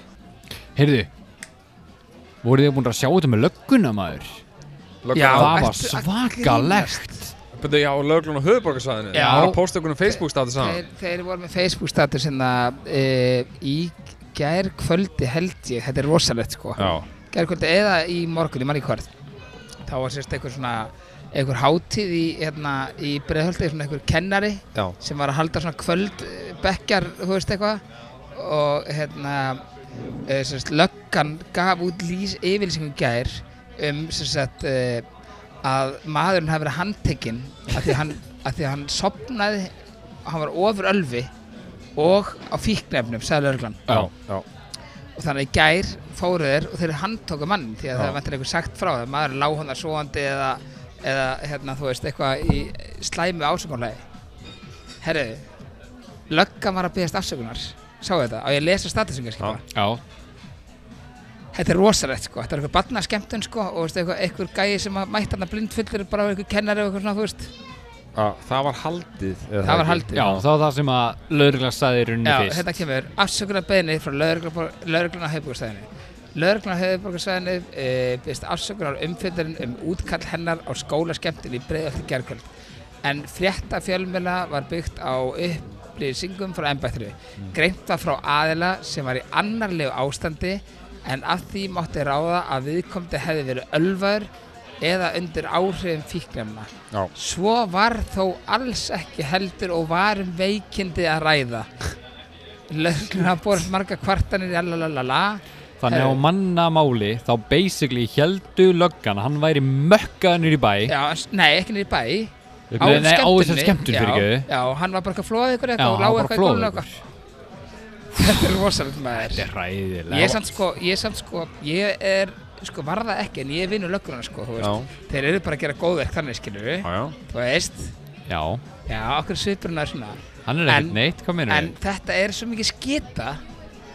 Speaker 4: Heyrðu, voruð þið búin að sjá þetta með lögguna maður?
Speaker 5: Já,
Speaker 4: það var
Speaker 5: ertu að
Speaker 4: svakalegt
Speaker 3: Bæta, já, lögurinn á höfuborgarsæðinu
Speaker 5: Já.
Speaker 3: Það var að posta okkur um Facebook status að
Speaker 5: þeir, þeir voru með Facebook status hérna e, í gær kvöldi held ég, þetta er rosalegt sko
Speaker 3: Já,
Speaker 5: gær kvöldi eða í morgun, ég man ekki hvort þá var sérst einhver svona einhver hátíð í, hérna, í breiðhöldi svona einhver kennari
Speaker 3: já,
Speaker 5: sem var að halda svona kvöld eh, bekkjar, þú veist eitthvað og hérna e, sérst löggan gaf út lýs yfirlýsingum í gær um sérst e, að maðurinn hafi verið handtekinn að því að hann, að því að hann sopnaði hann var ofur ölfi og á fíknefnum, sagði lögreglan
Speaker 4: Já,
Speaker 3: já.
Speaker 5: og þannig í gær fóru þeir og þeir handtóku mann því að
Speaker 3: Já.
Speaker 5: það vantar einhver sagt frá það maður lá hann að svoandi eða, eða hérna, þú veist, eitthvað í slæmi ásökunlega herru, löggan var að beðast afsökunar sáu þetta, á ég að lesa statusingar
Speaker 2: Já.
Speaker 4: Já,
Speaker 5: þetta er rosalegt sko, þetta er eitthvað barnaskemmtun sko og veistu, eitthvað, eitthvað gæi sem að mætti hann að blindfullir bara eitthvað kennari og eitthvað svona, þú veist
Speaker 2: Að Það var haldið eða
Speaker 5: Það var
Speaker 2: ekki?
Speaker 5: haldið.
Speaker 4: já, það var það sem að lauruglega staði runni
Speaker 5: Já, hérna,
Speaker 4: fyrst
Speaker 5: þetta kemur afsökunar beðinni frá lögregluna á höfuborgarsæðinu. Lögregluna á höfuborgarsæðinu e, byrst afsökunar á umfjöldurinn um útkall hennar á skólaskemmtinn í breiðafti gerkvöld. En frétta fjölmjöla var byggt á upplýsingum frá embættinu. Greint var frá aðila sem var í annarlegu ástandi en að því mátti ráða að viðkomti hefði verið ölvar eða undir áhrifum fíknefna.
Speaker 2: Já.
Speaker 5: Svo var þó alls ekki heldur og var um veikindi að ræða. Lögurinn hafði borðið marga kvartanir lalalala.
Speaker 4: Þannig á
Speaker 5: Herru.
Speaker 4: mannamáli þá basically heldu löggan að hann væri mökkaðanur í bæ
Speaker 5: Já, s- nei, ekki niður í bæ. Á
Speaker 4: Nei, nei, á þessar
Speaker 5: skemmtuninni.
Speaker 4: skemmtun fyrir
Speaker 5: já,
Speaker 4: ekki
Speaker 5: Já, hann var bara eitthvað flóðið ykkur
Speaker 4: Já,
Speaker 5: eitthvað og
Speaker 4: hann
Speaker 5: lág
Speaker 4: var bara
Speaker 5: eitthvað í gólfinu og
Speaker 4: flóðið
Speaker 5: eitthvað. Þetta er rosalega maður.
Speaker 4: Þetta er
Speaker 5: Ég
Speaker 4: ræðilega
Speaker 5: samt sko, ég samt sko, ég er, sko, varða ekki en ég vinur löggurinn sko, þú
Speaker 2: Já.
Speaker 5: veist. Þeir eru bara að gera góðverk þannig, skilur
Speaker 2: Já, já.
Speaker 5: Þú veist,
Speaker 4: Já,
Speaker 5: já, okkur svipurinn er svona.
Speaker 4: hann er ekkert
Speaker 5: En-
Speaker 4: neitt, hvað minnur
Speaker 5: En þetta er svo mikið skita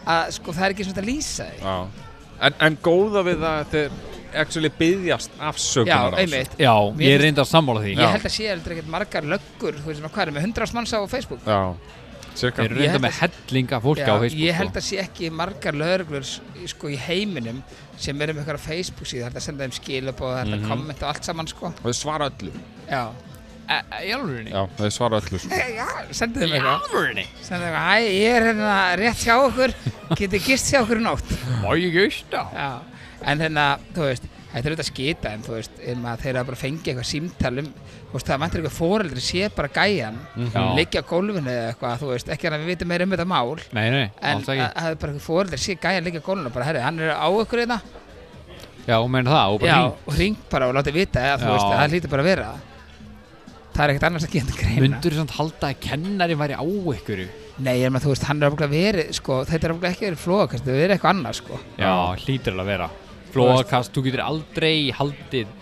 Speaker 5: að sko það er ekki svona að lýsa því.
Speaker 2: Já. En, en góða við það að þeir actually byðjast
Speaker 5: Já,
Speaker 2: afsökunar á þessu.
Speaker 5: einmitt.
Speaker 4: Já,
Speaker 5: Mér
Speaker 4: ég
Speaker 5: finnst-
Speaker 4: reyndi að sammála því
Speaker 5: Ég held að sé heldur ekkert margar löggur, þú veist svona, hvað er með 100 manns á Facebook?
Speaker 2: Já,
Speaker 4: Þeir
Speaker 2: cirka
Speaker 4: eru
Speaker 5: Ég
Speaker 4: reynda
Speaker 5: held
Speaker 4: með helling af fólki á Facebook sko.
Speaker 5: ég held að sé ekki margar lögreglur s- sko í heiminum sem eru með eitthvað á Facebook síðan, þetta senda þeim skilabóð, þetta
Speaker 4: Mhm.
Speaker 5: mm -hmm. kommenta og allt saman sko.
Speaker 2: Og þau svara öllu
Speaker 5: Já,
Speaker 4: E, Í alvörinni?
Speaker 2: Já, þau svara öllu sko.
Speaker 5: senda þeim
Speaker 4: Í
Speaker 5: eitthvað.
Speaker 4: alvörinni?
Speaker 5: Senda þeim eitthvað, hæ, ég er hérna rétt hjá okkur, getið gist hjá okkur í nótt.
Speaker 4: Má ég gausta?
Speaker 5: Já, en hérna, þú veist, þetta er auðvitað skita en þú veist, um að þeir hafa bara fengið eitthvað símtal um, þú veist, það mættir eitthvað foreldri sé bara gæjan, mm
Speaker 4: Mhm. Já.
Speaker 5: liggja á gólfinu eða eitthvað, þú veist, ekki hann að við vitum meira um þetta mál,
Speaker 4: Nei, nei,
Speaker 5: en eh,
Speaker 4: alls
Speaker 5: að
Speaker 4: ekki
Speaker 5: að það er bara eitthvað foreldri sé gæjan liggja á gólfinu og bara, herri, hann er á ykkur hérna,
Speaker 4: Já, meina það, og bara
Speaker 5: já,
Speaker 4: hring
Speaker 5: og ring bara og láti vita eða þú
Speaker 4: Já.
Speaker 5: veist, það hlýtur bara að vera það. Það er ekkert annars að geta greina.
Speaker 4: Mundur þú samt halda að kennari væri á ykkur
Speaker 5: Nei, en maður, þú veist, hann er ábúinlega verið, sko, þetta er ábúinlega ekki verið flóa, kannski, það er eitthvað annað, sko.
Speaker 4: Já, hlýtur alveg að vera Flóakast, þú getur aldrei haldið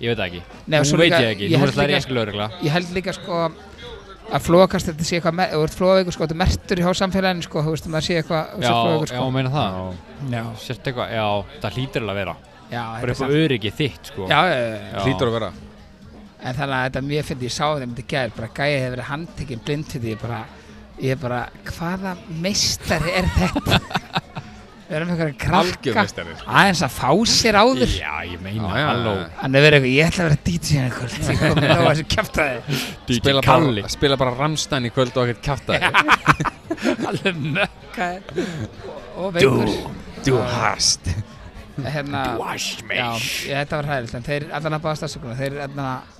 Speaker 4: Ég veit það ekki
Speaker 5: Nei, og svo
Speaker 4: Nú veit
Speaker 5: líka-
Speaker 4: ég ekki,
Speaker 5: ég
Speaker 4: nú
Speaker 5: held
Speaker 4: er það
Speaker 5: líka-
Speaker 4: résk lögregla
Speaker 5: ég held líka sko að flóakast þetta sé eitthvað mer- ef þú ert flóaveikur sko, þetta er mertur hjá samfélaginu sko, þú veist, maður sé eitthvað þú
Speaker 4: Já,
Speaker 5: sé flóaveikur
Speaker 4: já,
Speaker 5: sko
Speaker 4: meina það
Speaker 5: já,
Speaker 4: Sért eitthvað, já, það hlýtur alveg að vera
Speaker 5: já,
Speaker 4: Bara
Speaker 5: þetta er
Speaker 4: upp á
Speaker 5: samt-
Speaker 4: öryggi þitt, sko
Speaker 5: já, já, já, já.
Speaker 2: Hlýtur að vera
Speaker 5: en þannig að þetta mér finnst ég sá þeim þetta gæði bara gæði hefur verið handtekinn blind fyrir því ég bara, ég bara, hvaða meistari er þetta við erum eitthvað að krakka
Speaker 2: Algjörmeistari sko.
Speaker 5: aðeins að fá sér áður
Speaker 4: Já, ég meina,
Speaker 2: Já, já,
Speaker 4: halló
Speaker 2: já.
Speaker 5: hann hefur verið eitthvað, ég ætla að vera DJ -inn í kvöld ég kom með nóga þessu kjaftaði
Speaker 4: DJ
Speaker 2: Spila
Speaker 4: Kalli
Speaker 2: bara, spila bara Ramstein í kvöld og ekkert kjafta
Speaker 5: alveg mökkaði og veikur
Speaker 2: Du hast
Speaker 5: hérna,
Speaker 4: Wash me
Speaker 5: Já, ég, þetta var hræðilegt, en þeir allan að baðast afsökunar, þeir allan að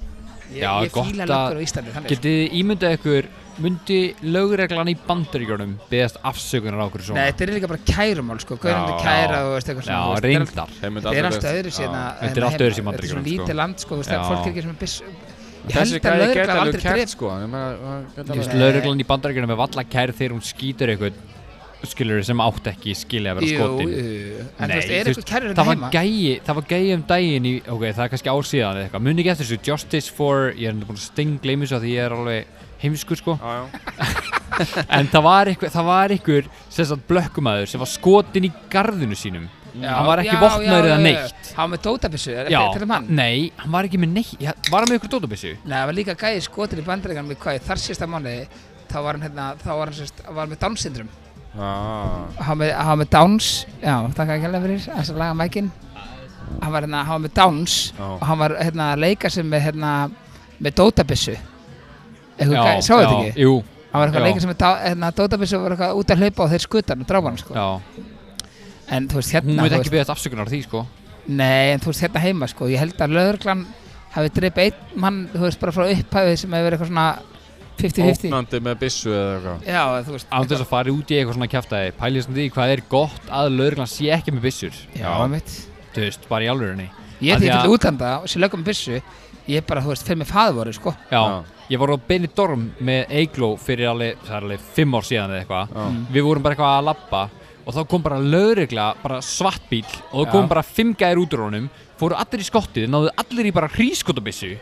Speaker 5: Ég,
Speaker 4: Já,
Speaker 5: ég
Speaker 4: gott
Speaker 5: fíla
Speaker 4: að-
Speaker 5: löggur á Íslandi, þannig sko.
Speaker 4: Getið þið ímyndað ykkur Mundi lögreglan í bandaríkjónum Beðast afsökunar á okkur
Speaker 5: sko.
Speaker 4: svona
Speaker 5: Nei, þetta er líka bara kærumál, sko, hverjum
Speaker 2: Já,
Speaker 5: þetta
Speaker 4: já.
Speaker 5: kæra og veist eitthvað
Speaker 4: Já,
Speaker 5: svona þú veist, þetta er allt-
Speaker 4: reyndar
Speaker 5: Þetta er allt hérna. öðru síðan
Speaker 4: Þetta er allt öðruvísi í
Speaker 5: Þetta er
Speaker 4: Bandaríkjunum,
Speaker 5: svona
Speaker 4: sko.
Speaker 5: lítið land, sko, þú veist,
Speaker 4: Já.
Speaker 5: það fólk er ekki sem er byssu
Speaker 2: Þessi
Speaker 5: Ég held að
Speaker 2: gæði
Speaker 5: lögreglan
Speaker 2: geta
Speaker 5: hafi
Speaker 2: alveg
Speaker 5: aldrei
Speaker 2: kert
Speaker 5: dref
Speaker 2: sko ég meina, það gæti
Speaker 4: Þú veist,
Speaker 2: alveg-
Speaker 4: lögreglan í bandaríkjónum er valla kær þegar hún skýtur ykkur skilur sem átt ekki skilja að vera
Speaker 5: Jú,
Speaker 4: skotin
Speaker 5: jú, en þú
Speaker 4: Nei,
Speaker 5: veist, er
Speaker 4: þú
Speaker 5: eitthvað kærur
Speaker 4: það
Speaker 5: hérna
Speaker 4: var
Speaker 5: heima?
Speaker 4: gæi, það var gæi um daginn í, ok, það er kannski ár síðan eða eitthvað, muni ekki eftir þessu, Justice for ég er enda búin að stingleimi svo því ég er alveg heimskur sko,
Speaker 2: Já, já.
Speaker 4: en það var ykkur, það var ykkur sem sagt blökkumæður sem var skotin í garðinu sínum
Speaker 5: Já,
Speaker 4: hann var ekki
Speaker 5: já,
Speaker 4: vopnaður
Speaker 5: já,
Speaker 4: eða
Speaker 5: já, já.
Speaker 4: neitt.
Speaker 5: Hann var með dótabissu, er
Speaker 4: já,
Speaker 5: þetta þetta mann?
Speaker 4: nei, hann var ekki með neitt ja, var hann með ykkur dótabissu?
Speaker 5: Nei, það var líka gæði skotin í bandaríkan með hvað, í þar sísta mánuði þá var hann, hérna, þá var hann, sérst, var með Down syndrom
Speaker 2: Ah,
Speaker 5: hann var með- hann var með Downs já, þakka ekki alveg fyrir þess að laga mækin hann var, hérna, hann var með Downs
Speaker 2: Já.
Speaker 5: og hann var hérna, að leika sem með hérna, með dótabissu
Speaker 4: Já,
Speaker 5: eitthvað, sáu þetta
Speaker 4: já,
Speaker 5: ekki?
Speaker 4: Jú,
Speaker 5: hann var eitthvað að
Speaker 4: já.
Speaker 5: leika sem með dá- hérna, dótabissu og var eitthvað út að hlaupa og þeir skutan og dráfa hann sko.
Speaker 4: já,
Speaker 5: en þú veist
Speaker 4: hún
Speaker 5: hérna
Speaker 4: veit
Speaker 5: þú
Speaker 4: ekki
Speaker 5: veist,
Speaker 4: beðast afsökunar á því sko
Speaker 5: nei, en þú veist hérna heima sko. ég held að lögurglan hafi dreipið einn mann þú veist bara frá upphæfið sem hefur verið eitthvað svona 50-50
Speaker 2: Ógnandi með byssu eða eitthvað
Speaker 5: já, þú veist
Speaker 4: án þess að fara út í eitthvað svona kjaftaði pælið sem því hvað er gott að lögreglan sé ekki með byssur
Speaker 5: já, mitt
Speaker 4: þú veist, bara í alvörinni
Speaker 5: Ég
Speaker 4: Af
Speaker 5: er
Speaker 4: því
Speaker 5: því
Speaker 4: að-
Speaker 5: til útlanda og sér lögum byssu Ég bara, þú veist, fyrir mig faðvoru, sko
Speaker 4: Já,
Speaker 2: Já.
Speaker 4: ég var á Benidorm með Eigló fyrir alveg, það er alveg fimm ár síðan eða eitthvað
Speaker 2: Já. Mm.
Speaker 4: Við vorum bara eitthvað að labba og þá kom bara lögregla, bara svartbíl og
Speaker 5: Já.
Speaker 4: það kom bara fimm gæðir út úr honum fóru allir í skottið, náðu allir í bara hrískotabissu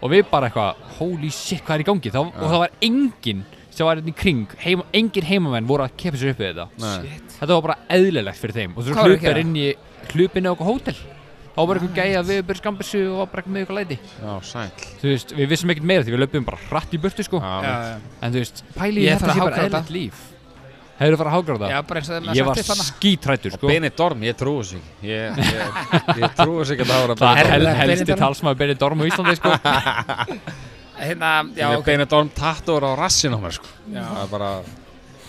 Speaker 4: og við bara eitthvað, holy shit, hvað er í gangi? Þá, og það var enginn sem var hérna í kring heima, engin heimamenn voru að kepa sér upp við þetta
Speaker 5: Shit.
Speaker 4: þetta var bara eðlilegt fyrir þeim og svo
Speaker 5: Hvað voru að
Speaker 4: hlupar
Speaker 5: gera?
Speaker 4: inn í hlupin á okkur hótel þá var bara eitthvað gæja við byrjum skambissu og var bara eitthvað með eitthvað læti
Speaker 3: Já, sæl
Speaker 4: þú veist, við vissum ekkert meira því við löpum bara hratt í burtu sko
Speaker 5: Já,
Speaker 3: Já,
Speaker 5: já.
Speaker 4: en þú veist, pæli
Speaker 5: Ég
Speaker 4: ég
Speaker 5: þarf
Speaker 4: þetta
Speaker 5: að
Speaker 4: sé bara
Speaker 5: hágráta.
Speaker 4: eðlilegt líf hefur farið að hágráða
Speaker 5: já, bara eins og þeim
Speaker 4: ég var
Speaker 5: sagt upp hana.
Speaker 4: skítrættur sko
Speaker 3: Benidorm, ég trúi þessu ekki Ég, ég, ég trúi þessu ekki að það voru að
Speaker 4: það er hel-
Speaker 5: Benidorm.
Speaker 4: helsti
Speaker 5: Benidorm.
Speaker 4: talsmaður Benidorm á Íslandi sko
Speaker 5: Hérna, já,
Speaker 3: Ég er
Speaker 5: ok.
Speaker 3: Benidorm tattur á rassin á mér sko Það er bara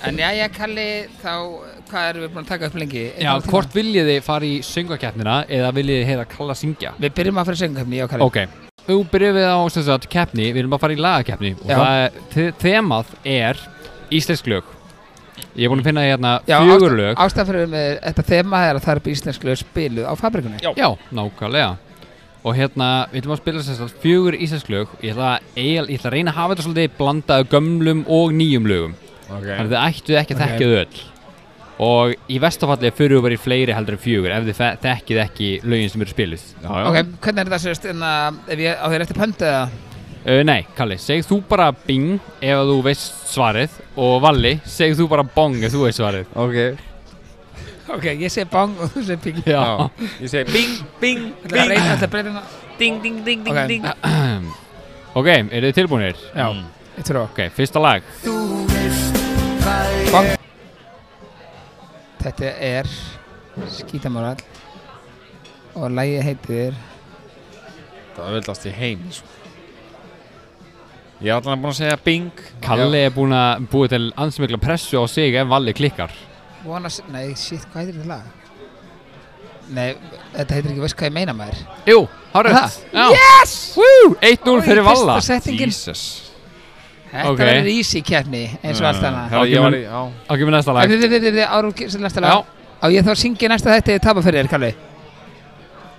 Speaker 5: En já, ég kalli þá, hvað erum við búin að taka upp lengi? Einn
Speaker 4: já,
Speaker 5: hálftíma?
Speaker 4: hvort viljið þið fara í söngakeppnina eða viljið þið heyra Kalla syngja
Speaker 5: Við byrjum að fyrir söngumni, já, kalli.
Speaker 4: ok, þú byrjum við á sem sagt keppni, við viljum að fara í lagakeppni og
Speaker 5: Já.
Speaker 4: það er, þe- þemað er íslensk lög ég er búin að finna hérna
Speaker 5: Já,
Speaker 4: fjögur lög
Speaker 5: Ástæðan fyrir með þetta þema er að það er upp íslensku lög spiluð á fabrikunni.
Speaker 4: já, nákvæmlega og hérna, við viljum að spila sem sagt fjögur íslensk lög ég ætla, að, eiginlega- ég ætla að reyna að hafa þetta svolítið blandað af gömlum og nýjum lögum
Speaker 3: okay.
Speaker 4: þannig að þið ættu ekki að
Speaker 5: Ok.
Speaker 4: þekkja þau öll og í vestafalli fyrir við bara í fleiri heldur en fjögur ef þið fe- þekkið ekki lögin sem eru spiluð
Speaker 3: já,
Speaker 5: Ok, hvernig er þetta sérst, en að, Hérna, ef ég á þér eftir pöntu eða?
Speaker 4: uh, Nei, Kalli, seg þú bara bing ef að þú veist svarið og Valli, seg þú bara bong ef þú veist svarið
Speaker 3: ok
Speaker 5: Ok, ég segi bang og þú segir ping.
Speaker 4: Já,
Speaker 3: Ég segi bing, bing,
Speaker 5: Þetta
Speaker 3: bing
Speaker 5: breytir, þetta breytir það.
Speaker 7: Ding, ding, ding,
Speaker 5: ding, ding.
Speaker 4: Ok, eru þið tilbúinir?
Speaker 5: Já, ég trú.
Speaker 4: Ok, fyrsta lag
Speaker 5: Bang. Þetta er skítamorall og lægi heitir
Speaker 3: Það vildast í heim sko. Ég er allan búin að segja bing
Speaker 4: Kalli er búin að búið til ansmikla pressu á sig ef Valli klikkar
Speaker 5: Vona, s- nei, shit, hvað heitir þetta lag? Nei, þetta heitir ekki, veist hvað ég meina maður?
Speaker 4: Jú, hárið
Speaker 5: Ha?
Speaker 4: Yes! Woo! 1-0
Speaker 5: Oj,
Speaker 4: fyrir Valla
Speaker 5: Fyrsta settingin.
Speaker 3: Jesus
Speaker 5: Þetta
Speaker 4: Ok.
Speaker 5: verður easy keppni eins og allt annað.
Speaker 3: Herra, ég var í,
Speaker 4: Ágæmur-
Speaker 3: já
Speaker 4: Ok, með næsta lag
Speaker 5: Við, við, við, við, árum sem næsta
Speaker 4: Já,
Speaker 5: lag. Á ég þá að syngja næsta þetta eða tapa fyrir þér, Kalli?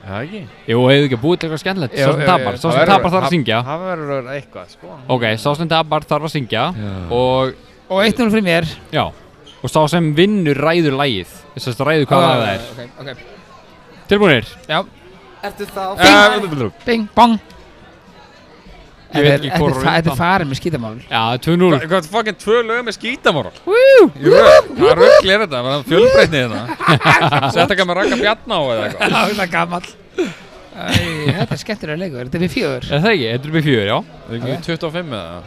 Speaker 3: Það ekki
Speaker 4: jú, hefur ekki búið til eitthvað skemmtilegt Sá sem tapar, sá sem tapar þarf að syngja
Speaker 3: Það verður að vera eitthvað sko
Speaker 4: Ok, sá sem tapar þarf að syngja Og,
Speaker 5: Og 1-0 fyrir mér.
Speaker 4: já Og sá sem vinnur ræður lagið Þess að ræður hvað lag það er
Speaker 5: Ok, Ah, ok.
Speaker 4: Tilbúinir?
Speaker 5: Já,
Speaker 3: Bing
Speaker 5: bing, bong.
Speaker 4: Ég veit ekki
Speaker 5: Þetta er-
Speaker 4: hvor
Speaker 5: þetta er
Speaker 4: er
Speaker 5: fa- Þetta
Speaker 4: undan.
Speaker 5: er farið með skítamál.
Speaker 4: Já, 2-0
Speaker 3: Hvað er fokkin tvö lögum með skítamoral? Í röð, Hvað röggl er þetta? Var það fjölbreytni þetta? Sett ekki með rakka bjarna á eða eitthvað
Speaker 5: Já, það er gammal. Æ, þetta er skemmtilega leikur. Þetta er við fjögur.
Speaker 4: Er það ekki? Þetta er upp í fjör, já
Speaker 3: Það er ekki 25 eða?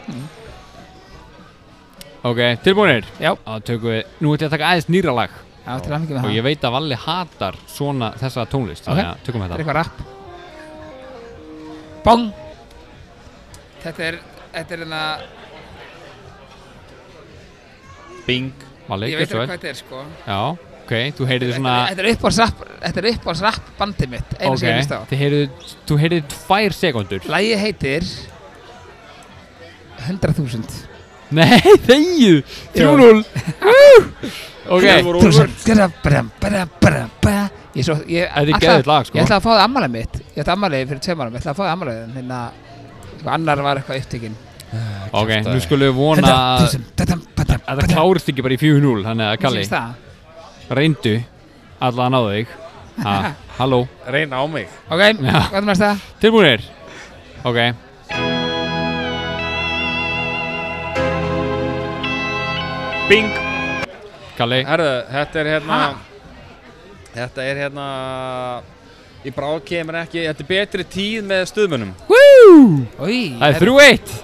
Speaker 4: Ok, tilbúinir?
Speaker 5: Já.
Speaker 4: Þá tökum við, nú ætlum ég að taka aðeins nýra lag
Speaker 5: Já, til aðmyggjum með
Speaker 4: Og
Speaker 5: það.
Speaker 4: ég veit að Valli hatar svona þessa tónlist
Speaker 5: Ok.
Speaker 4: Þannig að
Speaker 5: Þetta
Speaker 4: tökum
Speaker 5: er
Speaker 4: þetta
Speaker 5: eitthvað rapp. Bong. Þetta er, þetta er hérna,
Speaker 3: Bing
Speaker 4: Valli,
Speaker 5: ég veit ekki
Speaker 4: gert svo
Speaker 5: hvað
Speaker 4: vel
Speaker 5: þetta er sko.
Speaker 4: Já, ok, þú heyrið svona
Speaker 5: Þetta er uppáhaldsrapp, þetta er uppáhaldsrapp bandið mitt, einu sem ég hlust á.
Speaker 4: þið heyrið, þú heyrið tvær sekundur
Speaker 5: Lægi heitir 100.000
Speaker 4: Nei, þegju 3-0 Ok,
Speaker 3: Það voru úlfur.
Speaker 5: 100.000 Gerða, bram, bram, bram, bram. Ég svo, ég
Speaker 4: þetta er
Speaker 5: ætlaði-
Speaker 4: geðið lag
Speaker 5: Ég
Speaker 4: sko
Speaker 5: ætlaði að fá það ammalið mitt Ég ætlaði ammalið fyrir tveim árum Ég ætlaði að fá það ammalið En hérna Eitthvað annar var eitthvað upptekinn
Speaker 4: Ok, nú skulum við vona að
Speaker 5: 100.000 dadam, badam, badam.
Speaker 4: að það klárist ekki bara í 4-0 Þannig að Kalli,
Speaker 5: Sýnist það?
Speaker 4: reyndu alla að náðu þig ha, Halló,
Speaker 3: Reyn á mig
Speaker 5: Ok,
Speaker 4: Já.
Speaker 5: hvað er mest það?
Speaker 4: tilbúinir Ok,
Speaker 3: Bing
Speaker 4: Kalli
Speaker 3: Herðu, þetta er hérna Þetta er hérna Í bráð kemur ekki Þetta er betri tíð með stuðmunum
Speaker 4: Woo!
Speaker 5: Í,
Speaker 4: Það er 3-1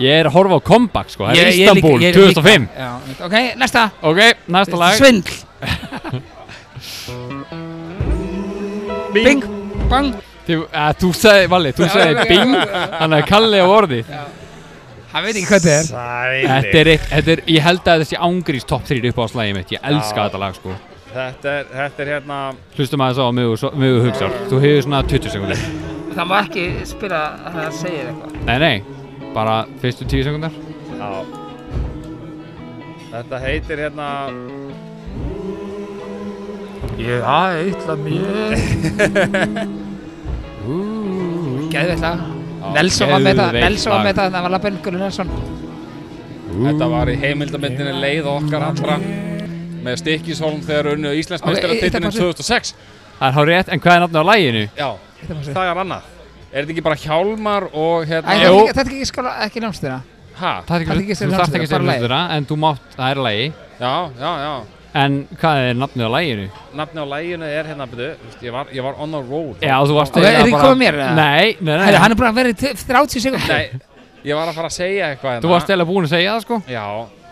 Speaker 4: Ég er að horfa á comeback sko, það er
Speaker 5: Ég- ég líka-
Speaker 4: Istanbul
Speaker 5: ég líka-
Speaker 4: 2005
Speaker 5: Já, ok, næsta
Speaker 4: Ok, næsta lag
Speaker 5: Svindl Bing, bang
Speaker 4: Þú, að, eh, þú sagði, Valli, þú sagði bing Þannig að Kalli á orði
Speaker 5: Hann veit ekki hvað þetta er
Speaker 4: Þetta er eitt, þetta er, ég held að þessi ángrís top 3 upp á slagið mitt, ég elska
Speaker 3: Já.
Speaker 4: þetta lag sko
Speaker 3: Þetta er, þetta er hérna
Speaker 4: Hlustum aðeins á að mjög, mjög hugsar Þú hefur svona 20 sekundar
Speaker 5: Það má ekki spila að það segir eitthvað.
Speaker 4: Nei, nei, bara fyrstu 10 sekundar
Speaker 3: Já Þetta heitir hérna
Speaker 5: Gæðið lag. Nelson var með það,
Speaker 4: geðveikt
Speaker 5: Nelson var
Speaker 4: lag.
Speaker 5: með það, það var lappinn Gullu Nelson.
Speaker 3: Þetta var í heimildamindinni leið okkar allra með Stikkishólm þegar unnu Íslandsmeistaratitlinum
Speaker 5: Ok, þetta
Speaker 3: 2006
Speaker 4: Það er hár rétt, en hvað er nafnið á laginu?
Speaker 3: Já,
Speaker 5: Þetta var svo.
Speaker 3: það er annað Er þetta ekki bara Hjálmar og
Speaker 5: Æ,
Speaker 3: hérna
Speaker 5: þetta er ekki- þetta er ekki skóla, ekki námstina.
Speaker 3: Hæ?
Speaker 4: Það er
Speaker 5: Þarf
Speaker 4: ekki
Speaker 5: ekki að
Speaker 4: sem
Speaker 5: segja
Speaker 4: þarft
Speaker 5: hljómsveitina,
Speaker 4: ekki sem
Speaker 5: bara lagið.
Speaker 4: hlustuna En þú mátt, það er lagi
Speaker 3: Já, já, já.
Speaker 4: En hvað er nafnið á laginu?
Speaker 3: Nafni á læginu er hérna, byrju, þú veist, ég var, ég var on a roll.
Speaker 4: Já, þú
Speaker 5: Ok,
Speaker 4: varst
Speaker 5: er
Speaker 4: eiginlega
Speaker 5: þið
Speaker 4: bara-
Speaker 5: komið mér, eða?
Speaker 4: Nei, nei, nei,
Speaker 5: Herri, hann er búin að vera í t- 30 sekund
Speaker 3: Nei, ég var að fara að segja eitthvað hérna.
Speaker 4: Þú varst eiginlega búin að segja það sko
Speaker 3: Já,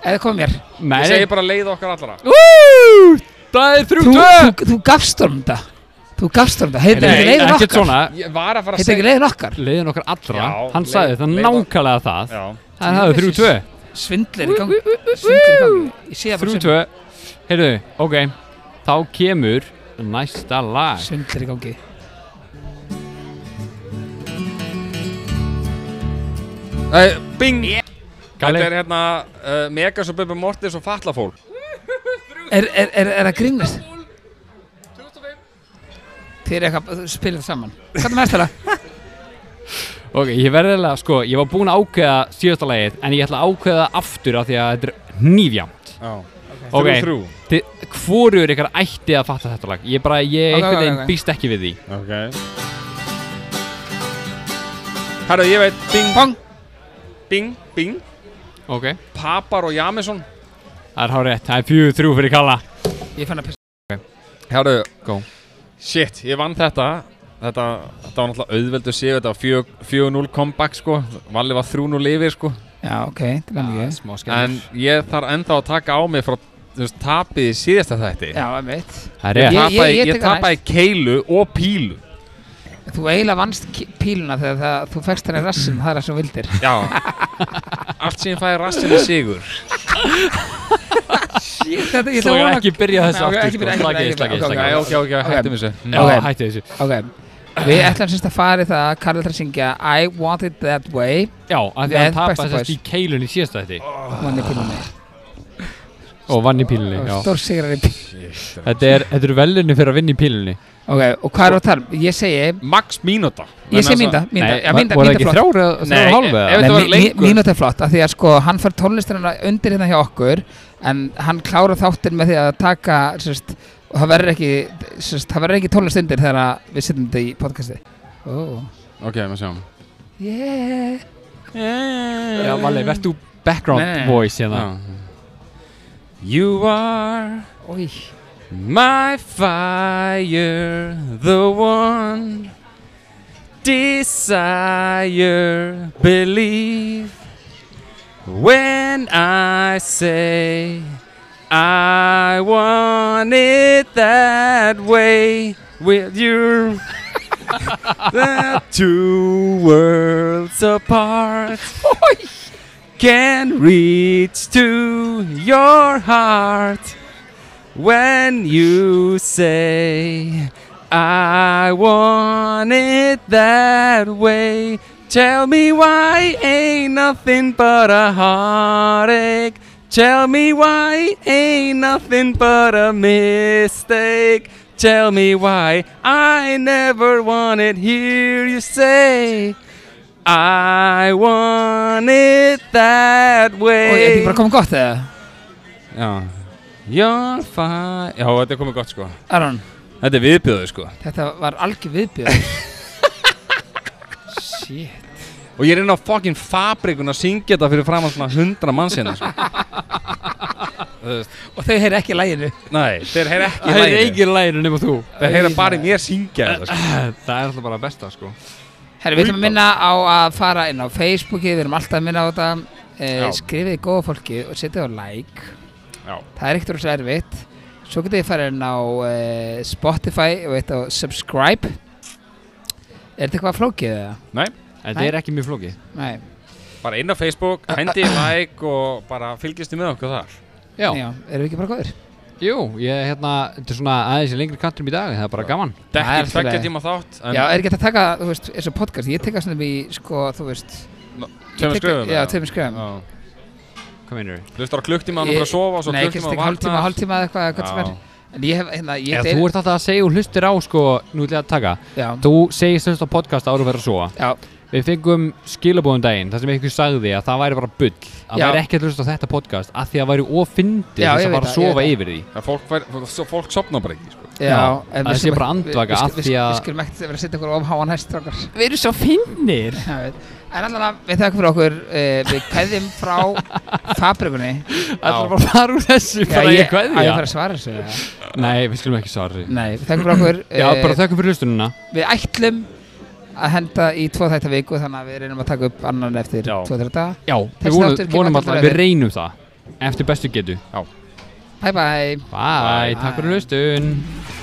Speaker 5: Eða komið mér
Speaker 4: Nei,
Speaker 3: ég segi bara leið okkar allra.
Speaker 4: Ú, Það er
Speaker 5: Þú,
Speaker 4: þrjú tvö
Speaker 5: þú, þú gafst honum þetta Þú gafst honum þetta Heitir
Speaker 4: Nei,
Speaker 5: ekki leiðin
Speaker 4: ekkert
Speaker 5: okkar
Speaker 4: svona
Speaker 3: Ég var að fara
Speaker 5: Heitir
Speaker 3: að segja...
Speaker 5: ekki leiðin okkar
Speaker 4: Leiðin okkar allra
Speaker 3: Já,
Speaker 4: Hann
Speaker 3: leið-
Speaker 4: sagði þetta
Speaker 3: leið-
Speaker 4: nákvæmlega það
Speaker 3: Já.
Speaker 4: Það er það þrjú tvö
Speaker 5: Svindlir í gang Svindlir í gang Ég sé það bara
Speaker 4: Þrjú
Speaker 5: sem-
Speaker 4: tvö Heyrðu, ok Þá kemur næsta lag
Speaker 5: Svindlir í gangi
Speaker 3: Hey, bing! Þetta
Speaker 4: Gali
Speaker 3: er hérna uh, Megas og Bubbi Mortis og Fatlafólk.
Speaker 5: Er, er, er, er að grínast? Þið er eitthvað spilað saman Hvað er mest þetta?
Speaker 4: Ok, ég verði eiginlega, sko Ég var búinn að ákveða síðasta lagið En ég ætla að ákveða það aftur Af því að þetta er nýfjamt
Speaker 3: Já.
Speaker 4: Ok,
Speaker 3: Þrjú, þrjú.
Speaker 4: hvorur ykkar ætti að fatta þetta lag Ég bara, ég
Speaker 5: Ok,
Speaker 4: einhvern
Speaker 5: ok,
Speaker 4: veginn
Speaker 5: ok.
Speaker 4: býst ekki við því
Speaker 3: Ok. Herru, ég veit, bing,
Speaker 5: Pong
Speaker 3: bing, bing,
Speaker 4: Ok
Speaker 3: Papar og Jamison.
Speaker 4: Það er hárið, það er fjögur þrjú fyrir kalla
Speaker 5: Ég fann að pissa
Speaker 3: Herru,
Speaker 4: Go.
Speaker 3: Shit, ég vann þetta. Þetta, þetta var náttúrulega auðveldu séu, þetta var fjö- 4-0 comeback sko, Valli var 3-0 yfir sko.
Speaker 5: Já, ok, það er mikið
Speaker 4: Smá
Speaker 3: En
Speaker 4: skemmur
Speaker 3: ég þarf ennþá að taka á mig frá þú veist, tapið í síðasta þætti.
Speaker 5: Já, einmitt
Speaker 4: Það er rétt
Speaker 5: Ég-
Speaker 3: Tapaði,
Speaker 5: ég-
Speaker 3: ég,
Speaker 5: ég tek það
Speaker 3: tapaði keilu og pílu.
Speaker 5: Þú eiginlega vannst ki- píluna þegar það, þú fegst henni rassin, það er það sem þú vildir.
Speaker 3: Já. Allt sem ég fæði rassinni sigur.
Speaker 5: Þetta ég
Speaker 4: Þú
Speaker 5: ætla
Speaker 4: er
Speaker 5: að
Speaker 4: ekki byrja
Speaker 5: Nei,
Speaker 4: þessu
Speaker 5: ok,
Speaker 4: aftur
Speaker 5: ekki
Speaker 4: sko.
Speaker 5: byrja, ekki byrja,
Speaker 4: Slakið,
Speaker 5: ekki
Speaker 4: slakið,
Speaker 5: byrja, ok,
Speaker 3: Nei,
Speaker 4: slakið
Speaker 3: ok, ok, hættum þessu.
Speaker 4: Já,
Speaker 5: ok.
Speaker 4: hætti þessu
Speaker 5: vona. Ok, við ætlum semst að fara í það að Karl ætlar að syngja I want it that way,
Speaker 4: Já, af því að
Speaker 5: Með
Speaker 4: hann
Speaker 5: Backstreet Boys.
Speaker 4: tapaði þess í keilunni síðast þetta
Speaker 5: manni pílunni. Oh,
Speaker 4: Og vann í pílunni, já
Speaker 5: Stór sigrar í pílunni.
Speaker 4: Þetta er, þetta eru velunni fyrir að vinna í pílunni
Speaker 5: Ok, og hvað er það þar? Ég segi,
Speaker 3: Max mínúta.
Speaker 5: ég segi
Speaker 3: Vegna þess
Speaker 5: mínda,
Speaker 3: að-
Speaker 5: mínda, já,
Speaker 4: var-
Speaker 5: mínda,
Speaker 4: voru það
Speaker 5: mínda
Speaker 4: ekki
Speaker 5: flott.
Speaker 4: þrjár eða þrjár
Speaker 3: Nei,
Speaker 4: og hálf
Speaker 3: ef
Speaker 4: eða?
Speaker 3: þetta var lengur.
Speaker 5: Mínútt er flott af því að sko hann fær tónlistina undir hérna hjá okkur en hann klára þáttir með því að taka sérst, og það verður ekki sérst, það verður ekki tónlist undir þegar að við setjum þetta í podcasti oh.
Speaker 3: Ok, maður sjáum.
Speaker 5: yeah.
Speaker 4: Já, Valli, verð þú background
Speaker 3: Nei.
Speaker 4: voice hérna
Speaker 3: You are
Speaker 5: Ói.
Speaker 3: my fire, the one desire, believe. When I say I want it that way with you, the two worlds apart can reach to your heart when you say I want it that way. Tell me why ain't nothing but a heartache. Tell me why ain't nothing but a mistake. Tell me why I never wanted hear you say I want it that
Speaker 5: Og er
Speaker 3: way.
Speaker 5: því bara komið gott eða?
Speaker 3: Já, já, fæ... Já, þetta er komið gott sko.
Speaker 5: Aron,
Speaker 3: Þetta er viðbjöðu sko.
Speaker 5: þetta var algjör viðbjörn Shit
Speaker 3: Og ég er inn á fucking fabrikun að syngja þetta fyrir fram að svona hundra manns hérna sko.
Speaker 5: Og þau heyri ekki læginu
Speaker 3: Nei, þeir heyra ekki
Speaker 4: Það
Speaker 3: í
Speaker 4: er
Speaker 3: laginu.
Speaker 4: engin læginu nema þú
Speaker 3: Þeir heyra bara í mér syngja þetta sko.
Speaker 4: Það er alltaf bara besta, sko
Speaker 5: Herri, við ætlum að minna á að fara inn á Facebooki Við erum alltaf að minna á þetta eh,
Speaker 3: Já.
Speaker 5: Skrifið í góða fólki og setja á like
Speaker 3: Já.
Speaker 5: Það er ekkert rosa erfitt Svo getið þið farið inn á uh, Spotify og eitt á subscribe Er þetta eitthvað flókið eða?
Speaker 4: Þetta
Speaker 5: Nei.
Speaker 4: er ekki mjög flókið
Speaker 5: Nei,
Speaker 3: Bara inn á Facebook, hendi í like og bara fylgist þið með okkur þar.
Speaker 4: Já,
Speaker 5: já, erum við ekki bara góður?
Speaker 4: jú, ég, hérna, þetta er svona aðeins í lengri kantum í dag Það er bara gaman
Speaker 5: Það er
Speaker 3: Dekki
Speaker 5: allt í
Speaker 3: tveggja
Speaker 5: lagi.
Speaker 3: tíma þátt, en
Speaker 5: Já, er ekki hægt að taka, þú veist, eins og podcast Ég teka svona í, sko, þú veist
Speaker 3: tveimur skrifum.
Speaker 5: Já, tveimur skrifum
Speaker 3: skrifum.
Speaker 4: Hvað meinur þau?
Speaker 3: Hlustar á klukktíma hann fyrir að sofa og svo
Speaker 5: Nei, kannski
Speaker 3: klukktíma að
Speaker 5: ekki hálftíma, hálftíma
Speaker 3: vakna.
Speaker 5: eða eitthvað, hvað sem
Speaker 3: Já.
Speaker 5: er En ég hef, hérna, ég
Speaker 4: Ef þú ert alltaf að segja og hlustir á, sko, nú ætla ég að taka
Speaker 5: Já,
Speaker 4: Þú segist þess að podcast árum verður að sofa
Speaker 5: já,
Speaker 4: Við fengum skilabóðum daginn þar sem einhver sagði að það væri bara bull að
Speaker 5: Já.
Speaker 4: væri ekki að hlusta á þetta podcast að því að væri ofindi
Speaker 5: Já, ég
Speaker 4: þess að
Speaker 5: veit
Speaker 4: fara að
Speaker 5: það, ég
Speaker 4: sofa
Speaker 5: veit
Speaker 4: yfir því
Speaker 2: Það fólk, fær, svo fólk sopna bara ekki, sko.
Speaker 5: Já, en
Speaker 4: að
Speaker 5: við
Speaker 4: sé
Speaker 5: skulum
Speaker 4: bara
Speaker 5: ekki- við-
Speaker 4: andvaka
Speaker 5: við-
Speaker 4: af
Speaker 5: við-
Speaker 4: því að-
Speaker 5: Við skulum ekkert vera að setja okkur of háan hæst strákar
Speaker 1: Við erum svo finnir
Speaker 5: Já, ég veit. En allan að við þakkum fyrir okkur uh, Við kveðjum frá fabrikunni
Speaker 4: Það er bara að fara úr þessu bara ég
Speaker 5: að
Speaker 4: kveðja
Speaker 5: ég fara að svara þessu ja.
Speaker 4: Nei, við skulum ekki svara því
Speaker 5: Nei, við þakkum fyrir okkur
Speaker 4: Já,
Speaker 5: eh,
Speaker 4: bara þökkum fyrir hlustununa
Speaker 5: Við ætlum að henda í tvo þætta viku Þannig að við reynum að taka upp annan eftir
Speaker 2: Já.
Speaker 5: tvo þætta daga
Speaker 4: Já,
Speaker 5: Þessi
Speaker 4: við vonum,
Speaker 5: þáttur kemur allan
Speaker 4: vonum alltaf
Speaker 5: bara
Speaker 4: að við
Speaker 5: við.
Speaker 4: reynum það eftir bestu getu
Speaker 5: Bye bye
Speaker 4: Bye, takk fyrir hlustun